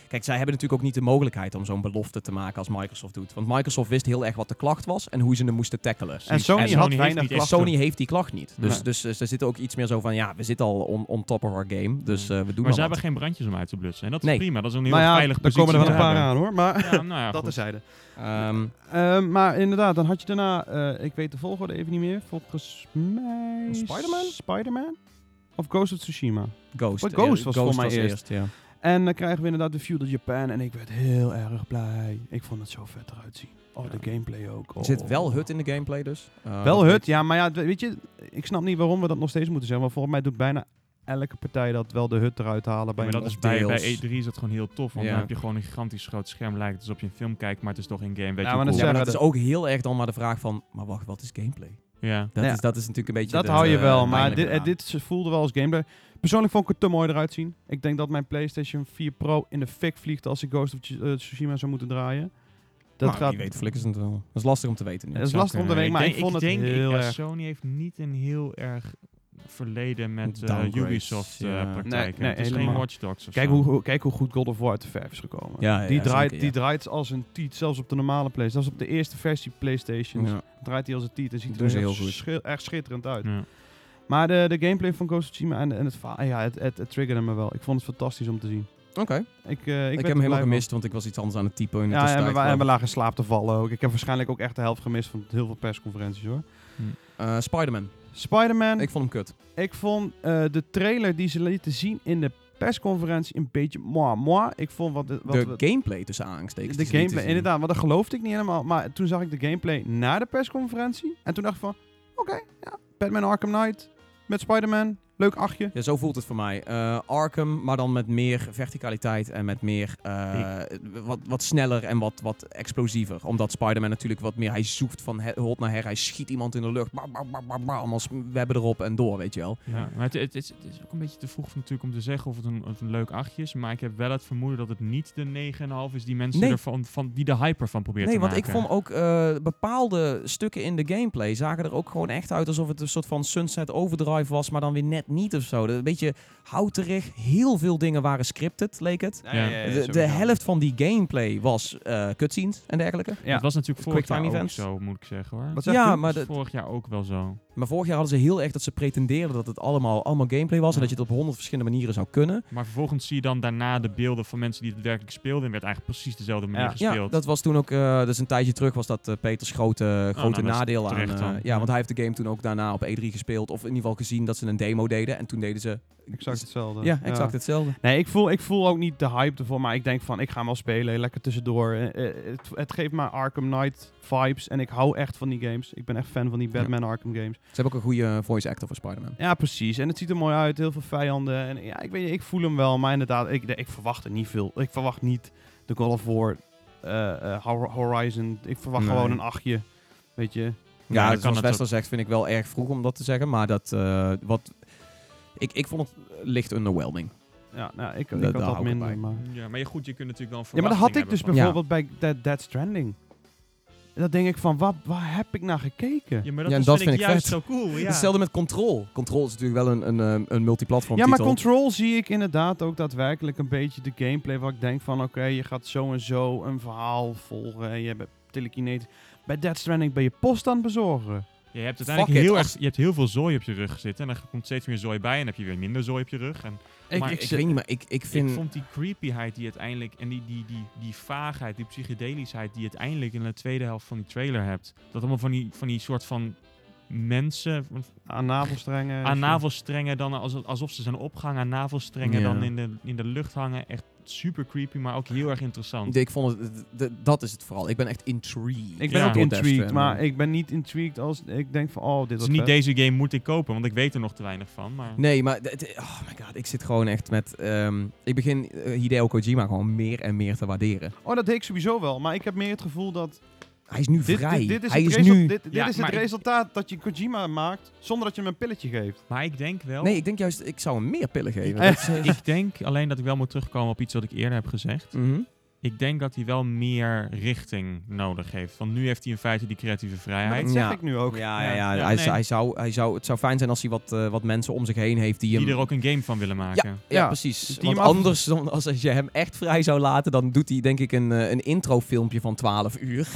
S1: Kijk, zij hebben natuurlijk ook niet de mogelijkheid om zo'n belofte te maken als Microsoft doet. Want Microsoft wist heel erg wat de klacht was en hoe ze hem moesten tackelen.
S2: En Sony,
S1: En Sony
S2: had
S3: heeft
S2: weinig
S3: niet
S1: En
S3: echt
S2: klachten.
S1: Sony heeft die klacht niet. Dus,
S3: Nee.
S1: dus, dus er zit ook iets meer zo van, ja, we zitten al on, on top of our game, dus eh, we doen maar
S3: maar ze
S1: wel
S3: hebben
S1: wat.
S3: geen brandjes om uit te blussen. En dat is
S1: Nee.
S3: prima. Dat is een heel
S2: Maar Nou ja,
S3: veilig
S2: daar komen er wel een
S1: positie
S2: paar aan hoor. Maar
S3: Ja, nou ja,
S2: dat
S3: goed.
S2: is zijde.
S1: Ehm,
S2: Ehm, maar inderdaad, dan had je daarna, eh, ik weet de volgorde even niet meer, volgens mij...
S1: Spider-Man?
S2: Spider-Man? Of Ghost of Tsushima?
S1: Ghost.
S2: Wat
S1: eh,
S2: Ghost was voor mij
S1: was
S2: eerst.
S1: ja.
S2: En dan krijgen we inderdaad de View to Japan. En ik werd heel erg blij. Ik vond het zo vet eruit zien. Oh, de gameplay ook.
S1: Er
S2: Oh.
S1: zit wel hut in de gameplay dus. Eh,
S2: Wel
S1: dat
S2: hut,
S1: weet-
S2: ja. Maar ja, weet je, ik snap niet waarom we dat nog steeds moeten zeggen. Want volgens mij doet bijna elke partij dat wel de hut eruit halen. Bij
S3: Maar dat
S2: een-
S3: is bij,
S1: deels.
S3: bij E3 is dat gewoon heel tof. Want
S1: Ja.
S3: dan heb je gewoon een gigantisch groot scherm. Lijkt het alsof je een film kijkt, maar het is toch een game. Weet
S2: Ja,
S3: je
S2: maar
S3: hoe
S2: dat
S1: Ja,
S3: cool.
S1: maar dat
S2: zeggen
S1: is ook heel erg dan maar de vraag van, maar wacht, wat is gameplay?
S3: ja.
S1: Dat,
S2: Ja.
S1: is, dat is natuurlijk een beetje
S2: dat
S1: de-
S2: hou je
S1: de
S2: wel. Maar
S1: pijnlijke
S2: dit, eh,
S1: eraan.
S2: dit is- voelde wel als gameplay. Persoonlijk vond ik het te mooi eruit zien. Ik denk dat mijn PlayStation 4 Pro in de fik vliegt als ik Ghost of Tsu- eh, Tsushima zou moeten draaien. Dat
S1: Maar
S2: gaat...
S1: Nou, wie weet flikkers het wel. Dat is lastig om te weten nu.
S2: Dat is
S3: Zou
S2: lastig om te
S3: kunnen.
S2: weten, maar ik
S3: denk-
S2: vond het
S3: denk,
S2: heel
S3: eh,
S2: erg-
S3: Sony heeft niet een heel erg verleden met eh,
S1: Downgrades,
S3: Ubisoft eh,
S1: ja.
S3: praktijken.
S2: Nee, nee,
S3: het is geen
S2: helemaal.
S3: Watch Dogs of
S2: Kijk
S3: zo.
S2: hoe, hoe- kijk hoe goed God of War te verf is gekomen.
S1: Ja, ja,
S2: die,
S1: ja,
S2: draait,
S1: zeker,
S2: die
S1: ja.
S2: draait als een tiet, zelfs op de normale PlayStation. Zelfs op de eerste versie PlayStation
S1: Ja.
S2: draait hij als een tiet en ziet er
S1: Dus
S2: dus
S1: heel
S2: echt,
S1: goed.
S2: schi- echt schitterend uit.
S3: Ja.
S2: Maar de, de gameplay van Ghost of Tsushima en, en het verhaal, ja, het, het, het triggerde me wel. Ik vond het fantastisch om te zien.
S1: Oké.
S2: Ik, eh, ik,
S1: Ik, heb
S2: ben er
S1: hem helemaal
S2: blij van.
S1: gemist, want ik was iets anders aan het typen in de
S2: Ja, en we,
S1: tussentijd,
S2: wa- en we
S1: geloof
S2: lagen in slaap te vallen ook. Ik heb waarschijnlijk ook echt de helft gemist van heel veel persconferenties hoor.
S1: ik. Eh, Spider-Man.
S2: Spider-Man, ik,
S1: Ik vond hem kut.
S2: vond eh, de trailer die ze lieten zien in de persconferentie een beetje moi moi. Ik vond wat, wat
S1: de
S2: we-
S1: gameplay tussen aanhalingstekens.
S2: De
S1: is niet te
S2: gameplay,
S1: zien.
S2: inderdaad, want dat geloofde ik niet helemaal. Maar toen zag ik de gameplay na de persconferentie. En toen dacht ik van, oké, ja, Batman Arkham Knight met Spider-Man. Leuk achtje.
S1: Ja, zo voelt het voor mij. Eh, Arkham, maar dan met meer verticaliteit en met meer... eh, wat, wat sneller en wat, wat explosiever. Omdat Spider-Man natuurlijk wat meer... Hij zoekt van he- hot naar her. Hij schiet iemand in de lucht. Bam, bam, bam, bam, bam. Als we hebben erop en door, weet je wel.
S3: Ja, maar het, het, is, het is ook een beetje te vroeg natuurlijk om te zeggen of het een, of een leuk achtje is. Maar ik heb wel het vermoeden dat het niet de 9,5 is die mensen
S1: Nee.
S3: ervan, van, die de hyper van proberen
S1: Nee,
S3: te
S1: want
S3: maken.
S1: ik vond ook eh, bepaalde stukken in de gameplay zagen er ook gewoon echt uit alsof het een soort van Sunset Overdrive was, maar dan weer net niet of zo. Dat- Een beetje houterig. Heel veel dingen waren scripted, leek het.
S3: ja, ja,
S1: De, de helft van die gameplay was eh cutscenes en dergelijke.
S2: Ja.
S3: Het was natuurlijk
S1: Het
S3: vorig jaar
S1: quicktime
S3: ook
S1: events.
S3: zo, moet ik zeggen hoor.
S2: Wat
S3: Dat
S2: zegt
S1: Ja,
S2: u?
S1: maar
S3: was
S1: dat-
S3: vorig jaar ook wel zo.
S1: Maar vorig jaar hadden ze heel erg dat ze pretendeerden dat het allemaal, allemaal gameplay was. En
S3: Ja.
S1: dat je het op honderd verschillende manieren zou kunnen.
S3: Maar vervolgens zie je dan daarna de beelden van mensen die het werkelijk speelden. En werd eigenlijk precies dezelfde manier
S2: Ja.
S3: gespeeld.
S1: Ja, dat was toen ook, eh, dus een tijdje terug was dat eh, Peters grote, grote
S3: nou, dat is
S1: nadeel aan.
S3: terecht
S1: eh,
S3: dan.
S1: ja,
S3: Ja.
S1: want hij heeft de game toen ook daarna op E3 gespeeld. Of in ieder geval gezien dat ze een demo deden. En toen deden ze...
S2: Exact hetzelfde.
S1: Ja, exact hetzelfde.
S2: Nee, ik voel, ik voel ook niet de hype ervoor, maar ik denk van, ik ga hem wel spelen, lekker tussendoor. Eh, eh, het, het geeft me Arkham Knight vibes en ik hou echt van die games. Ik ben echt fan van die Batman Arkham games.
S1: Ze hebben ook een goede voice actor voor Spider-Man.
S2: Ja, precies. En het ziet er mooi uit, heel veel vijanden. En ja, ik weet niet, ik voel hem wel, maar inderdaad, ik, ik verwacht er niet veel. Ik verwacht niet de God of War, eh, eh, Hor- Horizon. Ik verwacht
S1: Nee.
S2: gewoon een achtje, weet je.
S1: Ja,
S3: dat
S1: dat
S3: kan
S1: zoals
S3: natuurlijk.
S1: Wester zegt, vind ik wel erg vroeg om dat te zeggen. Maar dat, eh, wat... Ik, ik vond het eh, licht underwhelming.
S2: Ja, nou, ik, ik
S1: daar
S2: had
S1: hou ik
S2: dat
S1: het
S2: minder,
S1: bij.
S2: maar...
S3: Ja, maar je, goed, je kunt natuurlijk wel een
S2: Ja, maar dat had ik
S3: verwachting
S2: dus
S3: hebben
S2: bijvoorbeeld bij Dead, Dead Stranding. Dat denk ik van, wat, waar heb ik naar gekeken?
S3: van- Ja, maar dat,
S1: dus- Ja, en
S3: is-
S1: dat
S3: vind, ik
S1: vind ik
S3: juist
S1: vet.
S3: zo cool. Ja.
S1: Hetzelfde met Control. Control is natuurlijk wel een, een, ehm, een multiplatform
S2: Ja, maar
S1: titel.
S2: Control zie ik inderdaad ook daadwerkelijk een beetje de gameplay waar ik denk van, oké, je gaat zo en zo een verhaal volgen en je bent telekineet. Bij Dead Stranding ben je post aan het bezorgen.
S3: Ja, je hebt
S1: Fuck
S3: uiteindelijk heel
S1: it,
S3: erg,
S1: als-
S3: je hebt heel veel zooi op je rug zitten. En dan komt steeds meer zooi bij. En dan heb je weer minder zooi op je rug. En Maar
S1: ik, weet niet, maar ik, ik vind...
S3: Ik vond die creepyheid die uiteindelijk. En die, die, die, die vaagheid, die psychedelischheid die je uiteindelijk in de tweede helft van die trailer hebt. Dat allemaal van die, van die soort van mensen van-
S2: aan navelstrengen.
S3: aan navelstrengen dan als, alsof ze zijn opgehangen aan navelstrengen
S1: Ja.
S3: dan in de, in de lucht hangen. Echt super creepy, maar ook heel erg interessant.
S1: Ik vond het, d- d- dat is het vooral. Ik ben echt intrigued.
S2: Ik ben
S3: Ja.
S2: ook
S1: door Death
S2: intrigued,
S1: Stranding.
S2: maar ik ben niet intrigued als ik denk van, oh, dit
S3: Dus
S2: was
S3: niet
S2: vet.
S3: deze game moet ik kopen, want ik weet er nog te weinig van.
S2: Mm.
S3: Maar
S1: Nee, maar het- het- oh my god, ik zit gewoon echt met... ehm, ik begin eh, Hideo Kojima gewoon meer en meer te waarderen.
S2: Oh, dat deed ik sowieso wel, maar ik heb meer het gevoel dat
S1: Hij is nu
S2: dit,
S1: vrij.
S2: dit, dit is
S1: Hij
S2: het,
S1: is
S2: resul-
S1: nu...
S2: dit, dit
S3: Ja,
S2: is het
S3: maar ik-
S2: resultaat dat je Kojima maakt zonder dat je hem een pilletje geeft.
S3: maar ik denk wel.
S1: Nee, ik denk juist, ik zou hem meer pillen geven.
S2: Eh.
S1: Dat is, eh,
S3: Ik denk alleen dat ik wel moet terugkomen op iets wat ik eerder heb gezegd.
S1: mhm.
S3: Ik denk dat hij wel meer richting nodig heeft. Want nu heeft hij in feite die creatieve
S2: Maar
S3: vrijheid.
S2: dat zeg
S1: Ja.
S2: ik nu ook.
S1: Ja, ja,
S3: Ja.
S1: ja.
S3: Ja,
S1: hij,
S3: nee.
S1: hij zou, hij zou, het zou fijn zijn als hij wat, eh, wat mensen om zich heen heeft die hem...
S3: Die er ook een game van willen maken.
S1: ja, Ah,
S2: Ja,
S1: precies.
S2: die
S1: Want
S2: hem af-
S1: anders, dan, als je hem echt vrij zou laten, dan doet hij denk ik een, eh, een introfilmpje van 12 uur.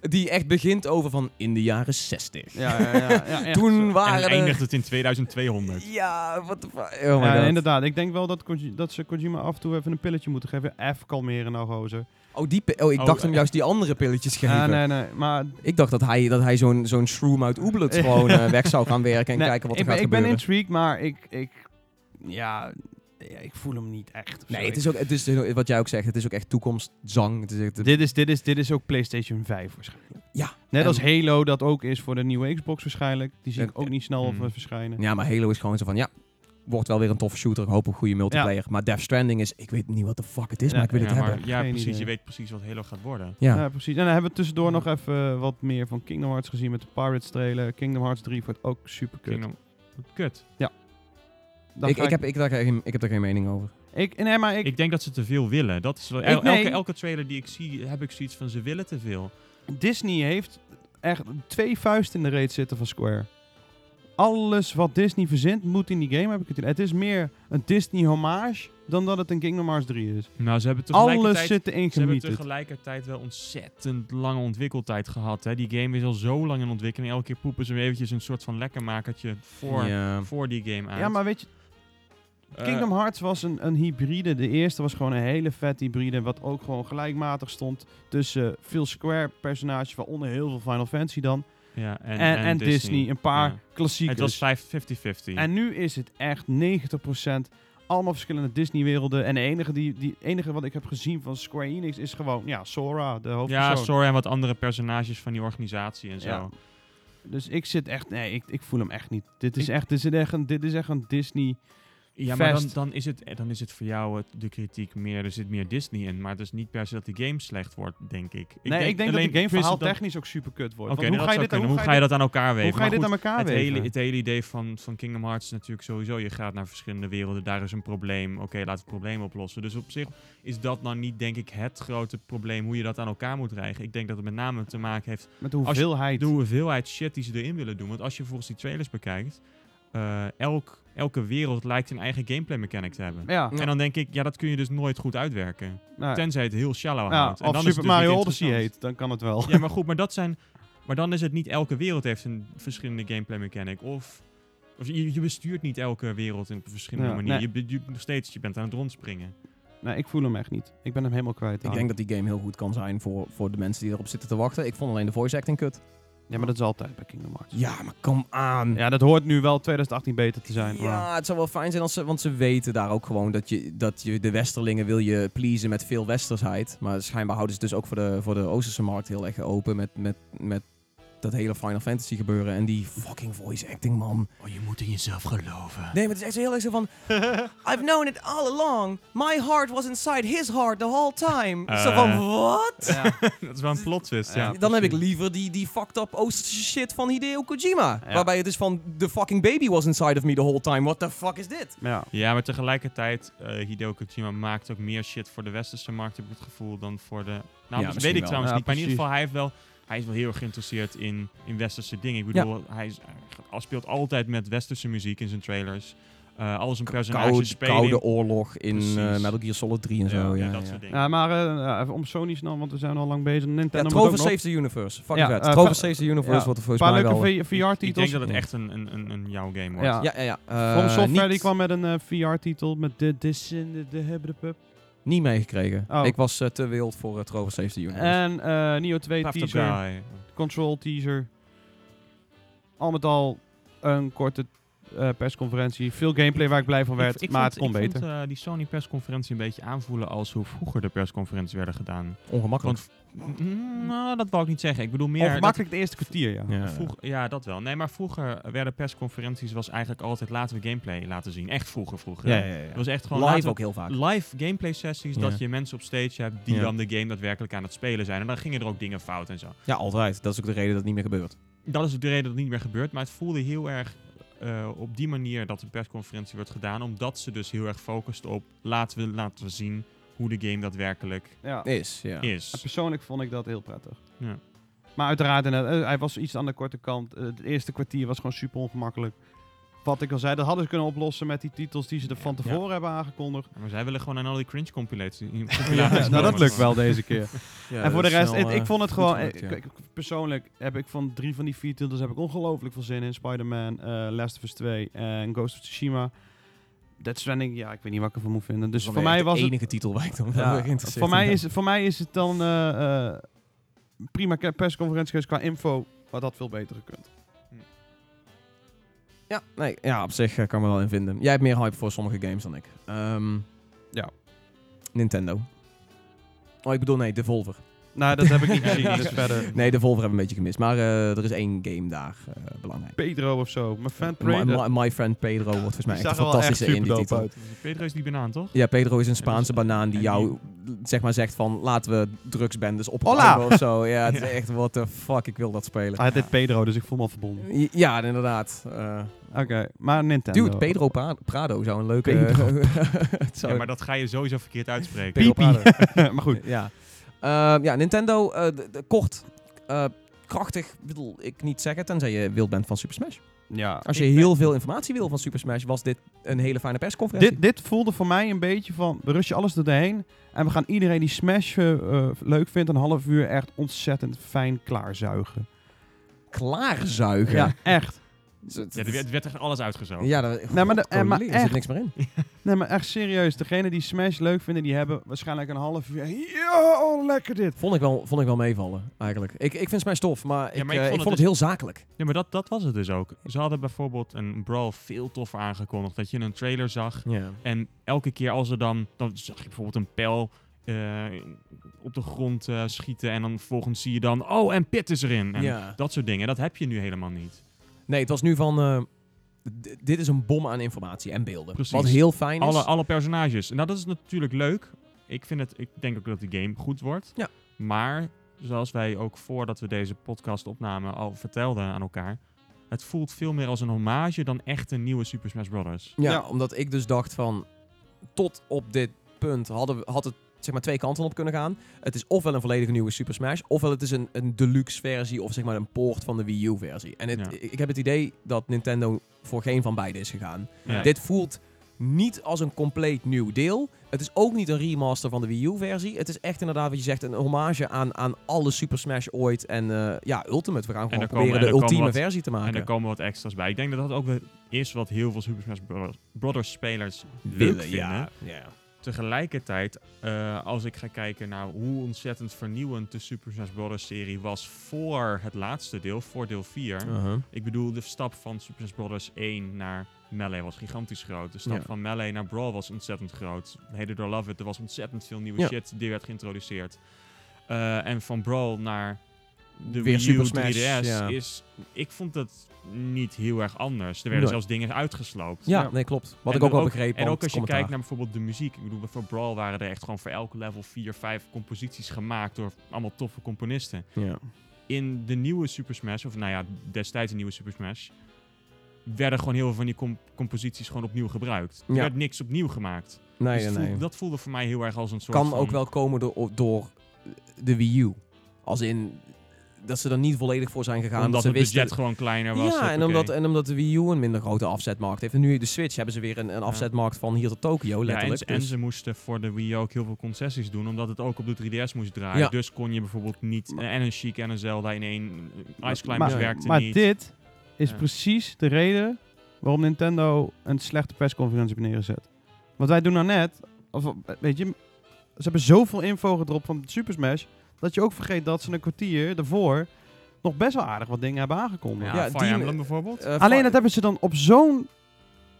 S1: die echt begint over van in de jaren 60.
S2: Ja, ja, ja, ja, ja, echt zo.
S1: Toen
S3: En
S1: waren
S3: dan
S1: er-
S3: eindigt het in 2200.
S1: Ja, wat de fuck. Oh my
S2: ja,
S1: god.
S2: inderdaad. Ik denk wel dat, Koji- dat ze Kojima af en toe even een pilletje moeten geven. Even kalmeren nou, gozer.
S1: Oh, die pi- oh ik
S3: Oh,
S1: dacht hem
S3: eh.
S1: juist die andere pilletjes geven.
S2: Ja, Ah, nee, nee. Maar
S1: Ik dacht dat hij, dat hij zo'n zo'n shroom uit Oeblet gewoon eh, weg zou gaan werken en
S2: nee,
S1: kijken wat er
S2: ik ben,
S1: gaat
S2: ik ben
S1: gebeuren.
S2: intrigued, maar ik... ik ja, ja, ik voel hem niet echt. of zo.
S1: nee, het
S2: Ik-
S1: is ook, het is, heel- wat jij ook zegt, het is ook echt toekomstzang. Het is echt-
S2: dit, is, dit, is, dit is ook PlayStation 5 waarschijnlijk.
S1: Ja,
S2: Net
S1: en-
S2: als Halo dat ook is voor de nieuwe Xbox waarschijnlijk. Die zie
S1: Ja,
S2: ik ook niet snel
S3: mm.
S2: eh, verschijnen.
S1: ja, maar Halo is gewoon zo van, ja, wordt wel weer een toffe shooter. Ik hoop een goede multiplayer. Maar Death Stranding is, ik weet niet wat de fuck het is,
S2: Ja,
S1: maar ik wil
S3: Ja,
S1: het
S3: maar-
S1: hebben.
S3: ja,
S2: Geen
S3: precies.
S2: idee.
S3: Je weet precies wat Halo gaat worden.
S1: Ja.
S2: Ja, precies. En dan hebben we tussendoor
S3: Ja.
S2: nog even eh, wat meer van Kingdom Hearts gezien met de Pirates trailer. Kingdom Hearts 3 wordt ook super kut.
S3: Kingdom- Kut.
S1: ik, ik, heb, ik, daar geen, ik heb daar geen mening over.
S2: ik, nee, maar ik,
S3: Ik denk dat ze te veel willen. Dat is wel,
S2: Ik-
S3: el-
S2: nee.
S3: elke, elke trailer die ik zie, heb ik zoiets van ze willen te veel.
S2: Disney heeft echt twee vuisten in de reet zitten van Square. Alles wat Disney verzint moet in die game, heb ik het idee. Het is meer een Disney-hommage dan dat het een Kingdom Hearts 3 is.
S3: Nou, ze hebben
S2: Alles
S3: tegelijkertijd,
S2: zit erin
S3: ze hebben
S2: gemieterd.
S3: tegelijkertijd wel ontzettend lange ontwikkeltijd gehad. Hè. Die game is al zo lang in ontwikkeling. Elke keer poepen ze weer eventjes een soort van lekkermakertje voor,
S1: Ja.
S3: voor die game uit.
S2: Ja, maar weet je,
S3: Eh,
S2: Kingdom Hearts was een, een hybride. De eerste was gewoon een hele vet hybride. Wat ook gewoon gelijkmatig stond tussen veel Square-personages, waaronder heel veel Final Fantasy dan.
S3: ja, en,
S2: En, en, Disney. een paar
S3: Ja. Het
S2: klassiekers.
S3: was 50-50.
S2: En nu is het echt 90% allemaal verschillende Disney-werelden. En de enige, die, die enige wat ik heb gezien van Square Enix is gewoon, ja, Sora, de
S3: Ja,
S2: hoofdpersoon.
S3: sorry, en wat andere personages van die organisatie en zo.
S2: Ja. Dus ik zit echt, nee, ik, ik voel hem echt niet. Dit is
S3: Ik-
S2: echt, dit is echt een, dit is echt een Disney.
S3: Ja, maar dan,
S2: Vast.
S3: dan, is het, eh, dan is het voor jou eh, de kritiek meer, er zit meer Disney in. Maar het is niet per se dat die game slecht wordt, denk ik.
S2: nee, ik denk dat
S3: alleen
S2: de game verhaal
S3: Crystal-
S2: technisch ook super kut wordt. Want
S3: Oké, nee,
S2: hoe,
S3: dat
S2: ga je
S3: zou
S2: dit,
S3: kunnen.
S2: hoe,
S3: hoe ga je dat aan elkaar
S2: hoe
S3: weven?
S2: ga je
S3: Maar
S2: dit aan
S3: goed,
S2: elkaar
S3: het hele,
S2: weten?
S3: het hele idee van, van Kingdom Hearts is natuurlijk sowieso, je gaat naar verschillende werelden, daar is een probleem, oké, laten we het probleem oplossen. Dus op zich is dat nou niet, denk ik, het grote probleem, hoe je dat aan elkaar moet krijgen. Ik denk dat het met name te maken heeft
S2: Met de hoeveelheid.
S3: de hoeveelheid shit die ze erin willen doen. Want als je volgens die trailers bekijkt, eh, elk, elke wereld lijkt een eigen gameplay mechanic te hebben.
S2: Ja,
S1: Ja.
S3: En dan denk ik, ja, dat kun je dus nooit goed uitwerken.
S2: nou,
S3: Tenzij het heel shallow
S2: ja,
S3: houdt. En
S2: of
S3: dan is
S2: Super
S3: het dus niet
S2: Mario Odyssey
S3: interessant.
S2: heet, dan kan het wel.
S3: Ja, maar goed, maar dat zijn. Maar dan is het niet elke wereld heeft een verschillende gameplay mechanic. Of, of je, je bestuurt niet elke wereld op een verschillende
S2: Ja,
S3: manier.
S2: nee.
S3: Je, be- je- nog steeds, je bent aan het rondspringen.
S2: Nee, ik voel hem echt niet. Ik ben hem helemaal kwijt.
S1: Ik
S2: aan.
S1: denk dat die game heel goed kan zijn voor, voor de mensen die erop zitten te wachten. Ik vond alleen de voice acting kut.
S2: Ja, maar dat is altijd bij Kingdom Hearts.
S1: Ja, maar kom aan.
S2: Ja, dat hoort nu wel 2018 beter te zijn. maar-
S1: Ja, het zou wel fijn zijn als ze, want ze weten daar ook gewoon dat je, dat je de Westerlingen wil je pleasen met veel Westersheid. Maar schijnbaar houden ze het dus ook voor de, voor de Oosterse markt heel erg open met, met, met dat hele Final Fantasy gebeuren en die fucking voice acting, man.
S3: Oh, je moet in jezelf geloven.
S1: Nee, maar het is echt zo heel erg zo van, I've known it all along. My heart was inside his heart the whole time.
S3: Eh.
S1: Zo van, wat?
S3: dat is wel een plot twist, ja.
S1: Dan heb ik liever die, die fucked up Oosterse shit van Hideo Kojima.
S2: Ja.
S1: Waarbij het is van, the fucking baby was inside of me the whole time. What the fuck is dit?
S2: Ja.
S3: Ja, maar tegelijkertijd, eh Hideo Kojima maakt ook meer shit voor de westerse markt, heb ik het gevoel, dan voor de... Nou, dat
S1: misschien
S3: weet ik
S1: wel.
S3: trouwens
S2: Ja,
S3: niet, maar in ieder
S2: precies.
S3: geval, hij, heeft wel, hij is wel heel erg geïnteresseerd in, in westerse dingen. Ik bedoel, hij, is, hij speelt altijd met westerse muziek in zijn trailers. Eh alles een personage
S1: Koude,
S3: spelen.
S1: koude oorlog in
S3: Precies.
S1: eh, Metal Gear Solid 3 en
S3: ja,
S1: zo. Ja, ja,
S3: dat soort dingen.
S2: Ja, maar eh, ja, even om Sony snel, want we zijn al lang bezig. Nintendo
S1: Ja,
S2: moet
S1: Trover
S2: ook nog-
S1: Saves the Universe. Fucking
S2: Ja,
S1: vet.
S2: eh,
S1: Trover
S2: pa-
S1: Saves the Universe
S2: ja,
S1: wordt er volgens
S2: Een paar
S1: mij
S2: leuke
S1: wel...
S2: V-
S3: Ik
S2: VR-titels.
S3: denk dat het
S1: Ja.
S3: echt een, een, een, een jouw game wordt.
S2: Ja.
S1: Ja, ja, ja. eh,
S2: From Software
S1: niet,
S2: die kwam met een eh, VR-titel met de This in de- de Hebbe de Pup.
S1: Niet meegekregen.
S2: Oh.
S1: Ik was eh, te wild voor eh, Trover Saves the Universe.
S2: En eh Neo 2
S3: After
S2: teaser,
S3: Guy.
S2: Control teaser. Al met al een korte eh, persconferentie. Veel gameplay waar ik blij van werd,
S3: Ik- ik
S2: maar
S3: vond-
S2: het kon
S3: ik vond,
S2: beter.
S3: eh, die Sony persconferentie een beetje aanvoelen als hoe vroeger de persconferenties werden gedaan.
S2: Eh,
S1: Ongemakkelijk.
S3: Want, Mm, nou, dat wou ik niet zeggen. Ik bedoel meer...
S2: Of makkelijk het eerste kwartier, ja.
S1: Ja.
S3: Vroeg, ja, dat wel. Nee, maar vroeger werden persconferenties was eigenlijk altijd laten we gameplay laten zien. Echt vroeger, vroeger.
S1: ja, ja, ja,
S3: Het
S1: ja.
S3: was echt gewoon
S1: Live
S3: laten
S1: ook
S3: we-
S1: heel vaak.
S3: live gameplay sessies
S1: Ja.
S3: dat je mensen op stage hebt die
S1: Ja.
S3: dan de game daadwerkelijk aan het spelen zijn. En dan gingen er ook dingen fout en zo.
S1: Ja, altijd. Dat is ook de reden dat het niet meer gebeurt.
S3: Dat is ook de reden dat het niet meer gebeurt. Maar het voelde heel erg eh, op die manier dat een persconferentie wordt gedaan. Omdat ze dus heel erg focust op laten we, laten we zien hoe de game daadwerkelijk
S2: Ja.
S1: Is, ja.
S3: is.
S2: Persoonlijk vond ik dat heel prettig.
S3: Ja.
S2: Maar uiteraard, inderdaad, eh, hij was iets aan de korte kant. Eh, het eerste kwartier was gewoon super ongemakkelijk. Wat ik al zei, dat hadden ze kunnen oplossen met die titels die ze er van
S3: Ja.
S2: tevoren hebben aangecondigd.
S3: Maar zij willen gewoon aan al die cringe compilaties.
S2: nou, dat
S3: komen.
S2: lukt wel deze keer.
S1: Ja,
S2: en voor de
S1: dat is
S2: rest,
S1: wel,
S2: ik,
S1: eh,
S2: ik vond het
S1: goed
S2: gewoon...
S1: gelukt,
S2: ik-
S1: ja.
S2: ik- persoonlijk heb ik van drie van die vier titels heb ik ongelooflijk veel zin in. Spider-Man, eh, Last of Us 2 en Ghost of Tsushima. Dead Stranding, ja, ik weet niet wat ik ervan moet vinden. Dus
S1: Dat
S2: voor
S1: was
S2: mij
S1: echt
S2: was
S1: de
S2: het...
S1: enige titel waar ik dan
S2: Ja,
S1: wel geïnteresseerd
S2: voor, mij
S1: in
S2: is,
S1: ben.
S2: voor mij is het dan eh, eh, prima ke- persconferentie geweest qua info. Maar dat veel beter gekund.
S1: Ja, nee, ja, op zich eh, kan ik me wel in vinden. Jij hebt meer hype voor sommige games dan ik. Ehm,
S2: Ja.
S1: Nintendo. Oh, ik bedoel, nee, Devolver.
S2: Nou, dat heb ik niet
S3: gezien,
S2: gezien.
S3: dus
S2: Dus verder
S1: Nee, Devolver hebben we een beetje gemist. Maar eh, er is één game daar eh, belangrijk. Eh,
S2: Pedro of zo. Mijn fan
S1: My,
S2: Pedro.
S1: my- my Friend Pedro wordt volgens mij
S2: Die
S1: echt een
S2: zag er wel echt
S1: fantastische indie
S2: superdope
S1: titel.
S2: uit.
S3: Pedro is die banaan, toch?
S1: Ja, Pedro is een
S3: En
S1: Spaanse
S3: die-
S1: banaan die
S3: en
S1: jou zeg maar zegt van laten we drugsbendes
S2: Hola!
S1: opruimen of zo. Ja, het is
S3: Ja.
S1: echt what the fuck, ik wil dat spelen.
S2: Hij deed Pedro, dus ik voel me al verbonden.
S1: Ja, inderdaad. Eh,
S2: Oké, maar Nintendo.
S1: dude, Pedro Pa- Prado zou een leuke...
S2: Pedro.
S1: het zou
S3: Ja, maar dat ga je sowieso verkeerd uitspreken.
S1: Pedro
S2: Pipi.
S1: Prado.
S2: maar goed.
S1: Ja, Ehm, ja Nintendo, eh, d- d- kort, eh, krachtig wil ik niet zeggen, tenzij je wild bent van Super Smash.
S2: Ja.
S1: Als je
S2: Ik-
S1: heel veel informatie wil van Super Smash, was dit een hele fijne persconferentie.
S2: Dit, dit voelde voor mij een beetje van, we rusten alles erheen. En we gaan iedereen die Smash eh, eh, leuk vindt, een half uur echt ontzettend fijn klaarzuigen.
S1: klaarzuigen.
S2: Ja, echt.
S3: Ja, er werd- er werd echt alles uitgezogen.
S1: Ja, dat,
S2: Nee, maar de- eh, maar
S1: Godverdomme, er zit
S2: echt.
S1: niks meer in.
S2: Nee, maar echt serieus. Degene die Smash leuk vinden, die hebben waarschijnlijk een half uur. Yo, lekker dit.
S1: Vond ik wel, vond ik wel meevallen, eigenlijk. Ik, ik vind Smash tof, maar ik,
S3: Ja, maar
S1: eh, ik vond, het,
S3: dus-
S1: heel zakelijk.
S3: Ja, maar dat, dat was het dus ook. Ze hadden bijvoorbeeld een Brawl veel toffer aangekondigd. Dat je een trailer zag.
S1: Ja.
S3: En elke keer als er dan... Dan zag je bijvoorbeeld een pijl eh, op de grond eh, schieten. En dan vervolgens zie je dan... Oh, en Pit is erin. En
S1: Ja.
S3: dat soort dingen. Dat heb je nu helemaal niet.
S1: Nee, het was nu van... eh, d- dit is een bom aan informatie en beelden.
S3: Precies.
S1: Wat heel fijn is.
S3: Alle, alle personages. En nou, dat is natuurlijk leuk. Ik, vind het, ik denk ook dat de game goed wordt.
S1: Ja.
S3: Maar, zoals wij ook voordat we deze podcast opnamen al vertelden aan elkaar... Het voelt veel meer als een hommage dan echt een nieuwe Super Smash Bros.
S1: Ja,
S2: Ja.
S1: omdat ik dus dacht van... Tot op dit punt hadden we, had het zeg maar twee kanten op kunnen gaan. Het is ofwel een volledige nieuwe Super Smash... ofwel het is een, een deluxe versie of zeg maar een poort van de Wii U versie. En het,
S3: Ja.
S1: ik, ik heb het idee dat Nintendo voor geen van beide is gegaan.
S3: Ja.
S1: Dit voelt niet als een compleet nieuw deel. Het is ook niet een remaster van de Wii U-versie. Het is echt inderdaad wat je zegt, een hommage aan, aan alle Super Smash ooit. En eh, ja, Ultimate. We gaan gewoon
S3: er komen-
S1: proberen
S3: en er
S1: de
S3: komen
S1: ultieme
S3: wat-
S1: versie te maken.
S3: En er komen wat extra's bij. Ik denk dat dat ook wel is wat heel veel Super Smash Bros- Brothers spelers leuk
S1: willen,
S3: vinden.
S1: ja. ja.
S3: Tegelijkertijd, eh, als ik ga kijken naar hoe ontzettend vernieuwend de Super Smash Bros. serie was voor het laatste deel, voor deel 4.
S1: Uh-huh.
S3: Ik bedoel, de stap van Super Smash Bros. 1 naar Melee was gigantisch groot. De stap
S1: Ja.
S3: van Melee naar Brawl was ontzettend groot. Heden door Love It, er was ontzettend veel nieuwe
S1: Ja.
S3: shit die werd geïntroduceerd. Eh, en van Brawl naar
S1: Weer
S3: de Wii U
S1: Super Smash,
S3: 3DS
S1: ja.
S3: is... Ik vond dat niet heel erg anders. Er werden
S1: Nee.
S3: zelfs dingen uitgesloopt.
S1: Ja,
S2: Ja.
S1: nee, klopt. Wat
S3: En
S1: ik ook wel
S3: ook-
S1: begreep.
S3: En
S1: want
S3: ook als je
S1: commentaar.
S3: kijkt naar bijvoorbeeld de muziek. Ik bedoel, voor Brawl waren er echt gewoon voor elk level 4, 5 composities gemaakt door allemaal toffe componisten.
S1: Ja.
S3: In de nieuwe Super Smash, of nou ja, destijds de nieuwe Super Smash, werden gewoon heel veel van die com- composities gewoon opnieuw gebruikt. Er
S1: Ja.
S3: werd niks opnieuw gemaakt.
S1: Nee,
S3: Dus het
S1: nee, nee.
S3: voelde- dat voelde voor mij heel erg als een soort
S1: Kan
S3: van-
S1: ook wel komen door, door de Wii U. Als in dat ze er niet volledig voor zijn gegaan. dat
S3: Omdat
S1: ze
S3: het budget
S1: wisten,
S3: gewoon kleiner was.
S1: Ja, en
S3: hoppakee.
S1: omdat, oh, en omdat de Wii U een minder grote afzetmarkt heeft. En nu de Switch hebben ze weer een, een afzetmarkt van hier tot Tokio,
S3: Ja, en,
S1: letterlijk.
S3: ze- en
S1: Dus-
S3: ze moesten voor de Wii U ook heel veel concessies doen, omdat het ook op de 3DS moest draaien.
S1: Ja.
S3: Dus kon je bijvoorbeeld niet en een Chic en een Zelda in één. Ice Climbers
S2: maar,
S3: werkte
S2: maar
S3: niet.
S2: dit is
S3: Ja.
S2: precies de reden waarom Nintendo een slechte persconferentie heeft neergezet. Want wij doen nou net, of, eh, weet je, ze hebben zoveel info gedropt van Super Smash, dat je ook vergeet dat ze een kwartier daarvoor nog best wel aardig wat dingen hebben aangekondigd.
S3: Ja,
S1: Ja,
S3: Fire
S1: die-
S3: Emblem bijvoorbeeld.
S1: Eh,
S2: Alleen
S1: Fi-
S2: dat hebben ze dan op zo'n,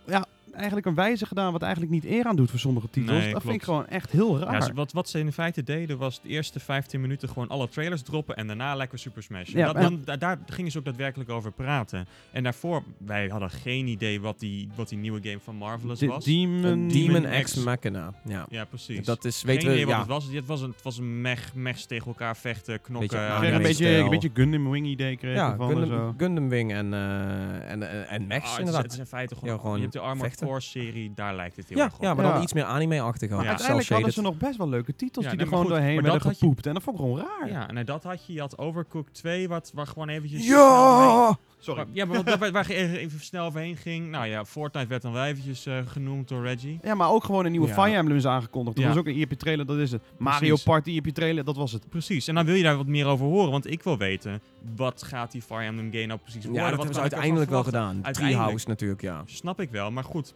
S2: ja, eigenlijk een wijze gedaan wat eigenlijk niet eer aan doet voor sommige titels.
S3: Nee,
S2: dat vind
S3: klopt.
S2: ik gewoon echt heel raar.
S3: Ja, ze- wat, wat ze in feite deden was de eerste 15 minuten gewoon alle trailers droppen en daarna lekker Super Smash.
S2: Ja,
S3: dat,
S2: en-
S3: dan, da- daar gingen ze ook daadwerkelijk over praten. En daarvoor, wij hadden geen idee wat die, wat die nieuwe game van Marvelous
S2: De-
S3: was.
S2: Demon,
S1: Een Demon
S3: Demon
S1: X
S3: X.
S1: Machina. Ja.
S3: ja, precies.
S1: Dat is,
S3: geen
S1: weten we,
S3: idee wat
S1: ja.
S3: het was. Het was een, het was een mech, mechs tegen elkaar vechten, knokken. eh,
S1: Beetje
S2: Ik
S1: aanrennen.
S2: kreeg een
S1: Anime
S2: beetje,
S1: stijl.
S2: een beetje Gundam Wing idee kreeg
S1: Ja,
S2: ervan en
S1: Gundam,
S2: zo.
S1: Gundam Wing en, eh en, en, en Max,
S3: Ah, het is-
S1: inderdaad.
S3: Het is in feite
S1: Ja,
S3: gewoon,
S1: gewoon
S3: je hebt de Armored
S1: vechten.
S3: Core serie, daar lijkt het heel
S1: ja,
S3: erg op.
S1: ja, maar dan
S2: Ja.
S1: iets meer anime-achtig.
S3: Maar
S1: Ja.
S2: Uiteindelijk hadden ze nog best wel leuke titels
S3: Ja,
S2: die
S3: nee,
S2: er
S3: maar
S2: gewoon
S3: goed,
S2: doorheen
S3: maar
S2: werden
S3: dat had je-
S2: gepoept. En dat vond ik gewoon raar.
S3: Ja, en dat had je. Je had Overcooked 2, wat, waar gewoon eventjes... snel
S2: Ja!
S3: mee-
S2: Sorry.
S3: Ja, maar wat- waar, waar je even- even snel overheen ging. Nou ja, Fortnite werd dan wel eventjes eh, genoemd door Reggie.
S2: Ja, maar ook gewoon een nieuwe
S1: Ja.
S2: Fire Emblem is aangekondigd. Dat
S3: Ja.
S2: was ook een ERP trailer, dat is het. Mario
S3: Precies.
S2: Party ERP trailer, dat was het.
S1: Eh,
S3: Precies, en dan wil je daar wat meer over horen, want ik wil weten, wat gaat die Fire Emblem game nou precies worden?
S1: Ja, dat
S3: Wat
S1: hebben ze
S3: kan ik ervan
S1: uiteindelijk wel
S3: verwachten?
S1: gedaan.
S3: Uiteindelijk.
S1: Treehouse natuurlijk, ja.
S3: Snap ik wel, maar goed,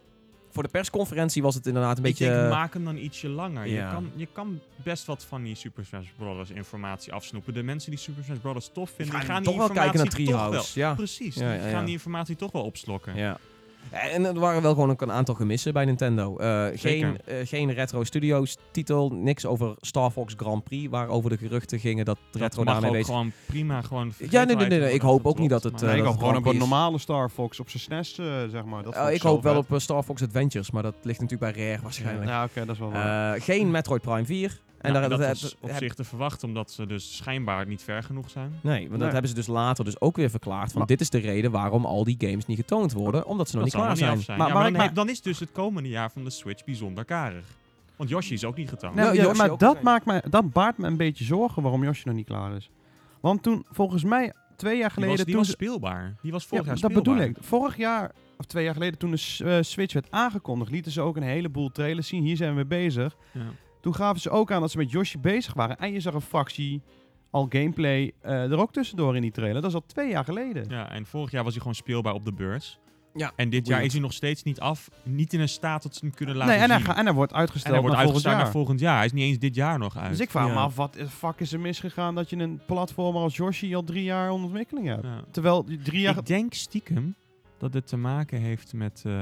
S1: Voor de persconferentie was het inderdaad een beetje... eh,
S3: ik denk, maak hem dan ietsje langer.
S1: Ja.
S3: Je, kan, je kan best wat van die Super Smash Bros. informatie afsnoepen. De mensen die Super Smash Bros. tof
S1: eh,
S3: vinden, die
S1: ja,
S3: gaan die
S1: toch wel kijken naar
S3: informatie toch wel...
S1: Treehouse. Ja.
S3: Precies,
S1: Ja,
S3: die
S1: ja, ja.
S3: gaan die informatie toch wel opslokken.
S1: eh, Ja. En er waren wel gewoon ook een aantal gemissen bij Nintendo. Eh, geen,
S3: Zeker.
S1: eh, geen Retro Studios titel, niks over Star Fox Grand Prix, waarover de geruchten gingen dat
S3: Dat
S1: Retro
S3: mag
S1: daarmee
S3: ook
S1: wees.
S3: gewoon prima gewoon
S1: nee, nee, nee, nee, ik hoop ook niet dat het,
S3: maar-
S1: eh,
S2: ik
S1: dat
S2: hoop gewoon op
S1: grappig
S2: een
S1: is.
S2: normale Star Fox op zijn SNES, eh, zeg maar. Dat
S1: Eh,
S2: vond
S1: ik hoop wel
S2: zo
S1: op eh, Star Fox Adventures, maar dat ligt natuurlijk bij Rare
S2: vet.
S1: waarschijnlijk.
S2: Ja, oké, dat is wel waar.
S1: Eh, geen Metroid Prime 4. En
S3: en
S1: daar,
S3: Nou, dat
S1: dat-
S3: is op
S1: heb-
S3: zich te verwachten, omdat ze dus schijnbaar niet ver genoeg zijn.
S1: Nee, want dat
S2: Nee.
S1: hebben ze dus later dus ook weer verklaard. Van
S2: Maar-
S1: dit is de reden waarom al die games niet getoond worden. Omdat ze nog
S3: dat
S1: niet
S3: zal
S1: klaar
S3: nog
S1: zijn.
S3: af zijn.
S2: Maar
S3: Ja, maar,
S2: waarom-
S3: ik- dan is dus het komende jaar van de Switch bijzonder karig. Want Yoshi is ook niet getoond.
S1: Nee,
S2: Nou, ja,
S1: Yoshi
S2: maar
S1: ook
S2: dat,
S1: waarschijnlijk.
S2: maakt me, dat baart me een beetje zorgen waarom Yoshi nog niet klaar is. Want toen, volgens mij, twee jaar
S3: die
S2: geleden...
S3: was, die
S2: toen
S3: was
S2: ze-
S3: speelbaar. Die was
S2: Ja,
S3: vorig jaar
S2: dat
S3: speelbaar.
S2: bedoel ik. Vorig jaar, of twee jaar geleden, toen de S- eh, Switch werd aangekondigd, lieten ze ook een heleboel trailers zien. Hier zijn we bezig.
S3: Ja.
S2: Toen gaven ze ook aan dat ze met Yoshi bezig waren. En je zag een fractie, al gameplay, eh, er ook tussendoor in die trailer. Dat is al twee jaar geleden.
S3: Ja, en vorig jaar was hij gewoon speelbaar op de beurs.
S1: Ja,
S3: En dit jaar
S1: weird.
S3: is hij nog steeds niet af. Niet in een staat dat ze hem kunnen laten
S2: nee, en hij,
S3: zien.
S2: ga- en hij wordt
S3: en
S2: uitgesteld
S3: hij wordt
S2: naar volgend
S3: uitgesteld
S2: jaar.
S3: naar volgend jaar. Hij is niet eens dit jaar nog uit.
S2: dus ik vraag
S1: Ja.
S2: me af, wat de fuck is er misgegaan dat je een platformer als Yoshi al drie jaar onder ontwikkeling hebt?
S3: Ja.
S2: Terwijl die drie jaar...
S3: Ik denk stiekem dat dit te maken heeft met, eh,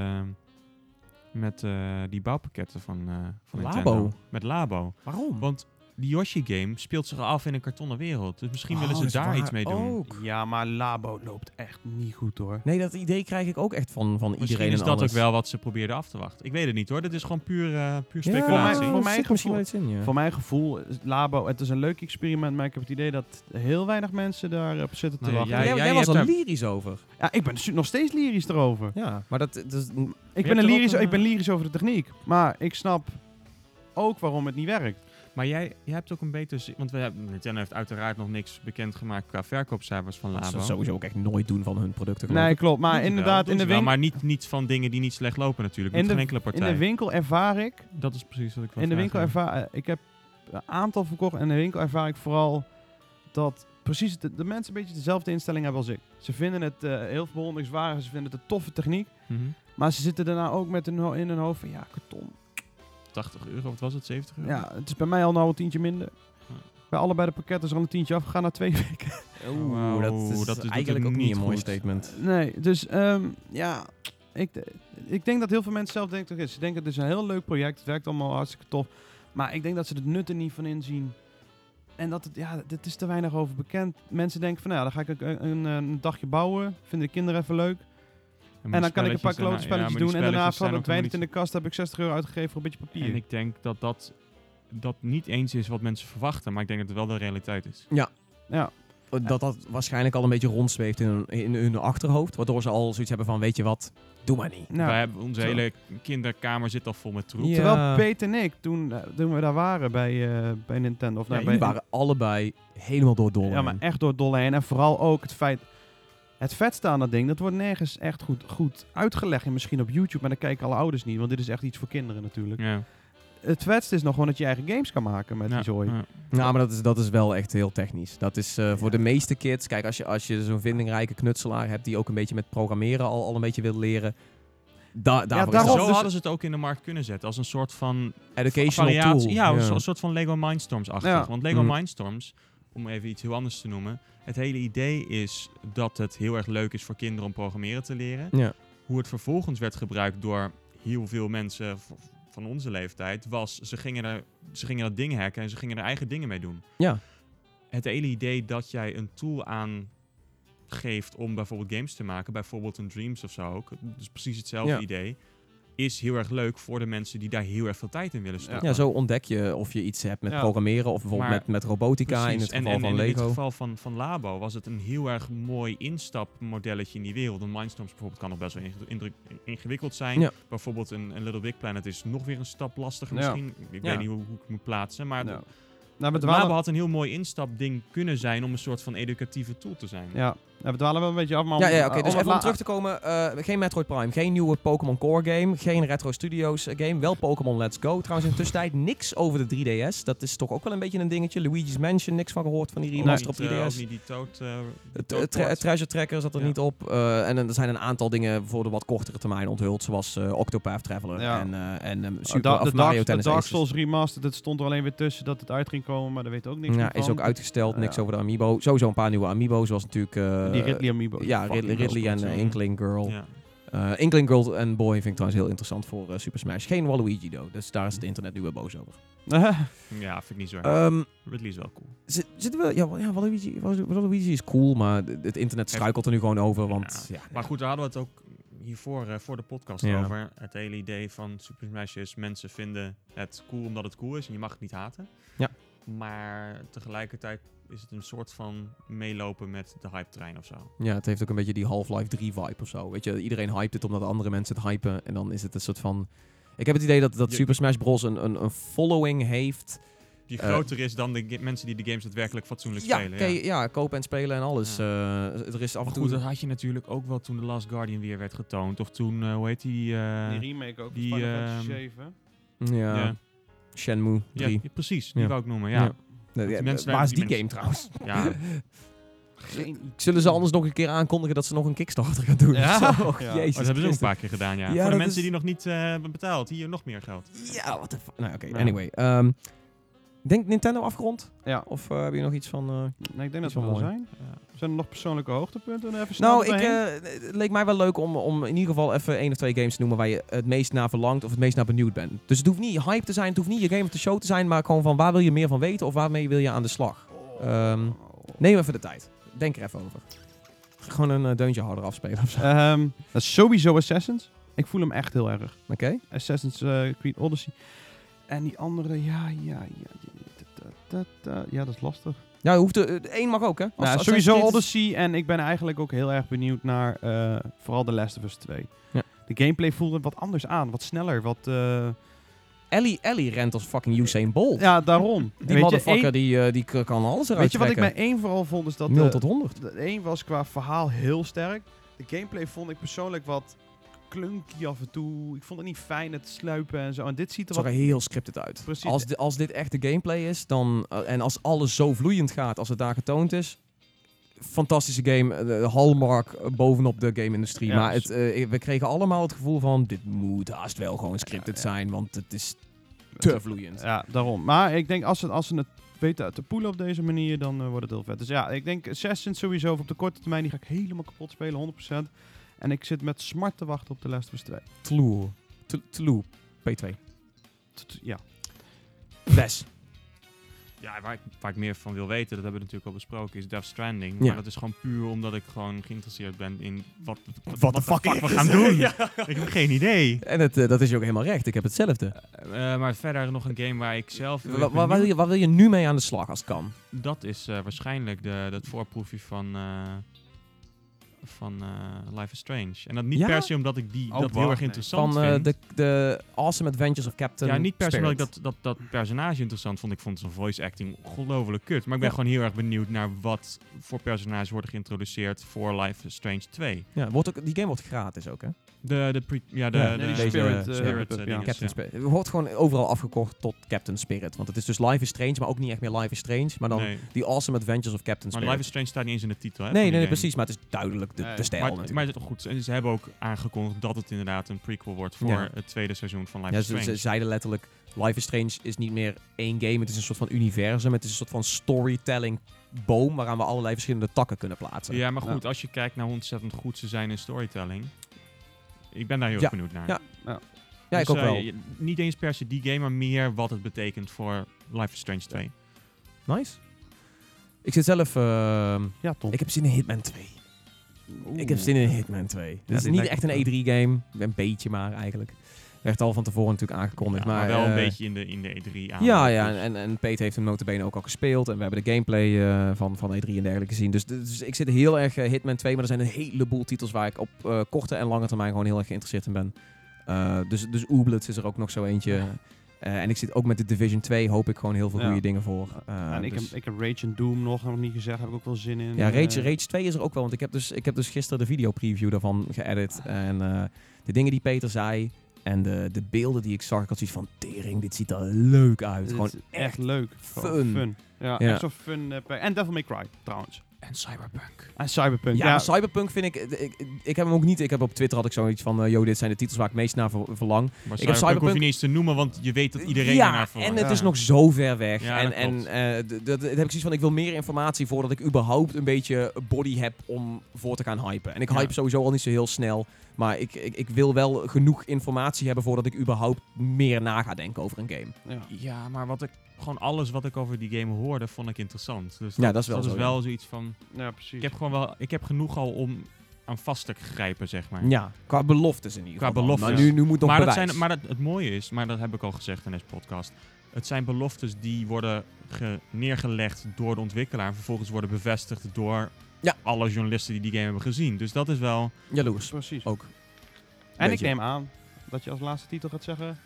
S3: met eh, die bouwpakketten van, eh van
S1: Labo.
S3: Nintendo. Met Labo.
S1: Waarom?
S3: Want die Yoshi-game speelt zich af in een kartonnen wereld. Dus misschien
S1: Oh,
S3: willen ze
S1: dat is
S3: daar
S1: waar
S3: iets mee
S2: Oh,
S3: doen.
S1: ook.
S2: Ja, maar Labo loopt echt niet goed hoor.
S1: Nee, dat idee krijg ik ook echt van, van
S3: Misschien
S1: iedereen
S3: is
S1: en
S3: dat
S1: alles.
S3: ook wel wat ze probeerden af te wachten. Ik weet het niet hoor. Dit is gewoon puur, eh, puur
S1: Ja,
S3: speculatie.
S2: Voor mij-
S1: er
S2: mijn
S1: zit misschien wel iets in, ja.
S2: Voor mijn gevoel, is Labo, het is een leuk experiment, maar ik heb het idee dat heel weinig mensen daarop zitten te
S3: Nee,
S2: wachten.
S1: jij,
S3: jij-
S1: jij
S3: jij
S1: was
S3: hebt
S1: er
S3: daar-
S1: lyrisch over.
S2: Ja, ik ben su- nog steeds lyrisch erover.
S1: Ja, maar dat... dat is-
S2: Ik,
S3: hebt
S2: ben een
S3: er ook
S2: lyrisch,
S3: een,
S2: ik ben
S3: eh,
S2: lyrisch over de techniek, maar ik snap ook waarom het niet werkt.
S3: Maar jij, jij hebt ook een beter... zi- Want we hebben, Nintendo heeft uiteraard nog niks bekendgemaakt qua verkoopcijfers van
S1: Dat ze
S3: Labo.
S1: dat sowieso ook echt nooit doen van hun producten. geloof
S2: Nee,
S1: ik.
S2: klopt. Maar
S3: Doen ze
S2: inderdaad,
S3: wel,
S2: in de,
S3: doen ze wel,
S2: winkel,
S3: Maar niet, niet van dingen die niet slecht lopen natuurlijk.
S2: In
S3: Niet
S2: de-
S3: van enkele
S2: in
S3: partij.
S2: de winkel ervaar ik
S3: Dat is precies wat ik wil
S2: In de winkel ervaar eh, ik heb een aantal verkocht en in de winkel ervaar ik vooral dat precies de, de mensen een beetje dezelfde instelling hebben als ik. Ze vinden het eh, heel bewonderingswaardig, ze vinden het een toffe techniek,
S3: Mhm.
S2: maar ze zitten daarna ook met hun, ho- in hun hoofd van ja, karton.
S3: 80 euro, wat was het? 70 euro?
S2: Ja, het is bij mij al nou een tientje minder.
S3: Ja.
S2: Bij allebei de pakketten is al een tientje afgegaan na twee weken.
S1: Oeh,
S3: Wauw,
S1: dat is
S3: dat doet
S1: eigenlijk
S3: het
S1: ook niet
S3: niet
S1: een mooi
S3: goed.
S1: statement.
S2: Nee, dus ehm, ja, ik, de- ik denk dat heel veel mensen zelf denken, oké, ze denken het is een heel leuk project, het werkt allemaal hartstikke tof, maar ik denk dat ze het nut er niet van inzien. En dat het, ja, dit is te weinig over bekend. Mensen denken van, nou ja, dan ga ik een, een, een dagje bouwen, vinden de kinderen even leuk. En dan kan ik een paar klote spelletjes doen en daarna van het weinig in de kast heb ik 60 euro uitgegeven voor een beetje papier.
S3: En ik denk dat dat, dat niet eens is wat mensen verwachten. Maar ik denk dat het wel de realiteit is.
S2: ja.
S1: Oh, Dat dat waarschijnlijk al een beetje rondzweeft in hun, in hun achterhoofd. Waardoor ze al zoiets hebben van, weet je wat, doe maar niet.
S2: nou,
S3: Wij hebben, onze
S2: Zo.
S3: hele kinderkamer zit al vol met troep.
S1: Ja.
S2: Terwijl Pete en ik, toen, eh, toen we daar waren bij, eh, bij Nintendo, of
S1: Ja,
S2: nou,
S1: jullie
S2: bij,
S1: waren allebei helemaal door dolle
S2: Ja, maar
S1: heen.
S2: echt door het dolle heen. En vooral ook het feit... Het vetste aan dat ding, dat wordt nergens echt goed, goed uitgelegd. En misschien op YouTube, maar dan kijken alle ouders niet. Want dit is echt iets voor kinderen natuurlijk.
S3: Ja.
S2: Het vetste is nog gewoon dat je eigen games kan maken met die zooi.
S3: Ja.
S1: Nou, maar dat is, dat is wel echt heel technisch. Dat is eh, voor de meeste kids. Kijk, als je, als je zo'n vindingrijke knutselaar hebt die ook een beetje met programmeren al, al een beetje wil leren. Da daarvoor is
S2: daarom-
S1: het
S3: Zo
S2: dus-
S3: hadden ze het ook in de markt kunnen zetten. Als een soort van
S1: een educational
S3: variatie.
S1: tool.
S3: Ja, een soort- soort van Lego Mindstorms-achtig.
S2: Ja.
S3: Want Lego
S1: Mm.
S3: Mindstorms, om even iets heel anders te noemen... Het hele idee is dat het heel erg leuk is voor kinderen om programmeren te leren.
S1: Ja.
S3: Hoe het vervolgens werd gebruikt door heel veel mensen v- van onze leeftijd... was ze gingen, er, ze gingen dat ding hacken en ze gingen er eigen dingen mee doen.
S1: Ja.
S3: Het hele idee dat jij een tool aan geeft om bijvoorbeeld games te maken, bijvoorbeeld een Dreams of zo ook, dus precies hetzelfde
S1: Ja.
S3: idee, is heel erg leuk voor de mensen die daar heel erg veel tijd in willen stoppen.
S1: Ja, zo ontdek je of je iets hebt met
S2: Ja.
S1: programmeren of bijvoorbeeld
S3: Maar-
S1: met, met robotica in
S3: Precies,
S1: het geval
S3: en, en
S1: van
S3: in
S1: Lego.
S3: dit geval van, van Labo was het een heel erg mooi instapmodelletje in die wereld. Een Mindstorms bijvoorbeeld kan nog best wel inge- indruk- ingewikkeld zijn.
S1: Ja.
S3: Bijvoorbeeld een, een Little Big Planet is nog weer een stap lastiger
S2: Ja.
S3: misschien. Ik
S1: Ja.
S3: weet niet hoe, hoe ik het moet plaatsen. Maar
S2: Nou, nou, we
S3: Labo
S2: dwalen,
S3: had een heel mooi instapding kunnen zijn om een soort van educatieve tool te zijn.
S2: ja, ja, we dwalen wel een beetje af. Maar om-
S1: Ja, ja oké. dus
S2: eh, om het
S1: even om
S2: la-
S1: terug te komen. eh, geen Metroid Prime, geen nieuwe Pokémon Core game, geen Retro Studios eh, game, wel Pokémon Let's Go. Trouwens in de tussentijd niks over de 3DS. Dat is toch ook wel een beetje een dingetje. Luigi's Mansion, niks van gehoord van die
S3: Ook
S1: remaster
S3: niet,
S1: op 3DS.
S3: eh, ook niet die toad. eh, die
S1: Het
S3: toad
S1: eh, tra-
S3: port.
S1: Treasure Tracker zat er
S3: Ja.
S1: niet op. eh, en er zijn een aantal dingen voor de wat kortere termijn onthuld. Zoals eh, Octopath Traveler
S2: Ja,
S1: en, eh, en ehm,
S2: Oh,
S1: Super,
S2: da-
S1: of
S2: de,
S1: Mario
S2: Dark, de
S1: Tennis
S2: Dark
S1: Aces.
S2: Souls Remastered, dat stond er alleen weer tussen dat het uit ging komen, maar daar weet ook niks meer
S1: ja,
S2: van.
S1: is ook uitgesteld.
S2: Ah,
S1: Niks
S2: ja.
S1: over de Amiibo. Sowieso een paar nieuwe Amiibo's. Zoals natuurlijk... eh,
S2: Die Ridley Amiibo.
S1: Ja, Ridley,
S3: fucking
S1: Ridley en
S3: welspot,
S1: eh,
S3: ja.
S1: Inkling Girl.
S3: Ja.
S1: Eh, Inkling Girl en Boy vind ik trouwens heel interessant voor eh, Super Smash. Geen Waluigi, though. Dus daar is het internet nu weer boos over.
S3: ja, vind ik niet zo erg.
S1: Ehm,
S3: Ridley is wel cool.
S1: zi- zitten we... Ja, wa- ja Waluigi, Walu- Waluigi is cool, maar d- het internet struikelt er nu gewoon over. Want ja,
S3: Maar goed, daar hadden we het ook hiervoor eh, voor de podcast
S1: Ja.
S3: over. Het hele idee van Super Smash is mensen vinden het cool omdat het cool is en je mag het niet haten.
S1: Ja.
S3: Maar tegelijkertijd is het een soort van meelopen met de hype trein of zo.
S1: ja, het heeft ook een beetje die Half-Life 3 vibe of zo. Weet je, iedereen hypt het omdat andere mensen het hypen. En dan is het een soort van... Ik heb het idee dat, dat
S3: Je-
S1: Super Smash Bros. Een, een, een following heeft.
S3: Die
S1: Eh,
S3: groter is dan de ga- mensen die de games daadwerkelijk fatsoenlijk
S1: Ja,
S3: spelen.
S1: oké, ja, kopen en spelen en alles. Eh, er is af en
S3: Maar
S1: toe...
S3: goed, dat had je natuurlijk ook wel toen The Last Guardian weer werd getoond. Of toen, eh, hoe heet die? eh,
S2: die remake ook,
S3: die,
S2: die, Final Fantasy
S3: ehm,
S2: 7.
S1: ja,
S3: ja.
S1: Shenmue 3.
S3: Ja, precies. Die
S1: Ja.
S3: wou ik noemen,
S1: Ja.
S3: ja.
S1: Nee,
S3: die
S1: ja,
S3: mensen-
S1: waar is
S3: die
S1: die game
S3: mensen-
S1: trouwens?
S3: Ja,
S2: Geen
S1: Zullen ze anders nog een keer aankondigen dat ze nog een Kickstarter gaan doen?
S2: Ja.
S1: of zo? Och,
S2: Ja.
S1: Jezus
S3: Oh, dat hebben ze ook een
S1: Christus.
S3: paar keer gedaan, ja.
S1: Ja,
S3: Voor de
S1: dat
S3: mensen
S1: is-
S3: die nog niet eh, hebben betaald, hier nog meer geld.
S1: Ja, wat de fuck. Nou, oké.
S2: Ja.
S1: Anyway. ehm, denk Nintendo afgerond?
S2: Ja.
S1: Of eh, heb je nog iets van... eh,
S2: Nee, ik denk dat
S1: Is
S2: we
S1: wel
S2: wel
S1: mooi.
S2: zijn.
S3: Ja.
S2: Zijn er nog persoonlijke hoogtepunten? Even snel
S1: Nou, ik,
S2: doorheen.
S1: eh, het leek mij wel leuk om, om in ieder geval even één of twee games te noemen waar je het meest naar verlangt of het meest naar benieuwd bent. Dus het hoeft niet hype te zijn, het hoeft niet je game of the show te zijn, maar gewoon van waar wil je meer van weten of waarmee wil je aan de slag? ehm, Neem even de tijd. Denk er even over. Gewoon een eh, deuntje harder afspelen of zo.
S2: Ehm, dat is sowieso Assassins. Ik voel hem echt heel erg.
S1: Oké?
S2: Assassins eh, Creed Odyssey. En die andere, ja, ja, ja. ja, da, da, da. Ja, dat is lastig.
S1: Ja, je hoeft er, één mag ook, hè? Als-
S2: nou,
S1: als-
S2: sowieso
S1: als-
S2: Odyssey. En ik ben eigenlijk ook heel erg benieuwd naar eh, vooral The Last of Us 2.
S1: Ja.
S2: De gameplay voelde wat anders aan. Wat sneller, wat... eh,
S1: Ellie, Ellie rent als fucking Usain Bolt.
S2: Ja, daarom.
S1: Oh. die
S2: Weet je,
S1: motherfucker
S2: één-
S1: die, eh, die k- kan alles eruit
S2: Weet je wat ik eh,
S1: trekken.
S2: bij één vooral vond? Is dat
S1: 0
S2: de,
S1: tot 100.
S2: de één was qua verhaal heel sterk. De gameplay vond ik persoonlijk wat klunky af en toe. Ik vond het niet fijn, het sluipen en zo. En dit ziet
S1: Het
S2: er
S1: zag
S2: wat...
S1: er heel scripted uit.
S2: Precies.
S1: Als, di- als dit echt de gameplay is, dan, eh, en als alles zo vloeiend gaat als het daar getoond is... Fantastische game, eh, de hallmark eh, bovenop de game-industrie.
S2: Ja,
S1: maar
S2: dus-
S1: het, eh, we kregen allemaal het gevoel van... dit moet haast wel gewoon scripted
S2: ja.
S1: zijn, want het is te vloeiend.
S2: Ja, daarom. Maar ik denk als ze, als ze het weten uit te poelen op deze manier, dan eh, wordt het heel vet. Dus ja, ik denk Assassin's sowieso op de korte termijn, die ga ik helemaal kapot spelen, 100%. En ik zit met smart te wachten op de Last of Us 2.
S1: Tloe. Tl- Tloe. P2.
S2: T- t- Ja.
S1: Bes.
S3: Ja, waar ik, waar ik meer van wil weten, dat hebben we natuurlijk al besproken, is Death Stranding.
S1: Ja.
S3: Maar dat is gewoon puur omdat ik gewoon geïnteresseerd ben in wat, wat,
S1: What
S3: de
S1: the
S3: fuck,
S1: fuck
S3: we
S1: is
S3: gaan
S1: het?
S3: doen. Ik heb geen idee.
S1: En het, eh, dat is je ook helemaal recht. Ik heb hetzelfde.
S3: Eh, maar verder nog een game waar ik zelf... heel
S1: Wa-
S3: erg
S1: wa- waar,
S3: benieuwd-
S1: wil je, waar wil je nu mee aan de slag als het kan?
S3: Dat is eh, waarschijnlijk de, dat voorproefje van, eh, van eh, Life is Strange. En dat niet
S1: Ja?
S3: per se omdat ik die
S2: Oh,
S3: dat heel
S2: wacht,
S3: erg
S2: nee.
S3: interessant
S1: Van eh,
S3: vind.
S1: de, de Awesome Adventures of Captain
S3: ja, niet per se omdat ik
S1: Spirit.
S3: dat, dat, dat personage interessant vond. Ik vond zijn voice acting ongelooflijk kut. Maar ik ben
S1: Ja.
S3: gewoon heel erg benieuwd naar wat voor personages worden geïntroduceerd voor Life is Strange 2.
S1: Ja, wordt ook, die game wordt gratis ook, hè?
S3: De, de pre- ja, de,
S1: Ja,
S3: de,
S1: nee,
S2: die
S1: deze, eh,
S2: Spirit, eh,
S3: Spirit,
S2: ja.
S3: eh, dinges,
S1: Captain
S3: ja.
S1: Spirit. Het Wordt gewoon overal afgekocht tot Captain Spirit. Want het is dus Life is Strange, maar ook niet echt meer Life is Strange. Maar dan
S3: Nee,
S1: die Awesome Adventures of Captain
S3: Maar
S1: Spirit.
S3: Life is Strange staat niet eens in de titel,
S1: nee,
S3: hè? van
S1: nee,
S3: die
S1: nee,
S3: game.
S1: precies. Maar het is duidelijk de,
S2: Nee,
S1: de stijl
S3: Maar,
S1: natuurlijk.
S3: maar het is goed. En ze hebben ook aangekondigd dat het inderdaad een prequel wordt voor
S1: Ja.
S3: het tweede seizoen van Life
S1: Ja,
S3: is
S1: ze,
S3: Strange.
S1: ze zeiden letterlijk, Life is Strange is niet meer één game. Het is een soort van universum. Het is een soort van storytelling boom waaraan we allerlei verschillende takken kunnen plaatsen.
S3: Ja, maar goed, als je kijkt naar hoe ontzettend goed ze zijn in storytelling. Ik ben daar heel
S1: Ja.
S3: erg benieuwd naar.
S1: Ja, Ja,
S3: Dus,
S1: ik ook
S3: eh,
S1: wel.
S3: je- niet eens per se die game, maar meer wat het betekent voor Life is Strange 2.
S1: Nice. Ik zit zelf... ehm,
S2: Ja, Tom.
S1: ik heb zin in Hitman 2.
S2: Oeh.
S1: Ik heb zin in Hitman 2. Het
S2: Ja,
S1: is
S2: die
S1: niet echt
S2: lijkt me
S1: een E3-game. Een beetje maar eigenlijk. Werd al van tevoren natuurlijk aangekondigd.
S3: Ja, maar,
S1: maar,
S3: wel een
S1: eh,
S3: beetje in de, in de E3 aan.
S1: Ja, ja
S3: Dus-
S1: en, en Pete heeft hem notabene ook al gespeeld. En we hebben de gameplay eh, van, van E3 en dergelijke gezien. Dus, dus ik zit heel erg eh, Hitman 2. Maar er zijn een heleboel titels waar ik op eh, korte en lange termijn gewoon heel erg geïnteresseerd in ben. Eh, dus dus Ooblets is er ook nog zo eentje. Eh, en ik zit ook met de Division 2. Hoop ik gewoon heel veel
S2: Ja.
S1: goede dingen voor. Eh,
S2: en ik,
S1: dus-
S2: heb, ik heb Rage and Doom nog, nog niet gezegd. Heb ik ook wel zin in.
S1: ja, Rage,
S2: Eh,
S1: Rage 2 is er ook wel. Want ik heb dus, ik heb dus gisteren de videopreview daarvan geëdit. En eh, de dingen die Peter zei en de, de beelden die ik zag, ik had zoiets van... Tering, dit ziet er leuk uit.
S2: dit
S1: Gewoon
S2: is
S1: echt...
S2: echt leuk. Gewoon
S1: fun.
S2: Ja,
S1: Ja.
S2: echt zo'n fun. eh, pa- en Devil May Cry, trouwens.
S3: En Cyberpunk.
S2: En Cyberpunk.
S1: Ja,
S2: Ja,
S1: maar Cyberpunk vind ik, ik... Ik heb hem ook niet... Ik heb op Twitter had ik zoiets van... eh, Yo, dit zijn de titels waar ik meest naar ver- verlang.
S3: Maar
S1: Ik heb
S3: Cyberpunk, hoef
S1: Cyberpunk-
S3: je niet eens te noemen, want je weet dat iedereen
S1: ja,
S3: ernaar verlangt.
S1: en het
S2: Ja.
S1: is nog zo ver weg.
S3: Ja,
S1: en
S3: dat
S1: en
S3: klopt.
S1: eh, d- dat, dat heb ik zoiets van, ik wil meer informatie voordat ik überhaupt een beetje body heb om voor te gaan hypen. En ik
S3: Ja.
S1: hype sowieso al niet zo heel snel. Maar ik, ik, ik wil wel genoeg informatie hebben voordat ik überhaupt meer na ga denken over een game.
S2: Ja.
S3: Ja, maar wat ik, gewoon alles wat ik over die game hoorde, vond ik interessant. Dus
S1: Ja, dat is wel
S3: dat
S1: zo,
S3: is wel zoiets van...
S2: Ja, precies.
S3: Ik heb gewoon wel... Ik heb genoeg al om aan vast te grijpen, zeg maar.
S1: Ja, qua beloftes in ieder
S3: Qua
S1: geval.
S3: beloftes.
S1: Maar nu, nu moet nog
S3: maar dat
S1: bewijs.
S3: zijn, maar dat, het mooie is, maar dat heb ik al gezegd in deze podcast. Het zijn beloftes die worden ge- neergelegd door de ontwikkelaar. En vervolgens worden bevestigd door
S1: Ja.
S3: alle journalisten die die game hebben gezien. Dus dat is wel.
S1: Jaloers,
S2: Precies.
S1: ook.
S2: en ik
S1: beetje.
S2: neem aan dat je als laatste titel gaat zeggen...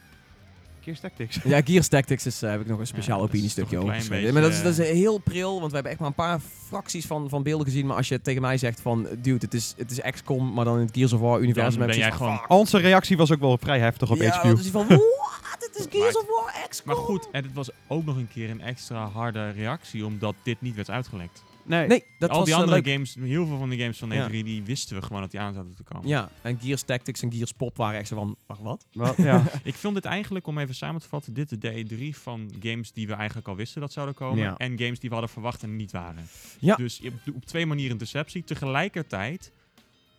S2: Keer Tactics.
S1: Ja, Gears Tactics is, eh, heb ik nog een speciaal
S3: Ja, dat is
S1: opiniestukje
S3: toch een
S1: over
S3: klein
S1: geschreven. Maar dat is,
S3: beetje, eh,
S1: dat is heel pril, want we hebben echt maar een paar fracties van, van beelden gezien. Maar als je tegen mij zegt van, dude, het is, het is XCOM, maar dan in het Gears of War universum.
S3: Dan
S1: heb ik
S3: ben jij
S1: zoiets
S3: gewoon-
S1: van,
S2: Onze reactie was ook wel vrij heftig op
S1: ja,
S2: HQ.
S1: dat is van, what? Het is
S3: Dat
S1: Gears
S3: maakt-
S1: of War XCOM.
S3: Maar goed, en het was ook nog een keer een extra harde reactie omdat dit niet werd uitgelekt.
S2: Nee.
S1: Nee, dat
S3: al
S1: was
S3: die
S1: eh,
S3: andere
S1: leuk.
S3: games, heel veel van de games van E3,
S1: Ja.
S3: die wisten we gewoon dat die aan zouden te komen.
S1: Ja, en Gears Tactics en Gears Pop waren echt zo van, wacht, wat?
S2: Wel, ja.
S3: Ik vond dit eigenlijk, om even samen te vatten, dit de E3 van games die we eigenlijk al wisten dat zouden komen.
S1: Ja.
S3: En games die we hadden verwacht en niet waren.
S1: Ja.
S3: Dus je hebt op twee manieren een deceptie. Tegelijkertijd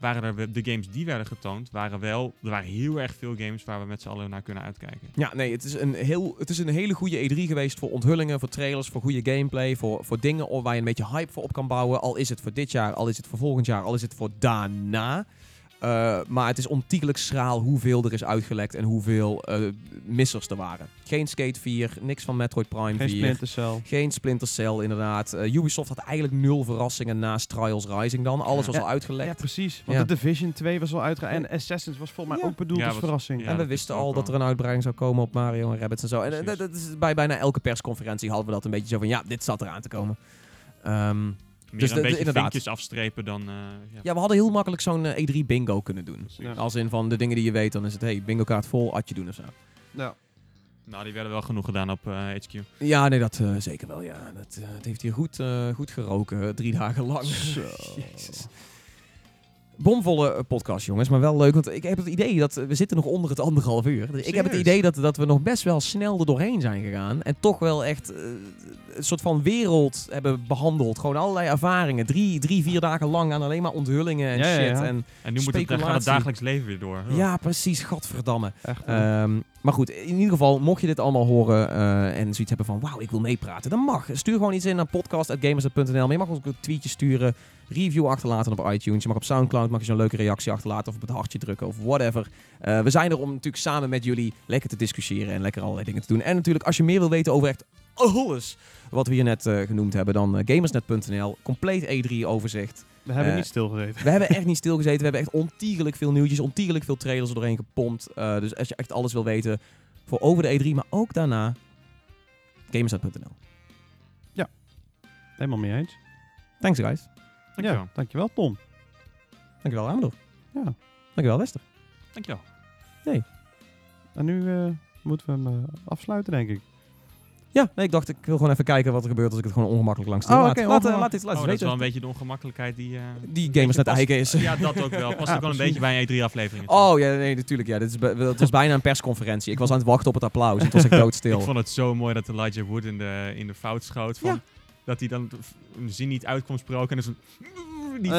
S3: waren er we- de games die werden getoond, waren wel, er waren heel erg veel games waar we met z'n allen naar kunnen uitkijken.
S1: Ja, nee, het is een, heel, het is een hele goede E3 geweest voor onthullingen, voor trailers, voor goede gameplay, voor, voor dingen om- waar je een beetje hype voor op kan bouwen. Al is het voor dit jaar, al is het voor volgend jaar, al is het voor daarna. Eh, maar het is ontiegelijk schraal hoeveel er is uitgelekt en hoeveel eh, missers er waren. Geen Skate 4, niks van Metroid Prime 4.
S2: Geen Splinter Cell.
S1: Geen Splinter Cell, inderdaad. Eh, Ubisoft had eigenlijk nul verrassingen naast Trials Rising dan. Alles was
S2: Ja.
S1: al
S2: Ja,
S1: uitgelekt.
S2: precies. Want
S1: Ja.
S2: de Division 2 was al uitgegaan. En Assassin's was volgens mij
S1: Ja.
S2: ook bedoeld
S3: Ja,
S2: als
S3: was-
S2: verrassing.
S3: ja.
S1: en we
S3: dat
S1: wisten
S3: is ook
S1: al dat er
S3: wel.
S1: een uitbreiding zou komen op Mario en Rabbits en zo. En eh, dat,
S3: Precies.
S1: dat is bij bijna elke persconferentie hadden we dat een beetje zo van... Ja, dit zat eraan te komen. Ehm,
S3: Meer
S1: Dus
S3: een
S1: de- de-
S3: beetje
S1: inderdaad.
S3: vinkjes afstrepen dan... eh, ja.
S1: ja, we hadden heel makkelijk zo'n eh, E3 bingo kunnen doen.
S2: Ja.
S1: Als in van de dingen die je weet, dan is het... hey, bingo kaart vol, atje doen of zo.
S2: Ja.
S3: Nou, die werden wel genoeg gedaan op eh, HQ.
S1: Ja, nee, dat eh, zeker wel, ja. Dat, eh, het heeft hier goed, eh, goed geroken, eh, drie dagen lang.
S2: Zo.
S1: Jezus. Bomvolle eh, podcast, jongens, maar wel leuk. Want ik heb het idee dat eh, we zitten nog onder het anderhalf uur. Dus ik heb het
S2: Serieus?
S1: idee dat, dat we nog best wel snel er doorheen zijn gegaan. En toch wel echt eh, een soort van wereld hebben behandeld. Gewoon allerlei ervaringen. Drie, drie vier dagen lang aan alleen maar onthullingen en
S2: Ja, ja,
S1: shit.
S2: ja.
S1: En,
S3: En nu moet het, dan gaat het
S1: Speculatie.
S3: dagelijks leven weer door. Oh, Huh.
S1: ja, precies, gadverdamme.
S2: Echt. eh,
S1: Ehm, maar goed, in ieder geval, mocht je dit allemaal horen eh, en zoiets hebben van... wauw, ik wil meepraten, dan mag. Stuur gewoon iets in naar podcast.gamers.nl. Maar je mag ook een tweetje sturen, review achterlaten op iTunes. Je mag op Soundcloud mag je zo'n leuke reactie achterlaten... of op het hartje drukken of whatever. Eh, we zijn er om natuurlijk samen met jullie lekker te discussiëren... en lekker allerlei dingen te doen. En natuurlijk, als je meer wil weten over echt alles... wat we hier net eh, genoemd hebben, dan eh, gamersnet.nl. Compleet E E3-overzicht.
S2: we hebben
S1: eh,
S2: niet stilgezeten.
S1: We hebben echt niet stilgezeten. We hebben echt ontiegelijk veel nieuwtjes, ontiegelijk veel trailers er doorheen gepompt. Eh, dus als je echt alles wil weten voor over de E3, maar ook daarna, gamersnet.nl.
S2: Helemaal mee eens.
S1: Thanks guys.
S3: Dankjewel.
S2: Ja, dankjewel Tom.
S1: Dankjewel Amador.
S2: Ja.
S1: Dankjewel Wester.
S3: Dankjewel.
S2: En nu eh, moeten we hem eh, afsluiten, denk ik.
S1: Ja, nee, ik dacht ik wil gewoon even kijken wat er gebeurt als ik het gewoon ongemakkelijk langs de
S2: Oh,
S1: laat.
S2: oké,
S1: laat, eh,
S2: ongemak-
S1: laat dit laat
S3: Oh,
S1: eens
S3: dat is wel een
S1: weten.
S3: beetje de ongemakkelijkheid die... eh,
S1: Die gamersnet
S3: past-
S1: eigen is.
S3: Ja, dat ook wel. Past
S2: Ja,
S3: ook wel een
S2: precies.
S3: beetje bij een E E3-aflevering.
S1: Oh ja, nee, natuurlijk. Ja, dit is be- het was bijna een persconferentie. Ik was aan het wachten op het applaus. en Het was echt doodstil.
S3: Ik vond het zo mooi dat Elijah Wood in de, in de fout schoot. Van,
S1: Ja.
S3: Dat hij dan v- een zin niet uitkomt spraken. En dan zo'n... Die
S2: Eh,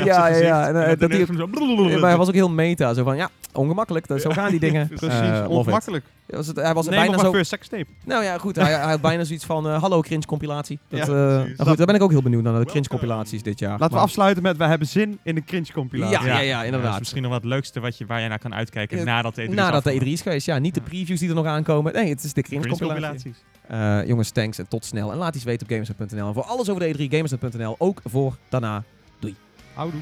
S3: op
S1: ja,
S3: zijn
S1: ja, ja.
S3: gezicht.
S1: En, eh,
S3: dan
S1: dat hij
S3: ineens zo-
S1: Ja, maar hij was ook heel meta. Zo van, ja, ongemakkelijk. dat- Zo gaan die dingen.
S2: Precies,
S1: Eh, love it.
S2: ongemakkelijk.
S1: Was het, hij was
S2: Neem
S1: bijna
S2: nog maar
S1: zo...
S2: first sex tape.
S1: Nou ja, goed. Hij, hij had bijna zoiets van, eh, hallo cringe compilatie. Dat,
S2: Ja,
S1: eh, nou
S2: precies.
S1: goed, daar ben ik ook heel benieuwd naar, naar de
S3: Welcome.
S1: cringe compilaties dit jaar.
S2: Laten we
S1: Maar-
S2: afsluiten met, we hebben zin in de cringe compilatie.
S1: Ja, ja, ja,
S3: Ja, dat is
S1: inderdaad.
S3: misschien nog wat het leukste wat je, waar je naar kan uitkijken
S1: Ja,
S3: nadat de E3 is
S1: Nadat de
S3: afgelopen.
S1: E3 is geweest. Ja, niet de
S3: Ja.
S1: previews die er nog aankomen. Nee, het is de cringe compilatie.
S2: compilaties.
S1: Eh, jongens, thanks en tot snel. En E laat iets weten op gamers.nl. En voor alles over de E3, gamers.nl. Ook voor daarna.
S2: Houdoe.